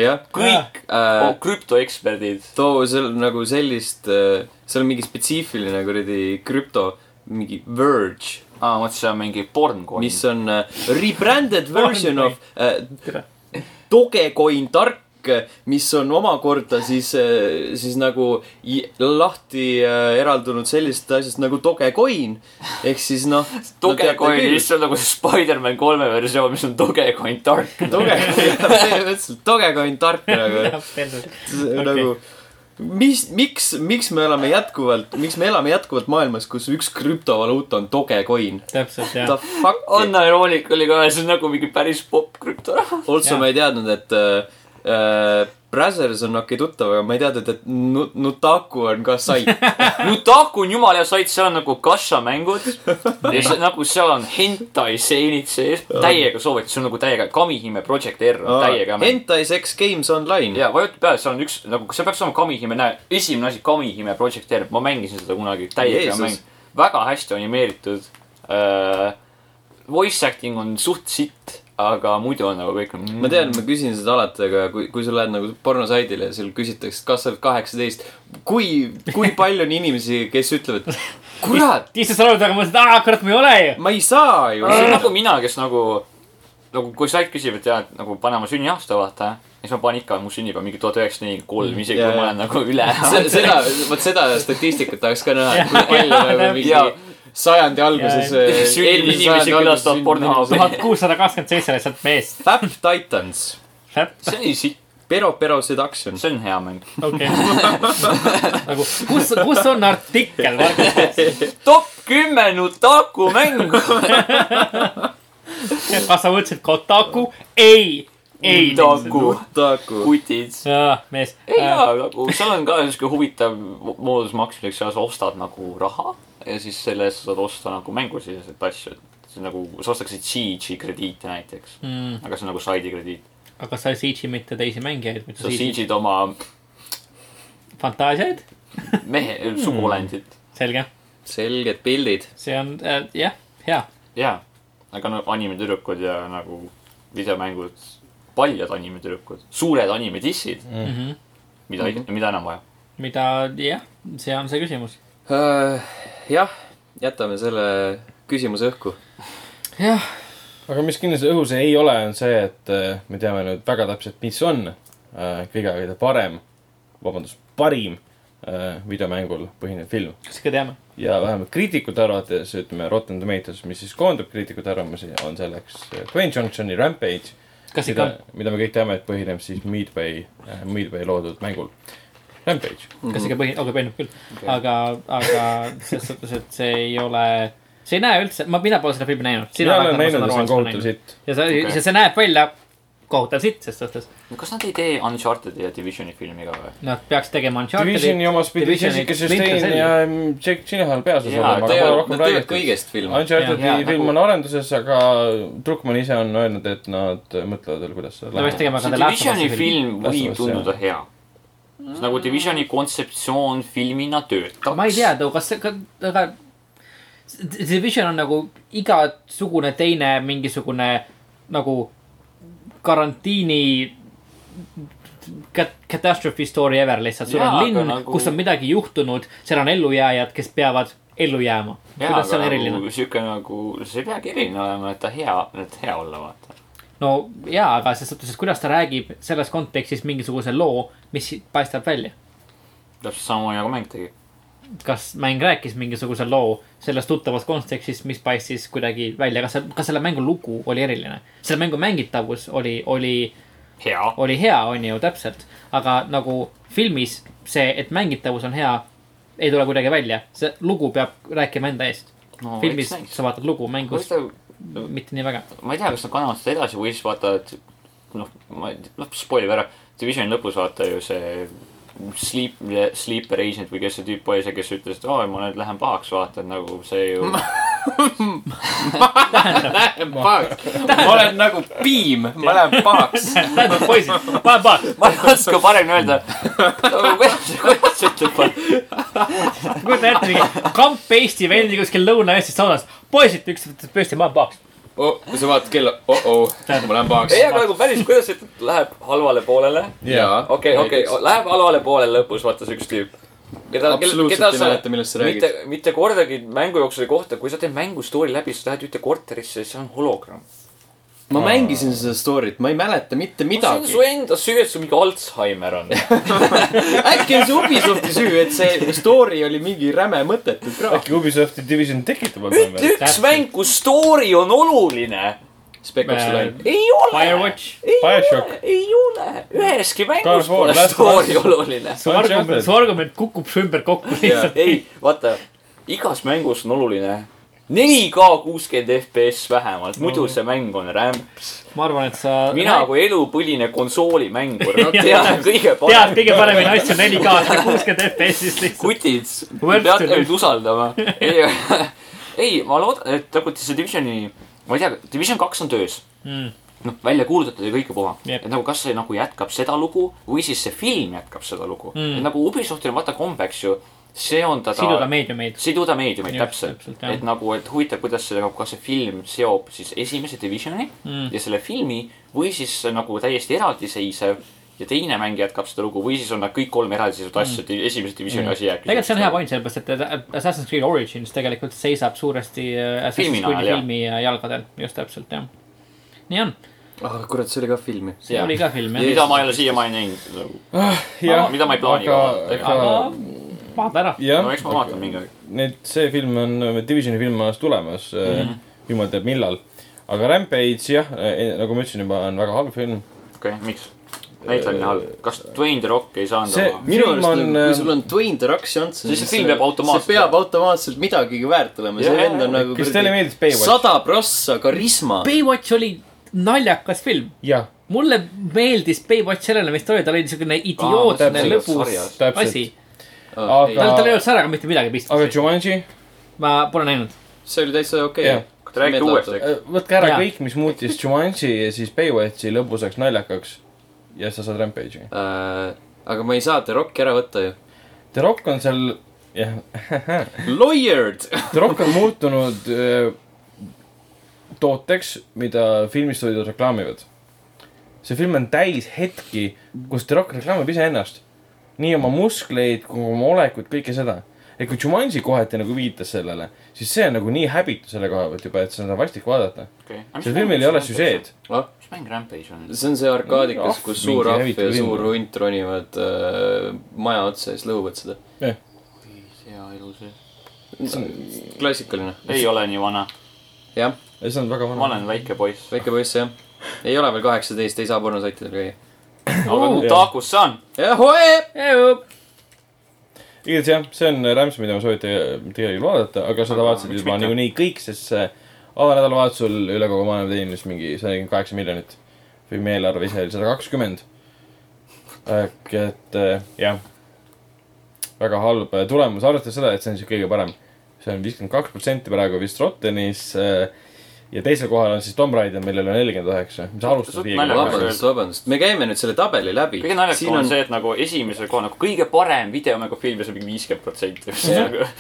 Speaker 1: jah
Speaker 3: kõik
Speaker 1: äh,
Speaker 3: oh, . krüptoeksperdid .
Speaker 1: too , seal on nagu sellist , seal on mingi spetsiifiline kuradi krüpto , mingi Verge ,
Speaker 3: aa , ma mõtlesin , see on mingi pornkoin .
Speaker 1: mis on äh, rebranded version of äh,
Speaker 2: Tere.
Speaker 1: Dogecoin tark , mis on omakorda siis , siis nagu i- lahti äh, eraldunud sellisest asjast nagu Dogecoin ehk siis noh .
Speaker 3: Dogecoin , mis on nagu Spider-man kolme versioon , mis on Dogecoin tark .
Speaker 1: Dogecoin , põhimõtteliselt Dogecoin tark nagu
Speaker 2: Okei.
Speaker 1: okay. nagu , mis , miks , miks me elame jätkuvalt , miks me elame jätkuvalt maailmas , kus üks krüptovaluuta on Dogecoin ?
Speaker 2: täpselt jah
Speaker 1: The . fuck on ,
Speaker 3: on iroonik oli ka , see on nagu mingi päris popp krüptoraha .
Speaker 1: also
Speaker 2: Jaa.
Speaker 1: ma ei teadnud , et äh, Brazzers on okei tuttav , aga ma ei teadnud , et Nu- Nutaku on ka sait .
Speaker 3: Nutaku on jumala hea sait , seal on nagu kassamängud ja see, nagu seal on hentai stseenid sees . täiega soovitan , see on nagu täiega Kamihime Project R on täiega mäng .
Speaker 1: Hentai Sex Games Online .
Speaker 3: ja vajuta peale , seal on üks nagu , see peaks olema Kamihime , näe , esimene asi , Kamihime Project R , ma mängisin seda kunagi , täiega hea
Speaker 1: Jeesus.
Speaker 3: mäng . väga hästi animeeritud äh, . Voice acting on suht sitt , aga muidu on nagu kõik on
Speaker 1: ma tean , ma küsin seda alati , aga kui , kui sa lähed nagu pornosaidile ja seal küsitakse , kas sa oled kaheksateist , kui , kui palju on inimesi , kes ütlevad , kurat ,
Speaker 2: issand , sa oled , aga ma mõtlesin , et aa , kurat , ma ei ole ju .
Speaker 1: ma ei saa ju
Speaker 3: see on . nagu mina , kes nagu nagu kui Slack küsib , et jaa , et nagu pane oma sünniaasta vaata , siis ma panen ikka , mu sünnipäev on mingi tuhat üheksasada nelikümmend kolm , isegi
Speaker 1: Jaa,
Speaker 3: kui ma
Speaker 1: jaa.
Speaker 3: olen nagu üle .
Speaker 1: seda , vot seda statistikat tahaks ka näha , et kui palju nagu mingi
Speaker 3: Jaa.
Speaker 1: sajandi alguses . äh,
Speaker 3: Sündinud inimesi külastavad Pornhubi.
Speaker 2: tuhat kuussada kakskümmend seitse lihtsalt meest .
Speaker 1: Fab Titans ,
Speaker 3: see on isik ,
Speaker 1: Pero Pero Seduction .
Speaker 3: see on hea mäng .
Speaker 2: okei . nagu , kus , kus on artikkel , Margus ?
Speaker 3: top kümme Nutaku mäng .
Speaker 2: kas sa võtsid Kotaku ? ei , ei .
Speaker 3: Nutaku ,
Speaker 1: Taku .
Speaker 3: kutid .
Speaker 2: jaa , mees . Äh,
Speaker 3: ei jaa , nagu seal on ka sihuke huvitav moodus maksmiseks , sa ostad nagu raha ja siis selle eest saad osta nagu mängusiseseid asju . see on nagu , sa ostaksid Siege'i krediite näiteks ,
Speaker 2: Mm,
Speaker 3: aga see on nagu saidi krediit .
Speaker 2: aga sa ei siitsi mitte teisi mängijaid , mitte
Speaker 3: sa
Speaker 2: siitsid
Speaker 3: Siege'id oma
Speaker 2: fantaasiaid .
Speaker 3: mehe ,
Speaker 2: Mm.
Speaker 3: sugulendit .
Speaker 2: selge ,
Speaker 1: selged pildid .
Speaker 2: see on äh, jah , hea .
Speaker 3: jaa , aga no animetüdrukud ja nagu videomängud , paljud animetüdrukud , suured animedissid mm ,
Speaker 2: Mhm.
Speaker 3: -hmm. mida mm , -hmm. mida enam vaja .
Speaker 2: mida , jah , see on see küsimus .
Speaker 1: Äh, jah , jätame selle küsimuse õhku .
Speaker 2: jah ,
Speaker 4: aga mis kindlasti õhus ei ole , on see , et äh, me teame nüüd väga täpselt , mis on äh, kõige aegade parem , vabandust , parim äh, videomängul põhinev film .
Speaker 2: kas ikka teame ?
Speaker 4: ja vähemalt kriitikute arvates , ütleme Rotten Tomatoes , mis siis koondab kriitikute arvamusi , on selleks äh, Dwayne Johnsoni Rampage ,
Speaker 2: kas ikka
Speaker 4: mida , mida me kõik teame , et põhineb siis Midway , Midway loodud mängul . Rampage .
Speaker 2: kas ikka
Speaker 4: Mhm.
Speaker 2: põhi , aga põhineb küll . aga , aga selles suhtes , et see ei ole , see ei näe üldse , ma , mina pole seda filmi näinud .
Speaker 4: mina olen näinud ja see on kohutav sitt .
Speaker 2: ja see
Speaker 3: Okei.
Speaker 2: okay. , see näeb välja kohutav sitt , ses suhtes .
Speaker 3: kas nad ei tee Uncharted'i ja Divisioni filmi ka või ?
Speaker 2: Nad peaks tegema
Speaker 4: Divisioni
Speaker 2: Uncharted'i .
Speaker 4: omas pidi
Speaker 2: Divisioni
Speaker 4: Jessica
Speaker 2: Splinter
Speaker 4: Chastain
Speaker 2: Cell.
Speaker 4: ja mm, Jake Gyllenhaal peaosas
Speaker 3: Jaa,
Speaker 1: Nad
Speaker 4: olema , aga
Speaker 3: ma
Speaker 4: pole
Speaker 1: teevad ,
Speaker 4: rohkem
Speaker 1: nad teevad
Speaker 4: räägitud .
Speaker 1: kõigest filme .
Speaker 4: Uncharted'i
Speaker 3: Jaa, jaa,
Speaker 4: film
Speaker 3: nagu-
Speaker 4: on arenduses , aga Druckmann ise on öelnud , et nad mõtlevad veel , kuidas seda
Speaker 2: Nad peaks tegema ka The Last of
Speaker 3: Divisioni
Speaker 2: Us'i filmi .
Speaker 3: film
Speaker 4: Last of
Speaker 3: võib
Speaker 4: Us,
Speaker 3: tunduda hea . see on nagu Divisioni kontseptsioon filmina töötab .
Speaker 2: ma ei tea , too , kas see , aga see Division on nagu igasugune teine mingisugune nagu karantiini kat- katastroofi story ever lihtsalt . sul
Speaker 3: Jaa,
Speaker 2: on
Speaker 3: aga
Speaker 2: linn
Speaker 3: nagu-
Speaker 2: nagu... , kus on midagi juhtunud , seal on ellujääjad , kes peavad ellu jääma . kuidas see on eriline ?
Speaker 3: nagu, ? sihuke nagu , see ei peagi eriline olema , et ta hea , et hea olla , vaata .
Speaker 2: no jaa , aga selles suhtes , et kuidas ta räägib selles kontekstis mingisuguse loo , mis paistab välja .
Speaker 3: täpselt samamoodi nagu mäng tegi .
Speaker 2: kas mäng rääkis mingisuguse loo selles tuttavas kontekstis , mis paistis kuidagi välja , kas see , kas selle mängu lugu oli eriline ? selle mängu mängitavus oli , oli ,
Speaker 3: hea .
Speaker 2: oli hea , on ju , täpselt . aga nagu filmis see , et mängitavus on hea , ei tule kuidagi välja . see lugu peab rääkima enda eest
Speaker 3: No,
Speaker 2: no, . filmis
Speaker 3: eks näis.
Speaker 2: sa vaatad lugu , mängus mitte nii väga .
Speaker 3: ma ei tea , kas nad kannavad seda edasi või siis vaata , et noh , ma ei tea , noh , spoil ib ära . Divisioni lõpus vaata ju see sleep , sleeper agent või kes see tüüp oli , see , kes ütles , et aa , ma nüüd lähen pahaks , vaata , et nagu see ju .
Speaker 1: Lähen pahaks . ma olen nagu piim , ma lähen pahaks .
Speaker 2: tähendab , poisid , pane paak ,
Speaker 3: ma ei oska paremini öelda . kuidas kuidas see ütleb ?
Speaker 2: kujuta ette mingi kamp Eesti vendi kuskil Lõuna-Eestis saunas . poisid , üks võttis püsti , ma paaks .
Speaker 1: Oh, sa vaatad kella , oh-oh , ma lähen pahaks
Speaker 3: ei , aga nagu päris , kuidas see ütleb , läheb halvale poolele ?
Speaker 1: jaa .
Speaker 3: okei , okei , läheb halvale poolele lõpus , vaata see üks tüüp . keda ,
Speaker 1: Absoluutselt ei mäleta, millest sa räägid.
Speaker 3: mitte , mitte kordagi mängu jooksul ei kohta , kui sa teed mängu story läbi , siis lähed ühte korterisse , see on hologramm .
Speaker 1: ma mängisin seda story't , ma ei mäleta mitte
Speaker 3: see on su
Speaker 1: midagi .
Speaker 3: enda süü , et sul mingi Alzheimer on .
Speaker 1: äkki on see Ubisofti süü , et see story oli mingi räme mõttetu kraak .
Speaker 4: äkki Ubisofti Division tekitab
Speaker 3: ütle
Speaker 4: veel ?
Speaker 3: üks mäng , kus story on oluline .
Speaker 4: Äh,
Speaker 1: Spec Ops The Line .
Speaker 3: ei ole ,
Speaker 2: Firewatch .
Speaker 4: BioShock ,
Speaker 3: ei ole , üheski mängus
Speaker 4: Star Wars,
Speaker 3: pole
Speaker 4: Last
Speaker 3: story
Speaker 4: Wars.
Speaker 3: oluline .
Speaker 2: su argument , su argument kukub su ümber kokku lihtsalt .
Speaker 3: ei , vaata , igas mängus on oluline 4K kuuskümmend FPS vähemalt , muidu see mäng on rämps .
Speaker 2: ma arvan , et sa .
Speaker 3: mina kui elupõline konsoolimängur no,
Speaker 2: Jah.
Speaker 3: tean kõige
Speaker 2: tead
Speaker 3: paremini .
Speaker 2: kõige paremini asju 4K-st ja kuuskümmend FPS-ist lihtsalt .
Speaker 3: kutid ,
Speaker 2: Worth
Speaker 3: peate
Speaker 2: to
Speaker 3: mind usaldama . ei, ei , ma loodan , et nagu see Divisioni , ma ei tea , Division kaks on töös . noh , välja kuulutatud ja kõike puha .
Speaker 2: Mm. Jep.
Speaker 3: et nagu kas see nagu jätkab seda lugu või siis see film jätkab seda lugu
Speaker 2: Mm.
Speaker 3: mm. . et nagu Ubisoftil on vaata kombeks ju seondada .
Speaker 2: siduda meediumeid .
Speaker 3: siduda meediumeid ,
Speaker 2: Jah,
Speaker 3: täpselt,
Speaker 2: täpselt,
Speaker 3: täpselt .
Speaker 2: jah.
Speaker 3: et nagu , et huvitav , kuidas see , kas see film seob siis esimese Divisioni mm. ja selle filmi või siis nagu täiesti eraldiseisev ja teine mäng jätkab seda lugu või siis on nad kõik kolm eraldiseisvat asja mm. , esimese Divisioni mm. asi jääb .
Speaker 2: tegelikult see on hea . point , sellepärast et Assassin's Creed Origins tegelikult seisab suuresti äh, Assassin's
Speaker 3: Filmina
Speaker 2: Creed'i
Speaker 3: ajal, jah.
Speaker 2: filmi äh, jalgadel , just täpselt jah . nii on ,
Speaker 1: ah kurat , see oli ka film ju .
Speaker 2: see
Speaker 3: Jaa.
Speaker 2: oli ka film jah .
Speaker 3: mida ma ei ole siiamaani näinud nagu.
Speaker 4: jah ,
Speaker 3: mida ma ei plaani
Speaker 4: aga
Speaker 3: ka vaadata.
Speaker 4: aga
Speaker 2: vaata ära .
Speaker 4: jah
Speaker 3: no eks ma vaatan mingi aeg .
Speaker 4: nüüd see film on , Divisioni film on alles tulemas mm .
Speaker 3: Mhm.
Speaker 4: -hmm. jumal teab millal . aga Rampage jah , nagu ma ütlesin juba , on väga halb film .
Speaker 3: okei , miks ? näitlemine halb . kas Dwayne The Rock ei saanud
Speaker 4: Äh, see
Speaker 3: oma ?
Speaker 1: minu
Speaker 4: film
Speaker 1: arust ,
Speaker 4: on ,
Speaker 1: kui sul on Dwayne The Rock Johnson ,
Speaker 3: Siis see film peab automaatselt-
Speaker 1: see peab automaatselt midagigi väärt olema , see
Speaker 3: Jah,
Speaker 1: vend on
Speaker 3: jah.
Speaker 1: nagu
Speaker 4: kas teile meeldis Baywatch ?
Speaker 1: sada prossa karisma .
Speaker 2: Baywatch oli naljakas film .
Speaker 4: jah ,
Speaker 2: mulle meeldis Baywatch sellele , mis ta oli , ta oli niisugune idiootne
Speaker 4: täpselt.
Speaker 2: lõbus
Speaker 4: Täpselt.
Speaker 2: asi .
Speaker 4: Aga-
Speaker 1: Ah,
Speaker 2: tal , tal ei olnud säraga mitte midagi
Speaker 4: aga
Speaker 2: pistmist .
Speaker 4: Jumanji ,
Speaker 2: ma pole näinud .
Speaker 1: see oli täitsa okei
Speaker 4: Jah.
Speaker 1: okay. .
Speaker 3: Te räägite uuesti.
Speaker 4: Äh, võtke ära
Speaker 2: Jaa.
Speaker 4: kõik , mis muutis Jumanji ja siis Baywatchi lõbusaks naljakaks ja sa saad Rampage'i .
Speaker 1: Äh, aga ma ei saa The Rocki ära võtta ju .
Speaker 4: The Rock on seal , jah ,
Speaker 1: Lawyered .
Speaker 4: The Rock on muutunud öö, tooteks , mida filmistuudiod reklaamivad . see film on täis hetki , kus The Rock reklaamib iseennast . nii oma muskleid kui oma olekut , kõike seda . et kui Jumanji kohati nagu viitas sellele , siis see on nagu nii häbitu selle koha pealt juba , et seda on vastik vaadata . sellel filmil ei ole süžeed .
Speaker 3: mis mäng Rampage on ?
Speaker 1: Ah, see on see arkaadikas , kus
Speaker 4: Ah, Mingi
Speaker 1: suur ahv
Speaker 4: hävitav
Speaker 1: ja
Speaker 4: film.
Speaker 1: suur hunt ronivad äh, maja otsa ja siis lõhuvad seda .
Speaker 3: hea elu see .
Speaker 1: klassikaline .
Speaker 3: ei ole nii vana .
Speaker 1: jah ,
Speaker 4: see on väga
Speaker 3: ma
Speaker 4: vana .
Speaker 3: olen väike poiss .
Speaker 1: väike poiss jah . ei ole veel kaheksateist , ei saa pornosaitidel käia .
Speaker 3: aga
Speaker 4: jah.
Speaker 3: Takus saan .
Speaker 1: jah , hoee .
Speaker 4: igatahes jah , see on rämps , mida ma soovitan tegelikult vaadata , aga seda
Speaker 3: Aga
Speaker 4: vaatasid
Speaker 3: miks
Speaker 4: juba
Speaker 3: mitte?
Speaker 4: niikuinii kõik , sest see avanädalavahetusel üle kogu maailma teenis mingi sada nelikümmend kaheksa miljonit . filmi eelarve ise oli sada kakskümmend . et äh, jah , väga halb tulemus , arvestades seda , et see on siis kõige parem . see on viiskümmend kaks protsenti praegu vist Rottenis äh, ja teisel kohal on siis Tomb Raider , millel on nelikümmend üheksa , mis alustas
Speaker 3: Suht-
Speaker 4: viiekümne
Speaker 3: naljakas.
Speaker 4: kaheksa .
Speaker 1: vabandust , vabandust , me käime nüüd selle tabeli läbi .
Speaker 3: kõige naljakam on see , et nagu esimesel kohal nagu kõige parem videomängufilm ja see on mingi viiskümmend protsenti . Nagu,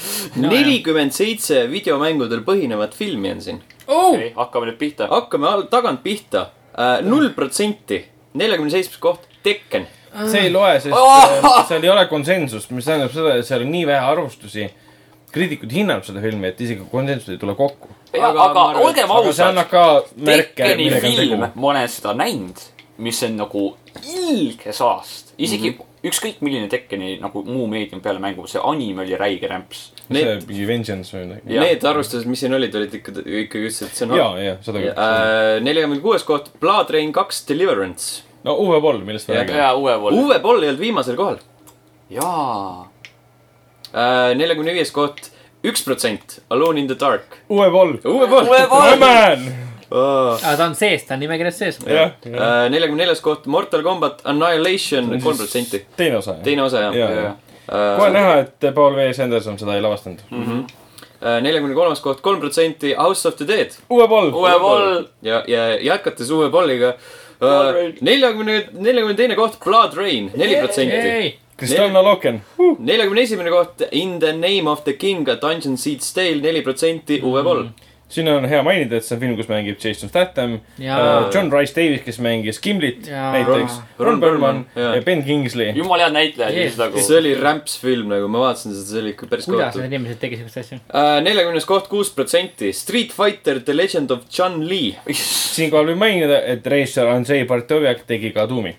Speaker 1: nelikümmend seitse videomängudel põhinevat filmi on siin .
Speaker 2: Oh!
Speaker 3: Okei, hakkame nüüd pihta .
Speaker 1: hakkame all , tagant pihta . null protsenti , neljakümne seitsmes koht , Tekken .
Speaker 4: see ei loe , sest äh, seal ei ole konsensust , mis tähendab seda , et seal on nii vähe arvustusi . kriitikud hinnavad seda filmi , et isegi konsensust ei tule kokku .
Speaker 1: Aga
Speaker 3: aga, aga
Speaker 1: ma arvan, et-
Speaker 3: olgem
Speaker 4: aga see
Speaker 3: ausad
Speaker 4: annab , ka märke ,
Speaker 3: Tekkeni
Speaker 4: millega on
Speaker 3: film
Speaker 4: tegu .,
Speaker 3: ma olen seda näinud , mis on nagu ilge saast . isegi mm -hmm. ükskõik milline Tekkeni nagu muu meedium peale mängu , see anime oli räige rämps .
Speaker 4: see mingi Vengeance või midagi .
Speaker 3: Jah.
Speaker 1: Need arvestused , mis siin olid , olid ikka , ikkagi ütlesid , et see on
Speaker 4: ja , ja seda
Speaker 1: äh,
Speaker 4: küll .
Speaker 1: neljakümne kuues koht , Blood Rain kaks Deliverance .
Speaker 4: no Uwe Boll , millest me
Speaker 1: Jah.
Speaker 4: räägime .
Speaker 3: ja uue poole .
Speaker 1: Uwe Boll ei olnud viimasel kohal .
Speaker 3: jaa .
Speaker 1: neljakümne viies koht , üks protsent , Alone in the dark .
Speaker 4: Uwe Boll .
Speaker 1: Uwe Boll .
Speaker 3: uue
Speaker 4: My
Speaker 3: poole .
Speaker 4: man .
Speaker 2: aga ta on sees , ta on nimekirjas sees .
Speaker 4: jah ,
Speaker 1: Äh, neljakümne neljas koht , Mortal Combat Annihilation , kolm protsenti .
Speaker 4: teine osa .
Speaker 1: teine osa jah Äh,
Speaker 4: Jah. kohe näha , et Paul V. Sanderson seda ei lavastanud .
Speaker 1: äh, neljakümne kolmas koht , kolm protsenti House of the Dead .
Speaker 4: Uwe Boll .
Speaker 3: uue poole .
Speaker 1: ja , ja jätkates Uwe Bolliga .
Speaker 3: Blood Rain.
Speaker 1: Äh, neljakümne , neljakümne teine koht , Blood Rain , neli protsenti .
Speaker 4: Kristjan Loken .
Speaker 1: neljakümne esimene koht , In the name of the king , A Dungeon Seeds Tale , neli protsenti Uwe Boll .
Speaker 4: siin on hea mainida , et see on film , kus mängib Jason Statham ,
Speaker 2: Jaa.
Speaker 4: John Rice Davis , kes mängis Gimlit
Speaker 2: Jaa.
Speaker 4: näiteks ,
Speaker 1: Ron
Speaker 4: Ron Perlman
Speaker 1: Perlman,
Speaker 4: ja
Speaker 1: jaa.
Speaker 4: Ben Kingsley .
Speaker 3: jumala head näitlejad ja
Speaker 2: Jees.
Speaker 3: siis nagu .
Speaker 1: see oli rämps film nagu , ma vaatasin seda , see oli ikka päris
Speaker 2: kuidas
Speaker 1: kohutav
Speaker 2: need . inimesed tegid siukest asja ?
Speaker 1: neljakümnes koht , kuus protsenti Street Fighter The Legend of Chun Li .
Speaker 4: siinkohal võib mainida , et reisijal Andrei Bartovjak tegi ka tuumi .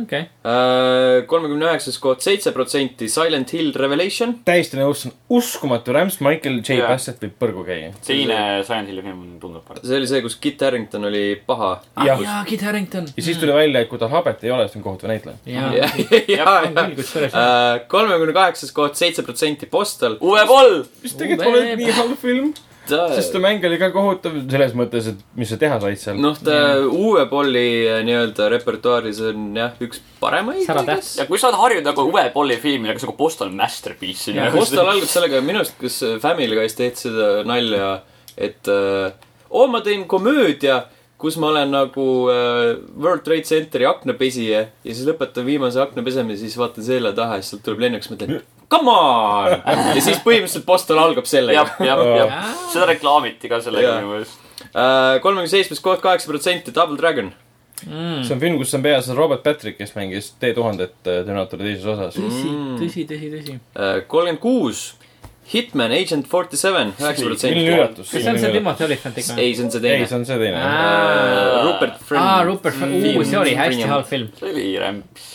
Speaker 2: okei ,
Speaker 1: Äh, kolmekümne üheksas koht , seitse protsenti Silent Hill Revelation .
Speaker 4: täiesti nõus , see on uskumatu rämps , Michael J
Speaker 3: Jaa.
Speaker 4: Bassett võib põrgu käia .
Speaker 3: teine Silent Hilli film tundub parem .
Speaker 1: see oli see , kus Kit Harington oli paha .
Speaker 4: jah ,
Speaker 2: jaa , Kid Harington .
Speaker 4: ja siis tuli välja , et kui tal habet ei ole , siis ta on kohutav näitleja .
Speaker 2: jaa ,
Speaker 1: jaa , jaa
Speaker 2: küll , kusjuures .
Speaker 1: Äh, kolmekümne kaheksas koht , seitse protsenti Postal .
Speaker 3: uue poole .
Speaker 4: mis tegelikult pole
Speaker 2: Uwe-
Speaker 4: nii halb film , sest ta mäng oli ka kohutav selles mõttes , et mis sa teha said seal .
Speaker 1: noh , ta
Speaker 4: Mm.
Speaker 1: Uwe Bolli äh, nii-öelda repertuaaris on jah , üks paremaid .
Speaker 2: Säratäht.
Speaker 3: ja kui sa oled harjunud nagu uue poole filmiga , siis nagu Postal on masterpiece . nagu
Speaker 1: Postal algab sellega , minu arust , kas Family Guys tehti seda nalja , et äh, oo , ma teen komöödia , kus ma olen nagu äh, World Trade Centeri aknapesija ja siis lõpetan viimase aknapesemise , siis vaatan selja taha ja siis sealt tuleb lennuks , mõtlen come on ja siis põhimõtteliselt Postal algab
Speaker 3: jah
Speaker 1: sellega ,.
Speaker 3: jah , jah . seda reklaamiti ka
Speaker 1: Jaa.
Speaker 3: sellega minu meelest .
Speaker 1: Äh, kolmekümne seitsmes koht , kaheksa protsenti Double Dragon .
Speaker 2: Mm.
Speaker 4: see on film , kus on peas Robert Patrick , kes mängis
Speaker 1: Mm.
Speaker 4: T tuhandet Terminaatori teises osas .
Speaker 2: tõsi , tõsi , tõsi , tõsi .
Speaker 1: kolmkümmend Äh, kuus Hitman Agent 47 , üheksa
Speaker 4: milline
Speaker 1: protsenti .
Speaker 4: üllatus .
Speaker 2: kas see on see Timothy Olyphant ikka ?
Speaker 1: ei , see on see
Speaker 4: ei ,
Speaker 1: teine .
Speaker 4: see on see teine
Speaker 2: Aa.
Speaker 4: ah. .
Speaker 2: Aa.
Speaker 1: Rupert
Speaker 2: aa ,
Speaker 1: Friend .
Speaker 2: Rupert ,
Speaker 1: film.
Speaker 2: uu , see oli hästi
Speaker 1: Film.
Speaker 2: halb film .
Speaker 3: see oli rämps .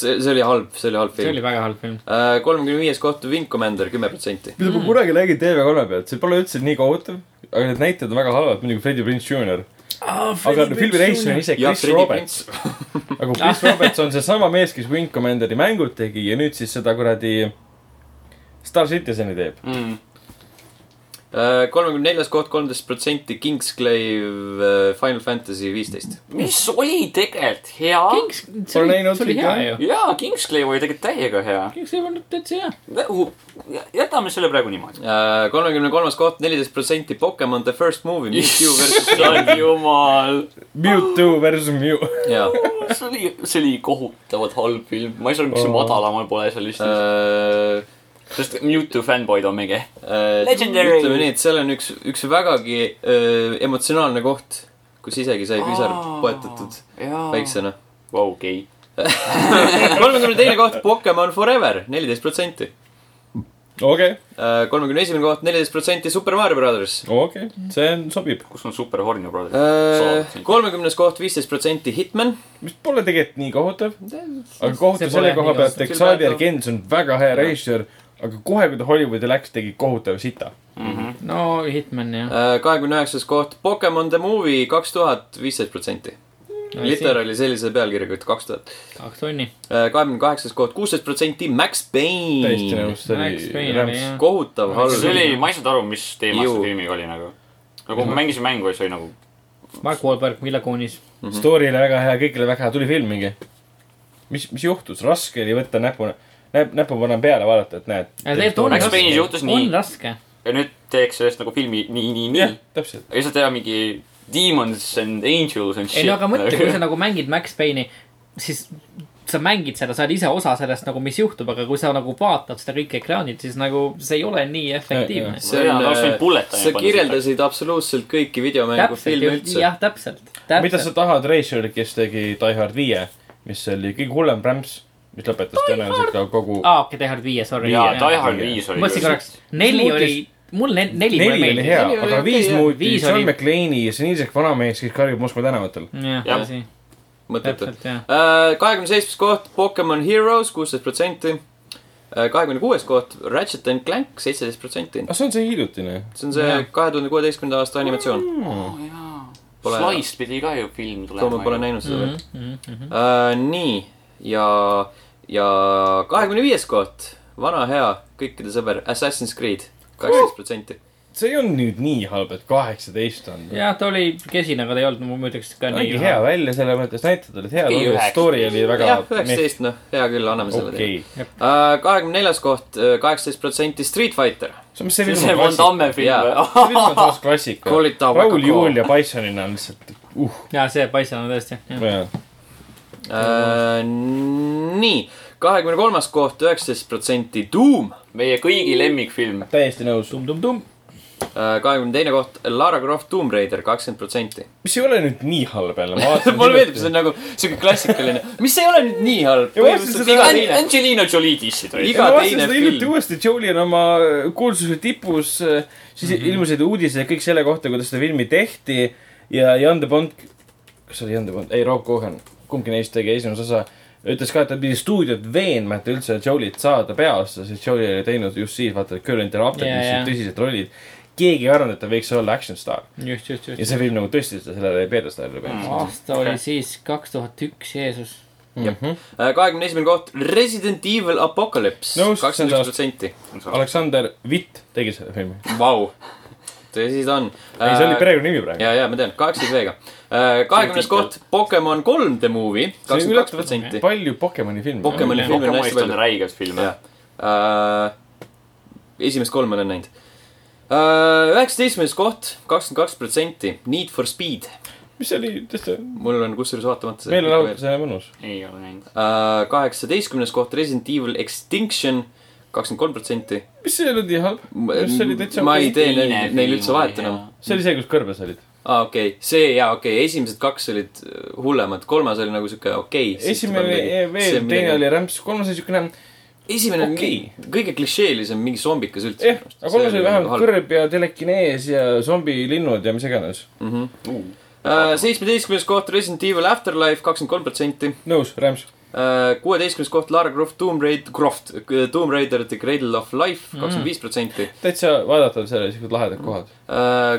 Speaker 1: see , see oli halb , see oli halb
Speaker 2: see oli
Speaker 1: film .
Speaker 2: väga halb film .
Speaker 1: Äh, kolmekümne viies koht Wing Commander , kümme protsenti .
Speaker 4: mida
Speaker 2: Mm.
Speaker 4: ma kunagi nägin TV3 pealt , see pole üldse nii kohutav , aga need näitajad on väga halvad , muidugi Freddie Prinze Jr . aga filmi reisija on ise
Speaker 1: ja
Speaker 4: Chris
Speaker 1: Freddy
Speaker 4: Roberts ,
Speaker 1: Prince .
Speaker 4: aga Chris Roberts on seesama mees , kes Wing Commanderi mängud tegi ja nüüd siis seda kuradi Star Citizeni teeb .
Speaker 1: Äh, kolmekümne neljas koht , kolmteist protsenti Kingsclave äh, Final Fantasy viisteist .
Speaker 3: mis oli tegelikult hea .
Speaker 2: Kings , see
Speaker 4: Pole
Speaker 2: oli ,
Speaker 4: näinud
Speaker 2: see oli
Speaker 4: ikka,
Speaker 2: hea
Speaker 4: jah.
Speaker 2: ju .
Speaker 3: jaa , Kingsclave oli tegelikult täiega hea .
Speaker 2: Kings ei olnud täitsa hea .
Speaker 3: jätame selle praegu niimoodi .
Speaker 1: Äh, kolmekümne kolmas koht , neliteist protsenti Pokemon The First Movie , Mewtwo versus .
Speaker 3: issand jumal ,
Speaker 4: Mewtwo versus Mew .
Speaker 1: jaa .
Speaker 3: see oli , see oli kohutavalt halb film , ma ei saa aru , miks see
Speaker 4: Oh.
Speaker 3: madalamal pole seal lihtsalt ,
Speaker 1: Äh,
Speaker 3: sest Mewtwo fännboid on mingi . Legendary.
Speaker 1: ütleme nii , et seal on üks , üks vägagi äh, emotsionaalne koht , kus isegi sai pisar poetatud väiksena .
Speaker 3: Vau , gei .
Speaker 1: kolmekümne teine koht Pokemon Forever , neliteist protsenti .
Speaker 4: okei ,
Speaker 1: kolmekümne esimene koht , neliteist protsenti Super Mario Brothers .
Speaker 4: okei , see on , sobib ,
Speaker 3: kus on Super Hornio
Speaker 1: Äh.
Speaker 3: Brothers ?
Speaker 1: kolmekümnes koht , viisteist protsenti Hitman . Äh,
Speaker 4: mis pole tegelikult nii kohutav . aga kohutav
Speaker 2: pole
Speaker 4: selle
Speaker 2: jah
Speaker 4: koha
Speaker 2: nii
Speaker 4: pealt ,
Speaker 2: kohutav.
Speaker 4: et Xavier Gens on väga hea reisijal , aga kohe , kui ta Hollywoodi läks , tegi kohutava sita .
Speaker 2: no Hitman jah .
Speaker 1: kahekümne üheksas koht Pokemon The Movie , kaks tuhat , viisteist protsenti . literaali sellise pealkirjaga , et kaks tuhat .
Speaker 2: kaks tunni .
Speaker 1: kahekümne kaheksas koht , kuusteist protsenti Max
Speaker 4: täiesti
Speaker 1: Payne .
Speaker 4: nõus , see
Speaker 2: Max Payne
Speaker 4: oli
Speaker 2: oli
Speaker 4: rämps
Speaker 2: hea. .
Speaker 1: kohutav halb .
Speaker 3: see oli , ma ei saanud aru , mis teema
Speaker 1: Ju.
Speaker 3: see filmiga oli nagu . nagu ma mängisin mängu ja see oli nagu ,
Speaker 2: Mark Wahlberg , Mila Kunis .
Speaker 4: Story'le väga hea , kõigile väga hea , tuli film mingi . mis , mis juhtus , raske oli võtta näpu , näp- , näpu panen peale , vaadata , et näed .
Speaker 3: Max Payne'is juhtus nii.
Speaker 2: on raske .
Speaker 3: ja nüüd teeks sellest nagu filmi nii , nii , nii .
Speaker 4: jah , täpselt .
Speaker 3: ei saa teha mingi Demons and Angels and shit .
Speaker 2: ei no aga mõtle , kui sa nagu mängid Max Payne'i , siis sa mängid seda , sa oled ise osa sellest nagu , mis juhtub , aga kui sa nagu vaatad seda kõike ekraanilt , siis nagu see ei ole nii efektiivne .
Speaker 1: see
Speaker 3: Ma tean, oleks võinud
Speaker 1: on ,
Speaker 3: bullet time
Speaker 1: sa
Speaker 3: panna
Speaker 1: kirjeldasid absoluutselt kõiki
Speaker 3: nagu
Speaker 1: videomängufilme
Speaker 2: täpselt ,
Speaker 1: üldse .
Speaker 2: jah , täpselt .
Speaker 4: mida sa
Speaker 2: täpselt ,
Speaker 4: tahad reisijalt , kes tegi Die Hard viie , mis oli kõige hullem rämps , mis lõpetas tõenäoliselt ka kogu .
Speaker 2: aa okei , Die Hard viie , sorry .
Speaker 3: jaa , Die
Speaker 2: ma
Speaker 3: Hard
Speaker 4: jah.
Speaker 3: viis oli .
Speaker 2: mõtlesin korraks , neli
Speaker 4: Muutis-
Speaker 2: oli , mul ne- neli mulle
Speaker 4: neli oli
Speaker 2: meeldis .
Speaker 4: hea
Speaker 1: Neli , oli
Speaker 4: aga
Speaker 1: okei,
Speaker 4: viis
Speaker 1: jah.
Speaker 4: muutis
Speaker 2: Viis
Speaker 4: John
Speaker 2: oli-
Speaker 4: McClane'i seniiseks vanameheks , kes karjub Moskva tänavatel .
Speaker 2: jah ,
Speaker 3: Jah.
Speaker 2: tõsi ,
Speaker 1: mõttetu .
Speaker 2: täpselt jah .
Speaker 1: Äh, kahekümne seitsmes koht Pokemon Heroes , kuusteist protsenti . kahekümne kuues koht Ratchet and Clank , seitseteist protsenti .
Speaker 4: aga Ah, see on see hiljutine .
Speaker 1: see on see
Speaker 2: Jah.
Speaker 1: kahe tuhande kuueteistkümnenda aasta animatsioon .
Speaker 4: Mm.
Speaker 1: Pole-
Speaker 3: Slice pidi ka ju film
Speaker 1: Toomas pole
Speaker 3: tulema .
Speaker 1: näinud seda veel .
Speaker 4: Mm-hmm,
Speaker 1: nii , ja , ja kahekümne viies koht , vana hea , kõikide sõber , Assassin's Creed , kaksteist protsenti .
Speaker 4: see ei olnud nüüd nii halb , et kaheksateist on .
Speaker 2: jah , ta oli kesine , aga ta ei olnud , ma ütleks ka nii
Speaker 4: nägi hea välja selles mõttes , näited olid head ,
Speaker 3: üheksateist.
Speaker 4: story oli väga
Speaker 1: jah , üheksateist , noh , hea küll , anname selle teile .
Speaker 4: okei .
Speaker 1: kahekümne neljas koht , kaheksateist protsenti Street Fighter .
Speaker 4: see on see film .
Speaker 3: see Van Damme
Speaker 1: Jaa.
Speaker 3: film või ?
Speaker 4: see film on taas klassika .
Speaker 1: Call it up,
Speaker 4: Raul
Speaker 1: Coca-Cola.
Speaker 4: Julia Bisonina on lihtsalt , uh .
Speaker 2: jaa , see paistab tõesti , jah .
Speaker 1: Äh, nii , kahekümne kolmas koht , üheksateist protsenti Doom .
Speaker 3: meie kõigi lemmikfilm .
Speaker 4: täiesti nõus .
Speaker 2: tumm-tumm-tumm .
Speaker 1: Äh, kahekümne teine koht , Lara Croft Tomb Raider , kakskümmend protsenti .
Speaker 4: mis ei ole nüüd nii halb jälle , ma vaatasin .
Speaker 1: mulle meeldib , see on nagu siuke klassikaline , mis ei ole nüüd nii halb .
Speaker 4: Ja ma mõtlesin seda-
Speaker 1: iga
Speaker 4: An-
Speaker 1: teine ,
Speaker 3: Angelina Jolie dissid olid .
Speaker 1: iga
Speaker 4: ma vaatasin
Speaker 1: teine
Speaker 4: seda hiljuti
Speaker 1: film .
Speaker 4: uuesti , Jolie on oma äh, kuulsuse tipus , siis
Speaker 1: Mhm.
Speaker 4: mm -hmm. ilmusid uudised kõik selle kohta , kuidas seda filmi tehti ja Jan de Bond , kas see oli Jan de Bond , ei Rob Cohen , kumbki neist tegi esimese osa , ütles ka , et ta pidi stuudiot veenma , et üldse Jolie't saada peaaasta , sest Jolie oli teinud just siis vaata Current Interrupted
Speaker 2: Jaa,
Speaker 4: yeah, , mis
Speaker 2: jaa.
Speaker 4: olid tõsised rollid . keegi ei arvanud , et ta võiks olla action staar
Speaker 2: just , just ,
Speaker 4: ja
Speaker 2: just .
Speaker 4: see film nagu tõstis teda sellele pjedestaalile peale
Speaker 1: Mm.
Speaker 2: aasta oli siis kaks tuhat üks , Jeesus .
Speaker 1: Mhm.
Speaker 4: mm . -hmm.
Speaker 1: Äh, kahekümne esimene koht , Resident Evil Apocalypse ,
Speaker 4: Nõus, see on
Speaker 1: kakskümmend
Speaker 4: taas-
Speaker 1: üks protsenti .
Speaker 4: Aleksander Vitt tegi selle filmi ,
Speaker 1: Vau , tõsi ta on .
Speaker 4: ei
Speaker 1: Äh,
Speaker 4: see oli perekonnanimi praegu .
Speaker 1: ja , ja ma tean , kaheksateist V-ga . kahekümnes koht , Pokemon kolm The Movie , kakskümmend kaks protsenti .
Speaker 4: palju Pokemoni filme .
Speaker 1: Pokemoni
Speaker 3: Pokemoni
Speaker 1: filme on hästi
Speaker 3: filmist on
Speaker 1: palju.
Speaker 3: räigelt filme .
Speaker 1: jah . esimest kolme olen näinud . Üheksateistkümnes koht , kakskümmend kaks protsenti , Need for Speed .
Speaker 4: mis see oli , tõesti
Speaker 1: mul on kusjuures vaatamata see
Speaker 4: meelelahutus ja mõnus .
Speaker 3: ei ole näinud .
Speaker 1: Äh, kaheksateistkümnes koht Resident Evil Extinction , kakskümmend kolm protsenti .
Speaker 4: mis see oli nii halb ? see oli täitsa
Speaker 1: ma ei
Speaker 4: okei.
Speaker 1: tee neil, neil üldse vahet enam ..
Speaker 4: see oli see , kus kõrbes olid .
Speaker 1: aa , Ah, okei okay. , see ja okei okay. , esimesed kaks olid äh, hullemad , kolmas oli nagu siuke okei okay, .
Speaker 4: eh, esimene veel , teine oli . rämps , kolmas oli siukene
Speaker 1: esimene on
Speaker 4: Okei.
Speaker 1: okay. kõige klišeelisem mingi zombikas üldse
Speaker 4: jah , eh, aga kolmas oli vähemalt kõrb ja telekinees ja zombilinnud ja mis iganes .
Speaker 1: Äh, seitsmeteistkümnes koht Resident Evil Afterlife , kakskümmend kolm protsenti .
Speaker 4: nõus , Rämps .
Speaker 1: kuueteistkümnes koht Lara Croft Tomb Raid- , Croft , Tomb Raider The Cradle of
Speaker 4: Mm.
Speaker 1: Life , kakskümmend viis protsenti .
Speaker 4: täitsa vaadatavad seal ja siuksed lahedad kohad .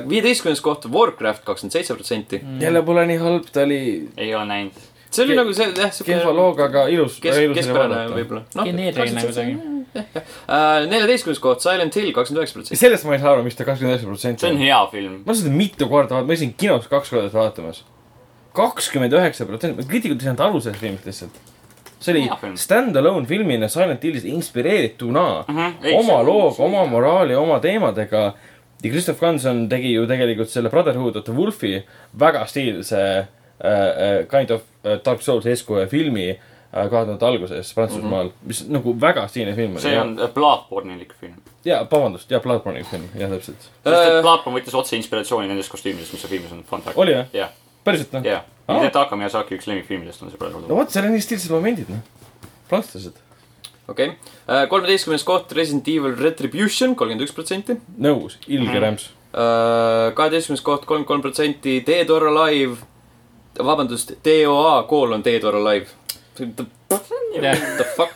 Speaker 1: viieteistkümnes koht Warcraft , kakskümmend seitse protsenti .
Speaker 4: jälle pole nii halb , ta oli
Speaker 3: ei ole näinud .
Speaker 1: see oli
Speaker 4: Ke-
Speaker 1: nagu see , jah ,
Speaker 4: kehva
Speaker 1: siuke
Speaker 4: looga , aga ilus .
Speaker 1: kes , keskpärane . võib-olla . Noh,
Speaker 2: geneeriline kuidagi .
Speaker 1: Äh, neljateistkümnes koht Silent Hill , kakskümmend üheksa protsenti .
Speaker 4: sellest ma ei saa aru , miks ta kakskümmend üheksa protsenti
Speaker 3: see on
Speaker 4: on .
Speaker 3: hea film .
Speaker 4: ma olen seda mitu korda vaadanud , ma käisin kinos kaks korda seda vaatamas . kakskümmend üheksa protsenti , kriitikud ei saanud aru sellest filmist lihtsalt . see
Speaker 3: Hea film.
Speaker 4: oli stand-alone filmina Silent Hillist inspireerituna
Speaker 3: Mhm, Ei,
Speaker 4: oma
Speaker 3: see-
Speaker 4: looga , oma moraali , oma teemadega . ja Christoph Ganson tegi ju tegelikult selle Brotherhood of the Wolfi väga stiilse äh, äh, kind of äh, Dark Souls eeskuju filmi kahe tuhande alguses Prantsusmaal mm , -hmm. mis nagu väga stiilne film oli
Speaker 3: Mhm. see . on platvormilik film .
Speaker 4: ja vabandust , ja Bloodborne'i film , jah täpselt .
Speaker 3: sest et
Speaker 1: Äh.
Speaker 3: platvorm võttis otse inspiratsiooni nendest kostüümidest , mis seal filmis on .
Speaker 4: Oli või?
Speaker 3: jah ,
Speaker 4: päriselt noh ?
Speaker 3: jah .
Speaker 4: Aa.
Speaker 3: Taka Miyazaki üks lemmikfilmidest on see praegu
Speaker 4: no . vot , seal on nii stiilsed momendid , noh . prantslased .
Speaker 1: okei , kolmeteistkümnes koht Resident Evil Retribution , kolmkümmend üks protsenti .
Speaker 4: nõus , ilge rämps .
Speaker 1: kaheteistkümnes koht kolmkümmend kolm protsenti , Dead or Alive , vabandust , DOA koolon Dead or Alive . The fuck ,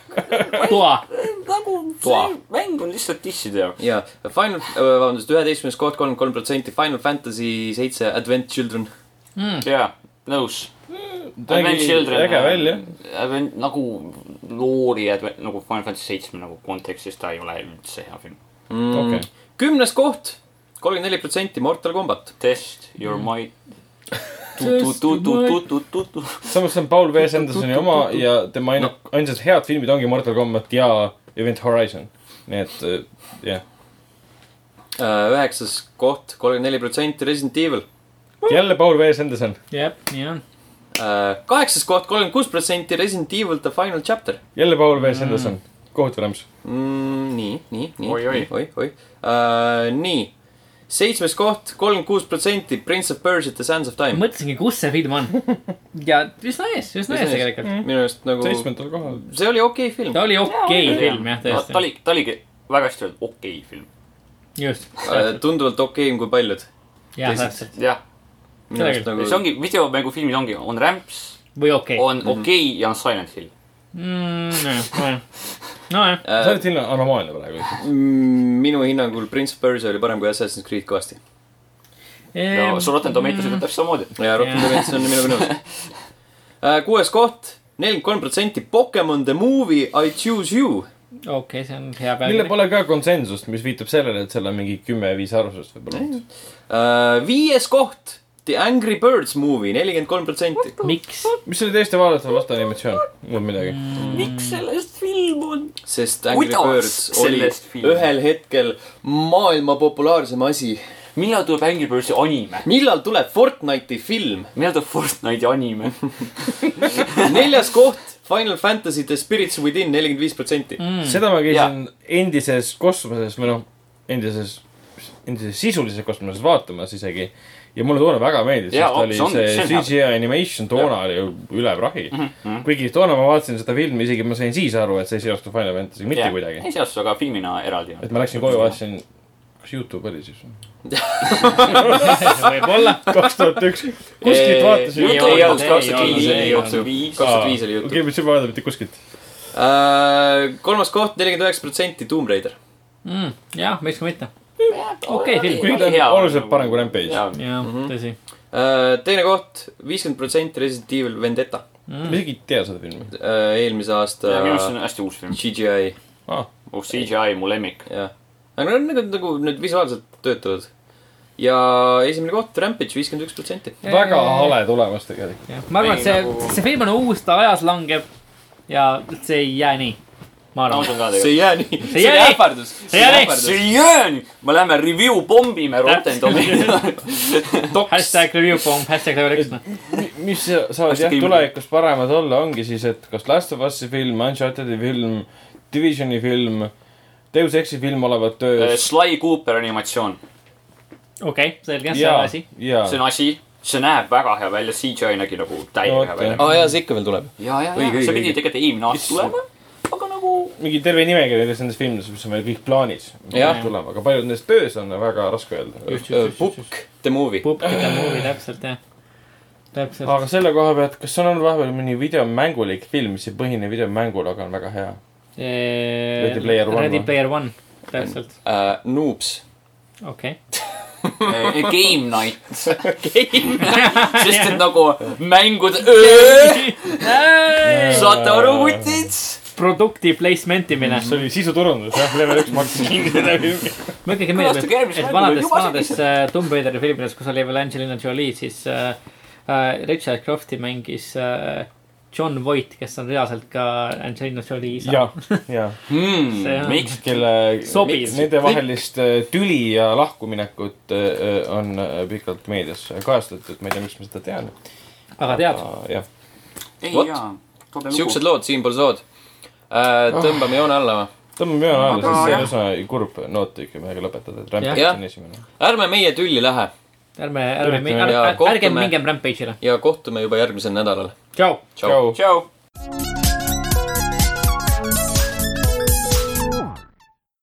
Speaker 2: toa .
Speaker 3: nagu
Speaker 1: Toa.
Speaker 3: mäng on lihtsalt disside jaoks .
Speaker 1: jaa , Final , vabandust , üheteistkümnes koht kolmkümmend kolm protsenti , Final Fantasy seitse Advent Children .
Speaker 3: Mm. jaa , nõus . Advent Children .
Speaker 4: äge välja .
Speaker 3: Advent nagu loori Advent , nagu Final Fantasy seitsme nagu kontekstis ta ei ole üldse hea film .
Speaker 4: okei .
Speaker 1: kümnes koht , kolmkümmend neli protsenti Mortal Combat .
Speaker 3: Test your might .
Speaker 4: Test your samas see on Paul V. Sandersoni oma ja tema ainu- , ainsad head filmid ongi Mortal Combat ja Event Horizon . nii et äh, jah ,
Speaker 1: Äh, üheksas koht , kolmkümmend neli protsenti Resident Evil .
Speaker 4: jälle Paul V. Sanderson .
Speaker 2: jah , nii on .
Speaker 1: Äh, kaheksas koht , kolmkümmend kuus protsenti Resident Evil The Final Chapter .
Speaker 4: jälle Paul V. Sanderson . kohutav rämps .
Speaker 1: mm, . nii , nii , nii ,
Speaker 3: Oi, oi.
Speaker 1: nii , oi , oi uh, . nii , seitsmes koht , kolmkümmend kuus protsenti Prince of Persia The Sands of Time .
Speaker 2: mõtlesingi , kus see film on . ja üsna ees , üsna ees tegelikult .
Speaker 4: Mm.
Speaker 1: minu arust nagu ,
Speaker 4: seitsmendal kohal .
Speaker 1: see oli okei okay film
Speaker 2: ta . oli okei film jah ,
Speaker 3: ta
Speaker 2: tõesti .
Speaker 3: oli , ta oligi väga hästi öeldud , okei film .
Speaker 2: just ,
Speaker 1: Äh,
Speaker 3: Äh,
Speaker 1: tunduvalt okeim kui paljud .
Speaker 2: jah ,
Speaker 1: tõsiselt.
Speaker 2: täpselt .
Speaker 3: jah ,
Speaker 1: minu arust
Speaker 2: Tegelikult.
Speaker 1: nagu
Speaker 3: see ongi videomängufilmid ongi , on rämps ,
Speaker 2: või okei .
Speaker 3: on okei ja on Silent Hill .
Speaker 2: nojah , nojah .
Speaker 4: sa oled sinna anomaalne praegu .
Speaker 1: mm, minu hinnangul Prince of Persia oli parem kui Assassin's Creed kõvasti .
Speaker 3: ja su Rotten Tomatoes ütleb täpselt samamoodi .
Speaker 1: ja rohkem
Speaker 2: Jaa.
Speaker 1: tegelikult see on minuga nõus uh, . kuues koht , nelikümmend kolm protsenti Pokemon The Movie I Choose You .
Speaker 2: okei , see on hea
Speaker 4: mille
Speaker 2: pealkiri .
Speaker 4: pole ka konsensust , mis viitab sellele , et seal on mingi kümme-viis arvamust võib-olla olnud .
Speaker 1: Uh, viies koht The Angry Birds Movie , nelikümmend kolm protsenti .
Speaker 2: miks ?
Speaker 4: mis oli täiesti vaadatav lasteanimatsioon , mul midagi .
Speaker 3: miks sellest film on ?
Speaker 1: sest Angry
Speaker 3: Kuidas
Speaker 1: Birds oli
Speaker 3: sellest filmist?
Speaker 1: ühel hetkel maailma populaarsem asi .
Speaker 3: millal tuleb Angry Birdsi anime ?
Speaker 1: millal tuleb Fortnite'i film ?
Speaker 3: millal tuleb Fortnite'i anime ?
Speaker 1: neljas koht Final Fantasy The Spirits Within nelikümmend viis protsenti .
Speaker 3: Mm. Hmm.
Speaker 4: seda ma käisin endises kosmoses või noh , endises , endises sisulises kosmoses vaatamas isegi . ja mulle toona väga meeldis ,
Speaker 3: Jaa,
Speaker 4: sest ta
Speaker 3: on-
Speaker 4: oli
Speaker 3: see on-
Speaker 4: see
Speaker 3: see on Mhm,
Speaker 4: CGI animation toona oli ju üle prahi . kuigi toona ma vaatasin seda filmi , isegi ma sain siis aru , et see ei seostu Final Fantasy'ga mitte
Speaker 3: ei
Speaker 4: kuidagi .
Speaker 3: seostu , aga filmina eraldi on .
Speaker 4: et ma läksin koju , vaatasin , kas Youtube oli siis ?
Speaker 2: võib-olla .
Speaker 4: kaks tuhat üks , kuskilt vaatasin .
Speaker 2: Ei
Speaker 3: Youtube
Speaker 2: olnud, ei
Speaker 3: ei olnud kaks tuhat
Speaker 2: olnud,
Speaker 3: viis ,
Speaker 2: ei olnud.
Speaker 3: kaks tuhat viis .
Speaker 1: kakskümmend viis oli
Speaker 4: okei ,
Speaker 1: Youtube .
Speaker 4: ma ei saa vaadata mitte kuskilt .
Speaker 1: kolmas koht nelikümmend üheksa protsenti Tomb Raider .
Speaker 2: Mm, jah , miks ka mitte . okei film.
Speaker 4: kuigi ta on oluliselt parem kui Rampage .
Speaker 3: Rampage .
Speaker 2: jah , tõsi .
Speaker 1: Äh, teine koht viiskümmend protsenti Resident Evil Vendetta .
Speaker 4: ma isegi ei tea seda filmi .
Speaker 1: eelmise aasta
Speaker 3: minu arust see on hästi uus film .
Speaker 1: CGI ,
Speaker 4: Ah.
Speaker 3: uus CGI , mu lemmik .
Speaker 1: jah . aga nad nagu , nagu need visuaalselt töötavad . ja esimene koht Rampage viiskümmend üks protsenti .
Speaker 4: väga hale tulemus tegelikult .
Speaker 2: ma arvan ,
Speaker 3: Ei,
Speaker 2: et see
Speaker 3: nagu- ,
Speaker 2: see film on uus , ta ajas langeb ja see ei jää nii . ma
Speaker 3: ma
Speaker 2: arvan .
Speaker 3: usun ka
Speaker 1: see ei
Speaker 3: tegelikult .
Speaker 1: jää nii .
Speaker 2: ei jää nii.
Speaker 1: ähvardus .
Speaker 2: See ei jää nii.
Speaker 3: see ei jää nii . me läheme review pommime Rotten
Speaker 2: Täpselt.
Speaker 3: Tomatoes .
Speaker 2: hashtag review bomb , hashtag level üks , noh .
Speaker 4: mis saavad
Speaker 3: Hästi
Speaker 4: jah
Speaker 3: kindel.
Speaker 4: tulevikus paremad olla , ongi siis , et kas Last of Us'i film , Uncharted'i film , Divisioni film , Deus Exi film olevat töös .
Speaker 3: Sly Cooper animatsioon ,
Speaker 2: okei , selge , Äh, see on
Speaker 4: ja ,
Speaker 2: asi .
Speaker 4: ja
Speaker 3: see on asi , see näeb väga hea välja , CGI nägi nagu
Speaker 4: No
Speaker 3: täiega
Speaker 4: vot,
Speaker 3: hea
Speaker 4: jah.
Speaker 3: välja .
Speaker 1: aa Ah, jaa , see ikka veel tuleb .
Speaker 3: ja , ja , ja
Speaker 1: Õige, õige,
Speaker 3: see pidi
Speaker 1: õige.
Speaker 3: tegelikult eelmine aasta
Speaker 1: Issand.
Speaker 3: tulema , aga nagu
Speaker 4: mingi terve nimekiri näiteks nendest filmidest , mis on veel kõik plaanis .
Speaker 1: Jah.
Speaker 4: tulema , aga paljud nendest töös on väga raske öelda .
Speaker 2: Just, just, just, just.
Speaker 1: Book the movie .
Speaker 2: pupkide movie , täpselt jah . täpselt .
Speaker 4: aga selle koha pealt , kas on olnud vahepeal mõni videomängulik film , mis ei põhine videomängul , aga on väga hea ? Ready
Speaker 2: Ready
Speaker 4: Player One
Speaker 2: Ready
Speaker 4: või?
Speaker 2: Player One , täpselt ,
Speaker 1: Äh, Noobs .
Speaker 2: okei okay. .
Speaker 3: Äh, Game night . sest et nagu mängud öö , saate aru ,
Speaker 1: Äh,
Speaker 3: kutid ?
Speaker 2: produkti placement imine .
Speaker 4: see oli sisuturundus jah , level üks maksis kinni läbi .
Speaker 2: ma ikkagi
Speaker 3: Kõlastage
Speaker 2: meeldib , et
Speaker 3: järgmist
Speaker 2: et
Speaker 3: mängu,
Speaker 2: vanades ,
Speaker 3: juba
Speaker 2: vanades äh, Tomb Raideri filmides , kus oli veel Angelina Jolie , siis äh, äh, Richard Crofti mängis äh, John Voight , kes on reaalselt ka Angelina Jolie isa .
Speaker 4: ja , ja
Speaker 2: See
Speaker 1: Mm.
Speaker 2: on-
Speaker 3: miks ?
Speaker 4: kelle
Speaker 2: Sobiv.
Speaker 4: nende vahelist äh, tüli ja lahkuminekut äh, äh, on äh, pikalt meedias kajastatud , ma ei tea , miks ma seda tean .
Speaker 2: aga tead ,?
Speaker 4: jah ,
Speaker 3: ei
Speaker 1: Vot.
Speaker 3: jaa , tobe
Speaker 1: siuksed
Speaker 3: lugu .
Speaker 1: lood , siinpool sood . tõmbame joone alla või ?
Speaker 4: tõmbame joone
Speaker 3: Aga
Speaker 4: alla , sest see
Speaker 3: jah.
Speaker 4: on üsna kurb noot ikka , millega lõpetada , et Rampage
Speaker 1: Jah.
Speaker 4: on esimene .
Speaker 1: ärme meie tülli lähe
Speaker 2: ärme , ärme ,
Speaker 4: Üritame-
Speaker 1: Jaa,
Speaker 2: ärgem
Speaker 1: kohtume.
Speaker 2: mingem rampage'ile .
Speaker 1: ja kohtume juba järgmisel nädalal .
Speaker 2: tšau .
Speaker 1: tšau .
Speaker 3: tšau .